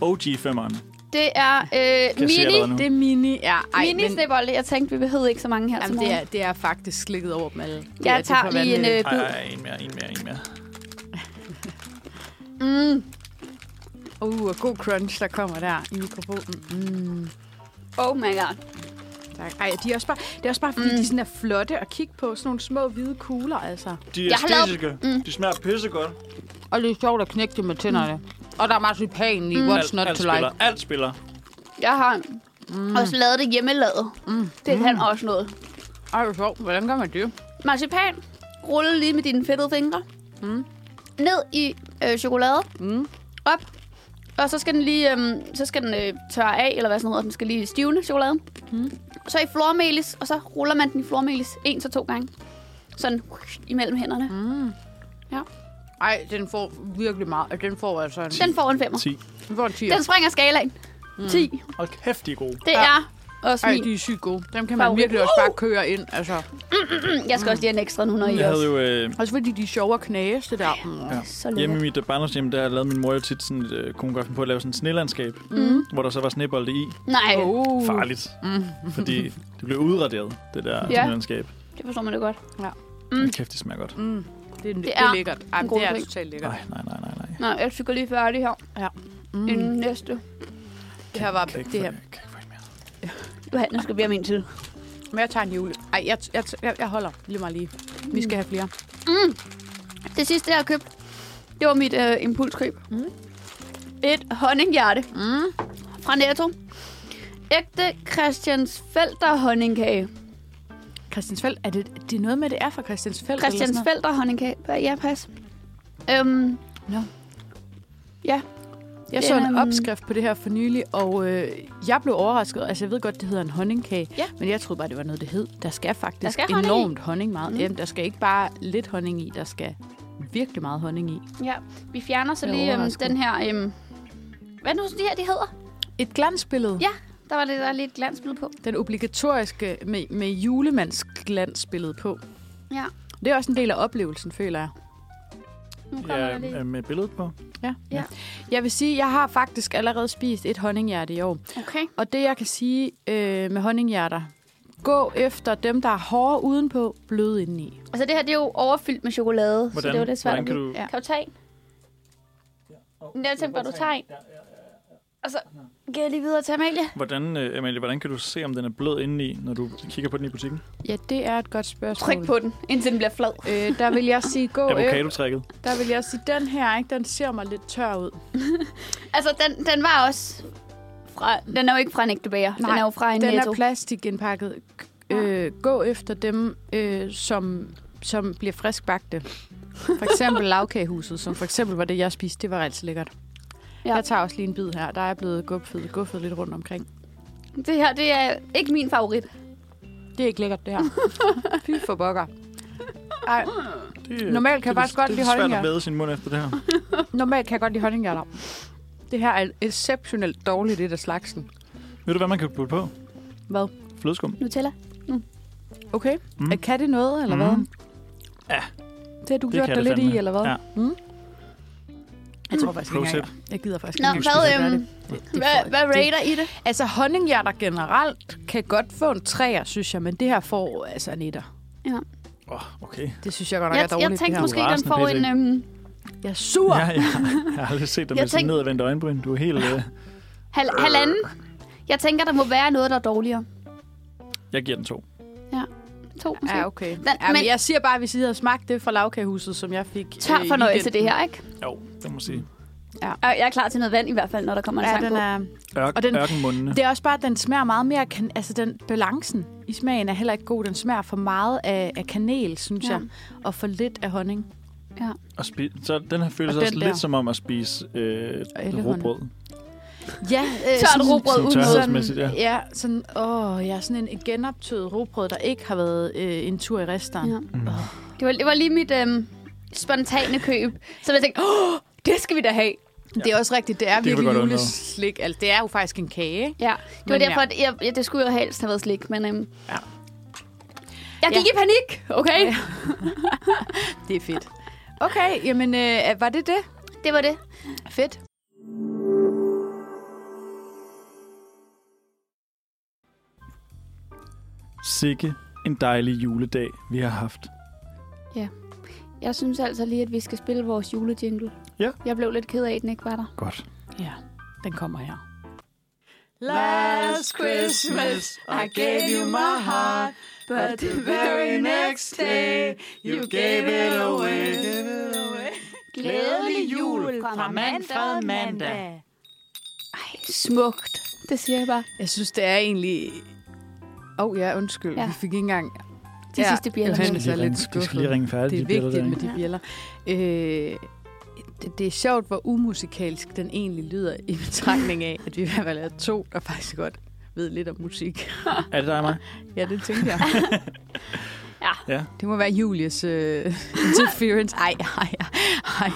B: OG-femmeren.
D: Det er øh,
B: Jeg ser
D: mini,
B: allerede nu.
C: Det er mini. Ja, ej,
D: mini men... snibbolde. Jeg tænkte, vi behøvede ikke så mange her.
C: jamen,
D: til
C: det,
D: morgen.
C: er, det er faktisk slikket over dem alle. Det er-
D: Jeg
C: det
D: tager
C: får
D: lige en øh,
C: vanvittigt.
B: Ej,
D: bid.
B: ej, en mere, en mere, en mere.
D: Mm.
C: Uh, og god crunch, der kommer der i mikrofonen. Mm.
D: Oh my god.
C: Tak. Ej, de er også bare, det er også bare, fordi mm. de sådan er flotte at kigge på. Sådan nogle små hvide kugler, altså.
B: De er
D: Jeg har lavet- Mm.
B: æstetiske. De smager pissegodt.
C: Og det er sjovt at knække det med tænderne. Mm. Og der er marcipan i mm.
B: Alt, alt spiller. Alt spiller.
D: Jeg har mm. også lavet det hjemmelavet. Mm. Det kan mm. også noget.
C: Ej, hvor sjovt. Hvordan gør man det?
D: marcipan, rulle lige med dine fedtede fingre, mm. ned i øh, chokolade,
C: Mm.
D: op, og så skal den lige øhm, så skal den øh, tørre af, eller hvad sådan noget, den skal lige stivne chokoladen.
C: Mm.
D: Så i flormelis, og så ruller man den i flormelis en til to gange. Sådan imellem hænderne. Mm.
C: Ej, den får virkelig meget. og Den får altså en,
D: Den får en femmer.
B: 10.
C: den får en 10.
D: Den springer skalaen. Mm. 10.
B: Hold kæft, de er gode.
D: Det
C: Ja.
D: er Også
C: Ej,
D: min.
C: de er sygt gode. Dem kan man
D: Favorit.
C: virkelig også bare køre ind. Altså.
D: Jeg skal også lige have en ekstra nu, når I
B: Jeg
D: også.
B: havde jo... Øh,
C: Også fordi de er sjove at knæse, det der. Mm.
B: ja.
D: Så lækkert.
B: Hjemme i mit øh, barndomshjem, der lavede min mor jo tit sådan, øh, kunne hun godt finde på at lave sådan et snelandskab,
D: Mm.
B: hvor der så var snebolde i.
D: Nej,
C: Oh.
B: Farligt.
C: Mm.
B: Fordi det blev udraderet, det der
D: Ja.
B: snelandskab.
D: det forstår man da godt.
B: Mm. Kæft, det smager godt.
C: Mm. Det, er, det,
D: er
C: er lækkert. Ej,
D: en
C: men
D: god
C: det er
D: ting.
C: totalt lækkert.
B: Nej, nej, nej, nej, nej.
D: Nej, jeg tykker lige færdig her. Mm.
C: Mm.
D: Inden næste.
C: Det her var
B: Kan ikke
C: det
B: få-
C: her.
B: kan ikke få mere.
D: Johanna skal blive min tid.
C: Men jeg tager en jule. Ej, jeg, jeg, jeg, jeg holder lige mig lige. Vi skal have flere.
D: Det sidste, jeg har købt, det var mit øh, impulskøb.
C: Mm.
D: Et honninghjerte
C: Mm.
D: fra Netto. Ægte Christiansfelder honningkage.
C: Christiansfeld, er det, det er noget med, det er fra Christiansfeld? eller sådan
D: Christiansfelder honningkage. Ja, pas. Øhm,
C: noget? Jeg så en
D: Øhm.
C: opskrift på det her for nylig, og øh, jeg blev overrasket. Altså, jeg ved godt, det hedder en honningkage,
D: Ja.
C: men jeg troede bare, det var noget, det hed. Der skal faktisk
D: Der skal honning i.
C: enormt honning, meget.
D: Mm.
C: Mm. Jamen, der skal ikke bare lidt honning i, der skal virkelig meget honning i.
D: ja, vi fjerner så
C: Jeg er
D: lige øhm,
C: overrasket.
D: den her... Øhm, hvad er det nu, de her de hedder?
C: Et glansbillede.
D: Ja. Der var lidt, der er lidt glansbillede på.
C: Den obligatoriske med, med julemandsglansbillede på.
D: Ja.
C: Det er også en del af oplevelsen, føler jeg.
D: Nu kommer jeg lige.
B: Ja, øh, med billedet på.
C: Jeg vil sige, jeg har faktisk allerede spist et honninghjerte i år.
D: Okay.
C: Og det, jeg kan sige øh, med honninghjerter, gå efter dem, der er hårde udenpå, bløde indeni.
D: Altså det her, det er jo overfyldt med chokolade, så
B: Hvordan-
D: det var det svært.
B: hvordan kan
D: at vide.
B: du-
D: Ja. Kan du tage en? Men Jeg tænkte bare, du tager en. Og så giver jeg lige videre til Amalie.
B: Hvordan, øh, Amalie, hvordan kan du se, om den er blød indeni, når du kigger på den i butikken?
C: Ja, det er et godt spørgsmål.
D: Tryk på den, indtil den bliver flad.
C: Øh, der vil jeg sige, gå efter.
B: Avocado-trækket.
C: Der vil jeg sige, den her, ikke, den ser mig lidt tør ud.
D: Altså, den, den var også fra... Den er jo ikke fra en ægte bager. Den
C: Nej,
D: er jo fra en
C: Den
D: netto.
C: er plastikindpakket. K- Øh, gå efter dem, øh, som, som bliver friskbagte. For eksempel lavkagehuset, som for eksempel var det, jeg spiste. Det var altså lækkert.
D: Ja.
C: Ja. Jeg tager også lige en bid her. Der er blevet guffet, guffet lidt rundt omkring.
D: det her, det er ikke min favorit.
C: Det er ikke lækkert, det her. Fy for bokker. Ej,
B: Det,
C: Normalt kan jeg faktisk godt
B: det,
C: lide
B: Det er svært
C: honninghjerte.
B: at vade sin mund efter det her.
C: normalt kan jeg godt lide honninghjerter. Det her er exceptionelt dårligt, det der slagsen.
B: Ved du, hvad man kan putte på?
C: Hvad?
B: Flødeskum.
D: Nutella.
C: Okay.
B: Mm.
C: Mm. Kan det noget, eller
B: Mm.
C: hvad?
B: Ja.
C: Det har du
B: Det kan
C: gjort dig
B: det
C: lidt
B: fandme.
C: i, eller hvad?
B: Ja.
C: Mm. Jeg tror faktisk ikke,
B: Prosit.
C: engang, jeg, jeg gider faktisk
D: Nå,
C: ikke.
D: hvad,
C: engang,
D: øhm,
C: hvis jeg gør det. Det-
D: hvad,
C: det
D: hvad
C: får- det-
D: rater I det?
C: Altså, honninghjerter generelt kan godt få en træer, synes jeg, men det her får altså en etter.
B: Åh, oh, okay.
C: Det synes jeg godt nok
D: Jeg,
C: er dårligt,
D: jeg tænkte
C: det
D: måske, den
B: Rasende
D: får en...
B: pisse.
D: Øhm,
C: her. Jeg er sur.
B: Ja, ja. Jeg har aldrig set dig
D: Jeg
B: med sådan
D: tænkte-
B: nedadvendt øjenbryn. Du er helt... Øh,
D: hal, halvanden. Jeg tænker, der må være noget, der er dårligere.
B: jeg giver den to.
D: To måske.
C: Ja, okay.
D: Den-
C: ja, men
D: men-
C: jeg siger bare, at hvis I havde smagt det fra lavkagehuset, som jeg fik...
D: Tør
C: øh, i
D: fornøjelse,
C: weekenden.
D: det her, ikke?
B: Jo, det må jeg sige.
D: Og Øh, Jeg er klar til noget vand i hvert fald, når der kommer en sang
C: Ja, den
D: på.
C: er,
B: Ørk,
C: Og
B: og
C: den-
B: den, ørkenmundene.
C: det er også bare, at den smager meget mere... Kan, altså, den balancen i smagen er heller ikke god. Den smager for meget af, af kanel, synes
D: Ja.
C: ja. jeg. Og for lidt af honning.
B: Og spi- så den her føles
C: Og den
B: også
C: der.
B: lidt som om at spise øh,
C: Ellehånd.
B: råbrød.
C: Ja, øh,
D: Tørt rugbrød uden
B: tørhed.
D: noget.
B: Tørhedsmæssigt, ja.
C: sådan, ja, sådan, åh, ja, sådan en genoptøet rugbrød, der ikke har været øh, en tur i resteren.
D: Ja.
C: Ja.
D: Det var, det var lige mit øhm, spontane køb. Så jeg tænkte, åh, det skal vi da have.
C: Det er også rigtigt, det er
B: Mm. Det kan vi
C: virkelig
B: godt undgå.
C: juleslik. Altså, det er jo faktisk en kage, ikke?
D: Ja, det var
C: Men
D: derfor, at jeg, ja, det skulle jo helst have været slik, men øhm,
B: Ja.
D: jeg gik
C: Ja.
D: i panik, okay?
C: Ja. Det er fedt. Okay, jamen, øh, var det det?
D: Det var det.
C: Fedt.
B: Sikke en dejlig juledag, vi har haft.
D: Jeg synes altså lige, at vi skal spille vores julejingle.
B: Ja.
D: Jeg blev lidt ked af, at den ikke var der.
B: Godt.
C: Ja, den kommer her.
E: Last Christmas, I gave you my heart, but the very next day, you gave it away. Glædelig jul fra Manfred Mandag.
D: Ej, smukt. Det siger jeg bare
C: Jeg synes, det er egentlig... Åh oh, ja, undskyld.
D: Ja.
C: Ja. Vi fik ikke engang...
D: til ja. sidste bjælder.
C: Johannes.
B: De skal
C: er
B: lige
C: lidt
B: ringe- de skal
C: skuffet.
B: lige ringe færdigt.
C: Det er
B: de billeder
C: vigtigt
B: der,
C: med
B: ikke?
C: de bjæller. Øh, det, det er sjovt, hvor umusikalsk den egentlig lyder i betragtning af, at vi i hvert fald er to, der faktisk godt ved lidt om musik.
B: Er det dig og mig?
C: Ja, det tænker jeg.
D: Ja.
B: Ja.
C: Det må være Julies øh, interference. Ej, ej, ej.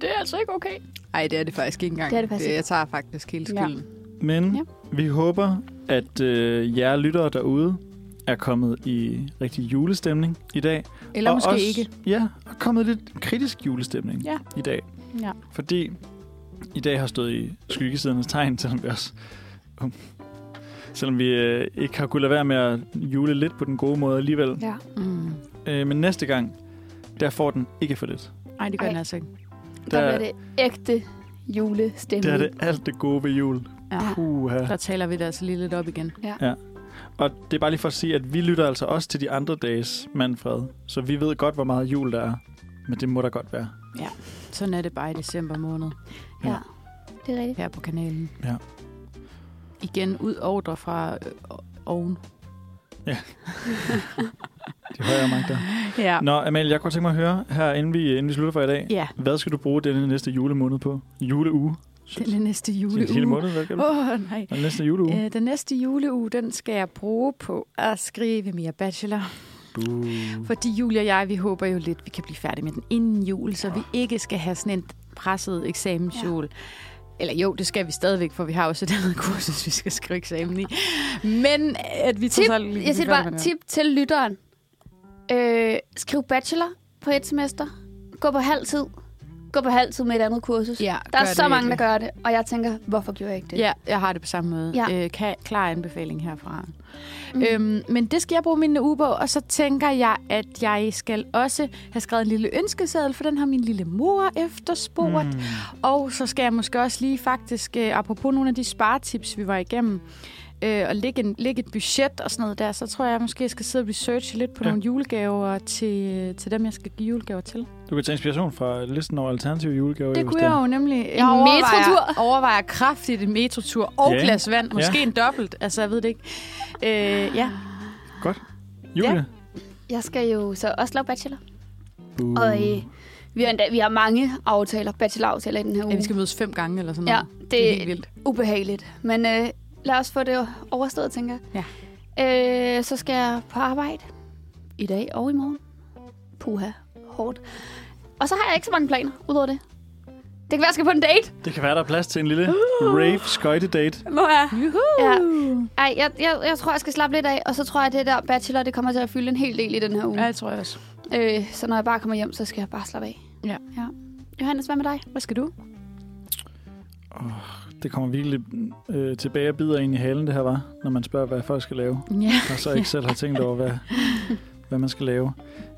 D: Det er altså ikke okay.
C: Ej, det er det faktisk ikke engang.
D: Det er det faktisk ikke.
C: Jeg tager faktisk hele
D: Ja.
C: skylden.
B: Men
D: Ja.
B: vi håber, at øh, jer lyttere derude er kommet i rigtig julestemning i dag.
C: Eller
B: Og
C: måske
B: også,
C: ikke.
B: Ja, er kommet lidt kritisk julestemning
C: Ja.
B: i dag.
C: Ja.
B: Fordi i dag har stået i skyggesidernes tegn, selvom vi også... Um, selvom vi øh, ikke har kunnet lade være med at jule lidt på den gode måde alligevel.
D: Ja.
C: Mm.
B: Øh, men næste gang, der får den ikke for lidt.
C: Ej, det gør
D: Ej.
C: den altså ikke.
D: Der,
B: Der-
D: der bliver det ægte julestemning.
B: Det er det alt det gode ved jul.
C: Ja.
B: Puha.
C: Der taler vi det altså lige lidt op igen.
B: Og det er bare lige for at sige, at vi lytter altså også til de andre dages Manfred. Så vi ved godt, hvor meget jul der er. Men det må der godt være.
C: Sådan er det bare i december måned
D: Ja. Det er rigtigt.
C: her på kanalen.
B: Ja.
C: Igen ud ordre fra øh, o- oven.
B: De højere magter.
C: Ja.
B: Nå, Amalie, jeg kunne godt tænke mig at høre her, inden vi, inden vi slutter for i dag.
C: Ja,
B: Hvad skal du bruge denne næste julemåned på? Juleuge?
C: den er næste
B: Jule hele Uh.
C: juleuge.
B: måned, hvad skal du?
C: Åh, oh, nej.
B: Og den næste juleuge?
C: Øh, den næste juleuge, den skal jeg bruge på at skrive mere bachelor.
B: Uh.
C: Fordi Julie og jeg, vi håber jo lidt, vi kan blive færdige med den inden jul, så vi ikke skal have sådan en presset eksamensjul. Ja. Eller jo, det skal vi stadigvæk, for vi har jo så et andet kursus, vi skal skrive eksamen i. Men øh, at vi
D: Tip,
C: trods alt lige-
D: jeg siger
C: vi gør det
D: det
C: med
D: bare,
C: det.
D: tip til lytteren. Øh, skriv bachelor på et semester. Gå på halv tid. Gå på halv tid med et andet kursus.
C: Ja,
D: der er
C: gør
D: så
C: det
D: mange, der
C: virkelig.
D: gør det, og jeg tænker, hvorfor gjorde jeg ikke det?
C: Ja, jeg har det på samme måde.
D: Ja.
C: Ja. Øh, ka- klar anbefaling herfra. Mm. Øhm, men det skal jeg bruge min uge på, og så tænker jeg, at jeg skal også have skrevet en lille ønskeseddel, for den har min lille mor efterspurgt. Mm.
B: Hmm.
C: Og så skal jeg måske også lige faktisk, øh, apropos nogle af de sparetips, vi var igennem, øh, og lægge, en, lægge et budget og sådan noget der, så tror jeg, jeg måske skal sidde og researche lidt på
B: Ja.
C: ja. nogle julegaver til, øh, til dem, jeg skal give julegaver til.
B: Du kan tage inspiration fra listen over alternative julegaver.
C: Det
B: hvis
C: kunne
B: er.
C: jeg jo nemlig. Jeg
D: En
C: overvejer,
D: metrotur.
C: overvejer kraftigt en metrotur og
B: Ja.
C: yeah. glas vand. Måske
B: Ja.
C: yeah. en dobbelt. Altså, jeg ved det ikke. Øh, ja.
B: Julie?
D: Jeg skal jo så også lave bachelor.
B: Uh.
D: Og øh, vi, har endda, vi har mange aftaler, bacheloraftaler i den her uge.
C: ja, vi skal mødes fem gange eller sådan
D: ja
C: noget.
D: det,
C: Det er helt vildt.
D: ubehageligt. Men øh, lad os få det overstået, tænker jeg. Ja. Øh, så skal jeg på arbejde i dag og i morgen. Puha, hårdt. Og så har jeg ikke så mange planer ud over det. Det kan være, jeg skal på en date.
B: Det kan være, der er plads til en lille rave skøjtedate.
D: Må jeg?
C: Juhu!
D: Ja. Ej, jeg, jeg, jeg tror, jeg skal slappe lidt af, og så tror jeg, at det der bachelor, det kommer til at fylde en hel del i den her uge.
C: Ja, det tror jeg også.
D: Øh, så når jeg bare kommer hjem, så skal jeg bare slappe af.
C: Ja.
D: ja. Johannes, hvad med dig?
C: Hvad skal du?
B: Det kommer virkelig øh, tilbage og bider ind i halen, det her var, når man spørger, hvad folk skal lave.
C: Ja.
B: Og så ikke selv har tænkt over, hvad, hvad man skal lave.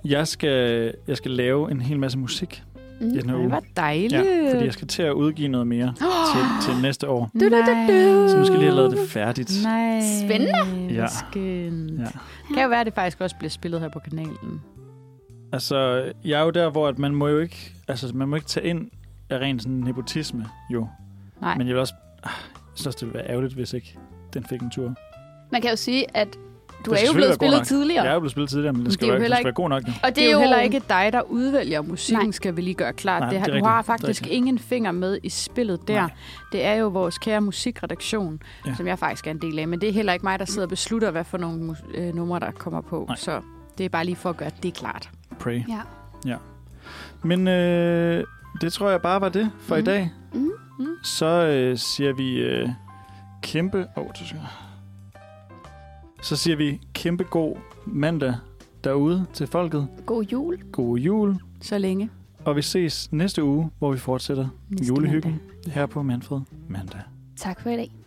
B: Jeg skal, jeg skal lave en hel masse musik
D: Mm.
B: i den her
C: Ej,
B: uge.
C: hvor dejligt.
B: Ja, fordi jeg skal til at udgive noget mere til, til næste år.
C: Du, du, du, du.
B: Så nu skal jeg lige have lavet det færdigt.
C: Nej.
D: Spændende.
B: Ja.
C: Ja. Skønt.
B: Ja.
C: Ja. Kan jo være, at det faktisk også bliver spillet her på kanalen.
B: Altså, jeg er jo der, hvor at man må jo ikke, altså, man må ikke tage ind af ren sådan nepotisme, jo.
C: Nej.
B: Men jeg vil også, ah, jeg synes også, det ville være ærgerligt, hvis ikke den fik en tur.
D: Man kan jo sige, at du
B: Det
D: er
B: skal
D: jo
B: selvfølgelig være
D: blevet
B: god
D: spillet
B: nok.
D: tidligere.
B: Jeg er jo blevet spillet tidligere, men den
C: det
B: skal,
C: er jo
B: jo ikke, den
C: heller
B: skal være god nok nu.
D: Og
C: Det er jo heller ikke dig, der udvælger musikken,
D: Nej.
C: Nej. skal vi lige gøre klart.
B: Nej,
C: Nej, det har,
B: det er
C: det du har
B: rigtigt. Det er
C: faktisk
B: rigtigt.
C: ingen finger med i spillet der.
B: Nej.
C: Nej. Det er jo vores kære musikredaktion,
B: Ja.
C: ja. som jeg faktisk er en del af. Men det er heller ikke mig, der sidder og beslutter, hvad for nogle mus- øh, numre, der kommer på.
B: Nej.
C: Nej. Så det er bare lige for at gøre det klart.
B: Pray.
D: Ja.
B: ja. Men øh, det tror jeg bare var det for mm. i
C: Mhm.
B: dag.
D: Mhm.
C: Mhm.
B: Så øh, siger vi øh, kæmpe... Åh, oh, Så siger vi kæmpe god mandag derude til folket.
D: God jul.
B: God jul.
C: Så længe.
B: Og vi ses næste uge, hvor vi fortsætter
C: Næste
B: julehyggen
C: mandag.
B: her på Manfred Mandag.
D: Tak for i dag.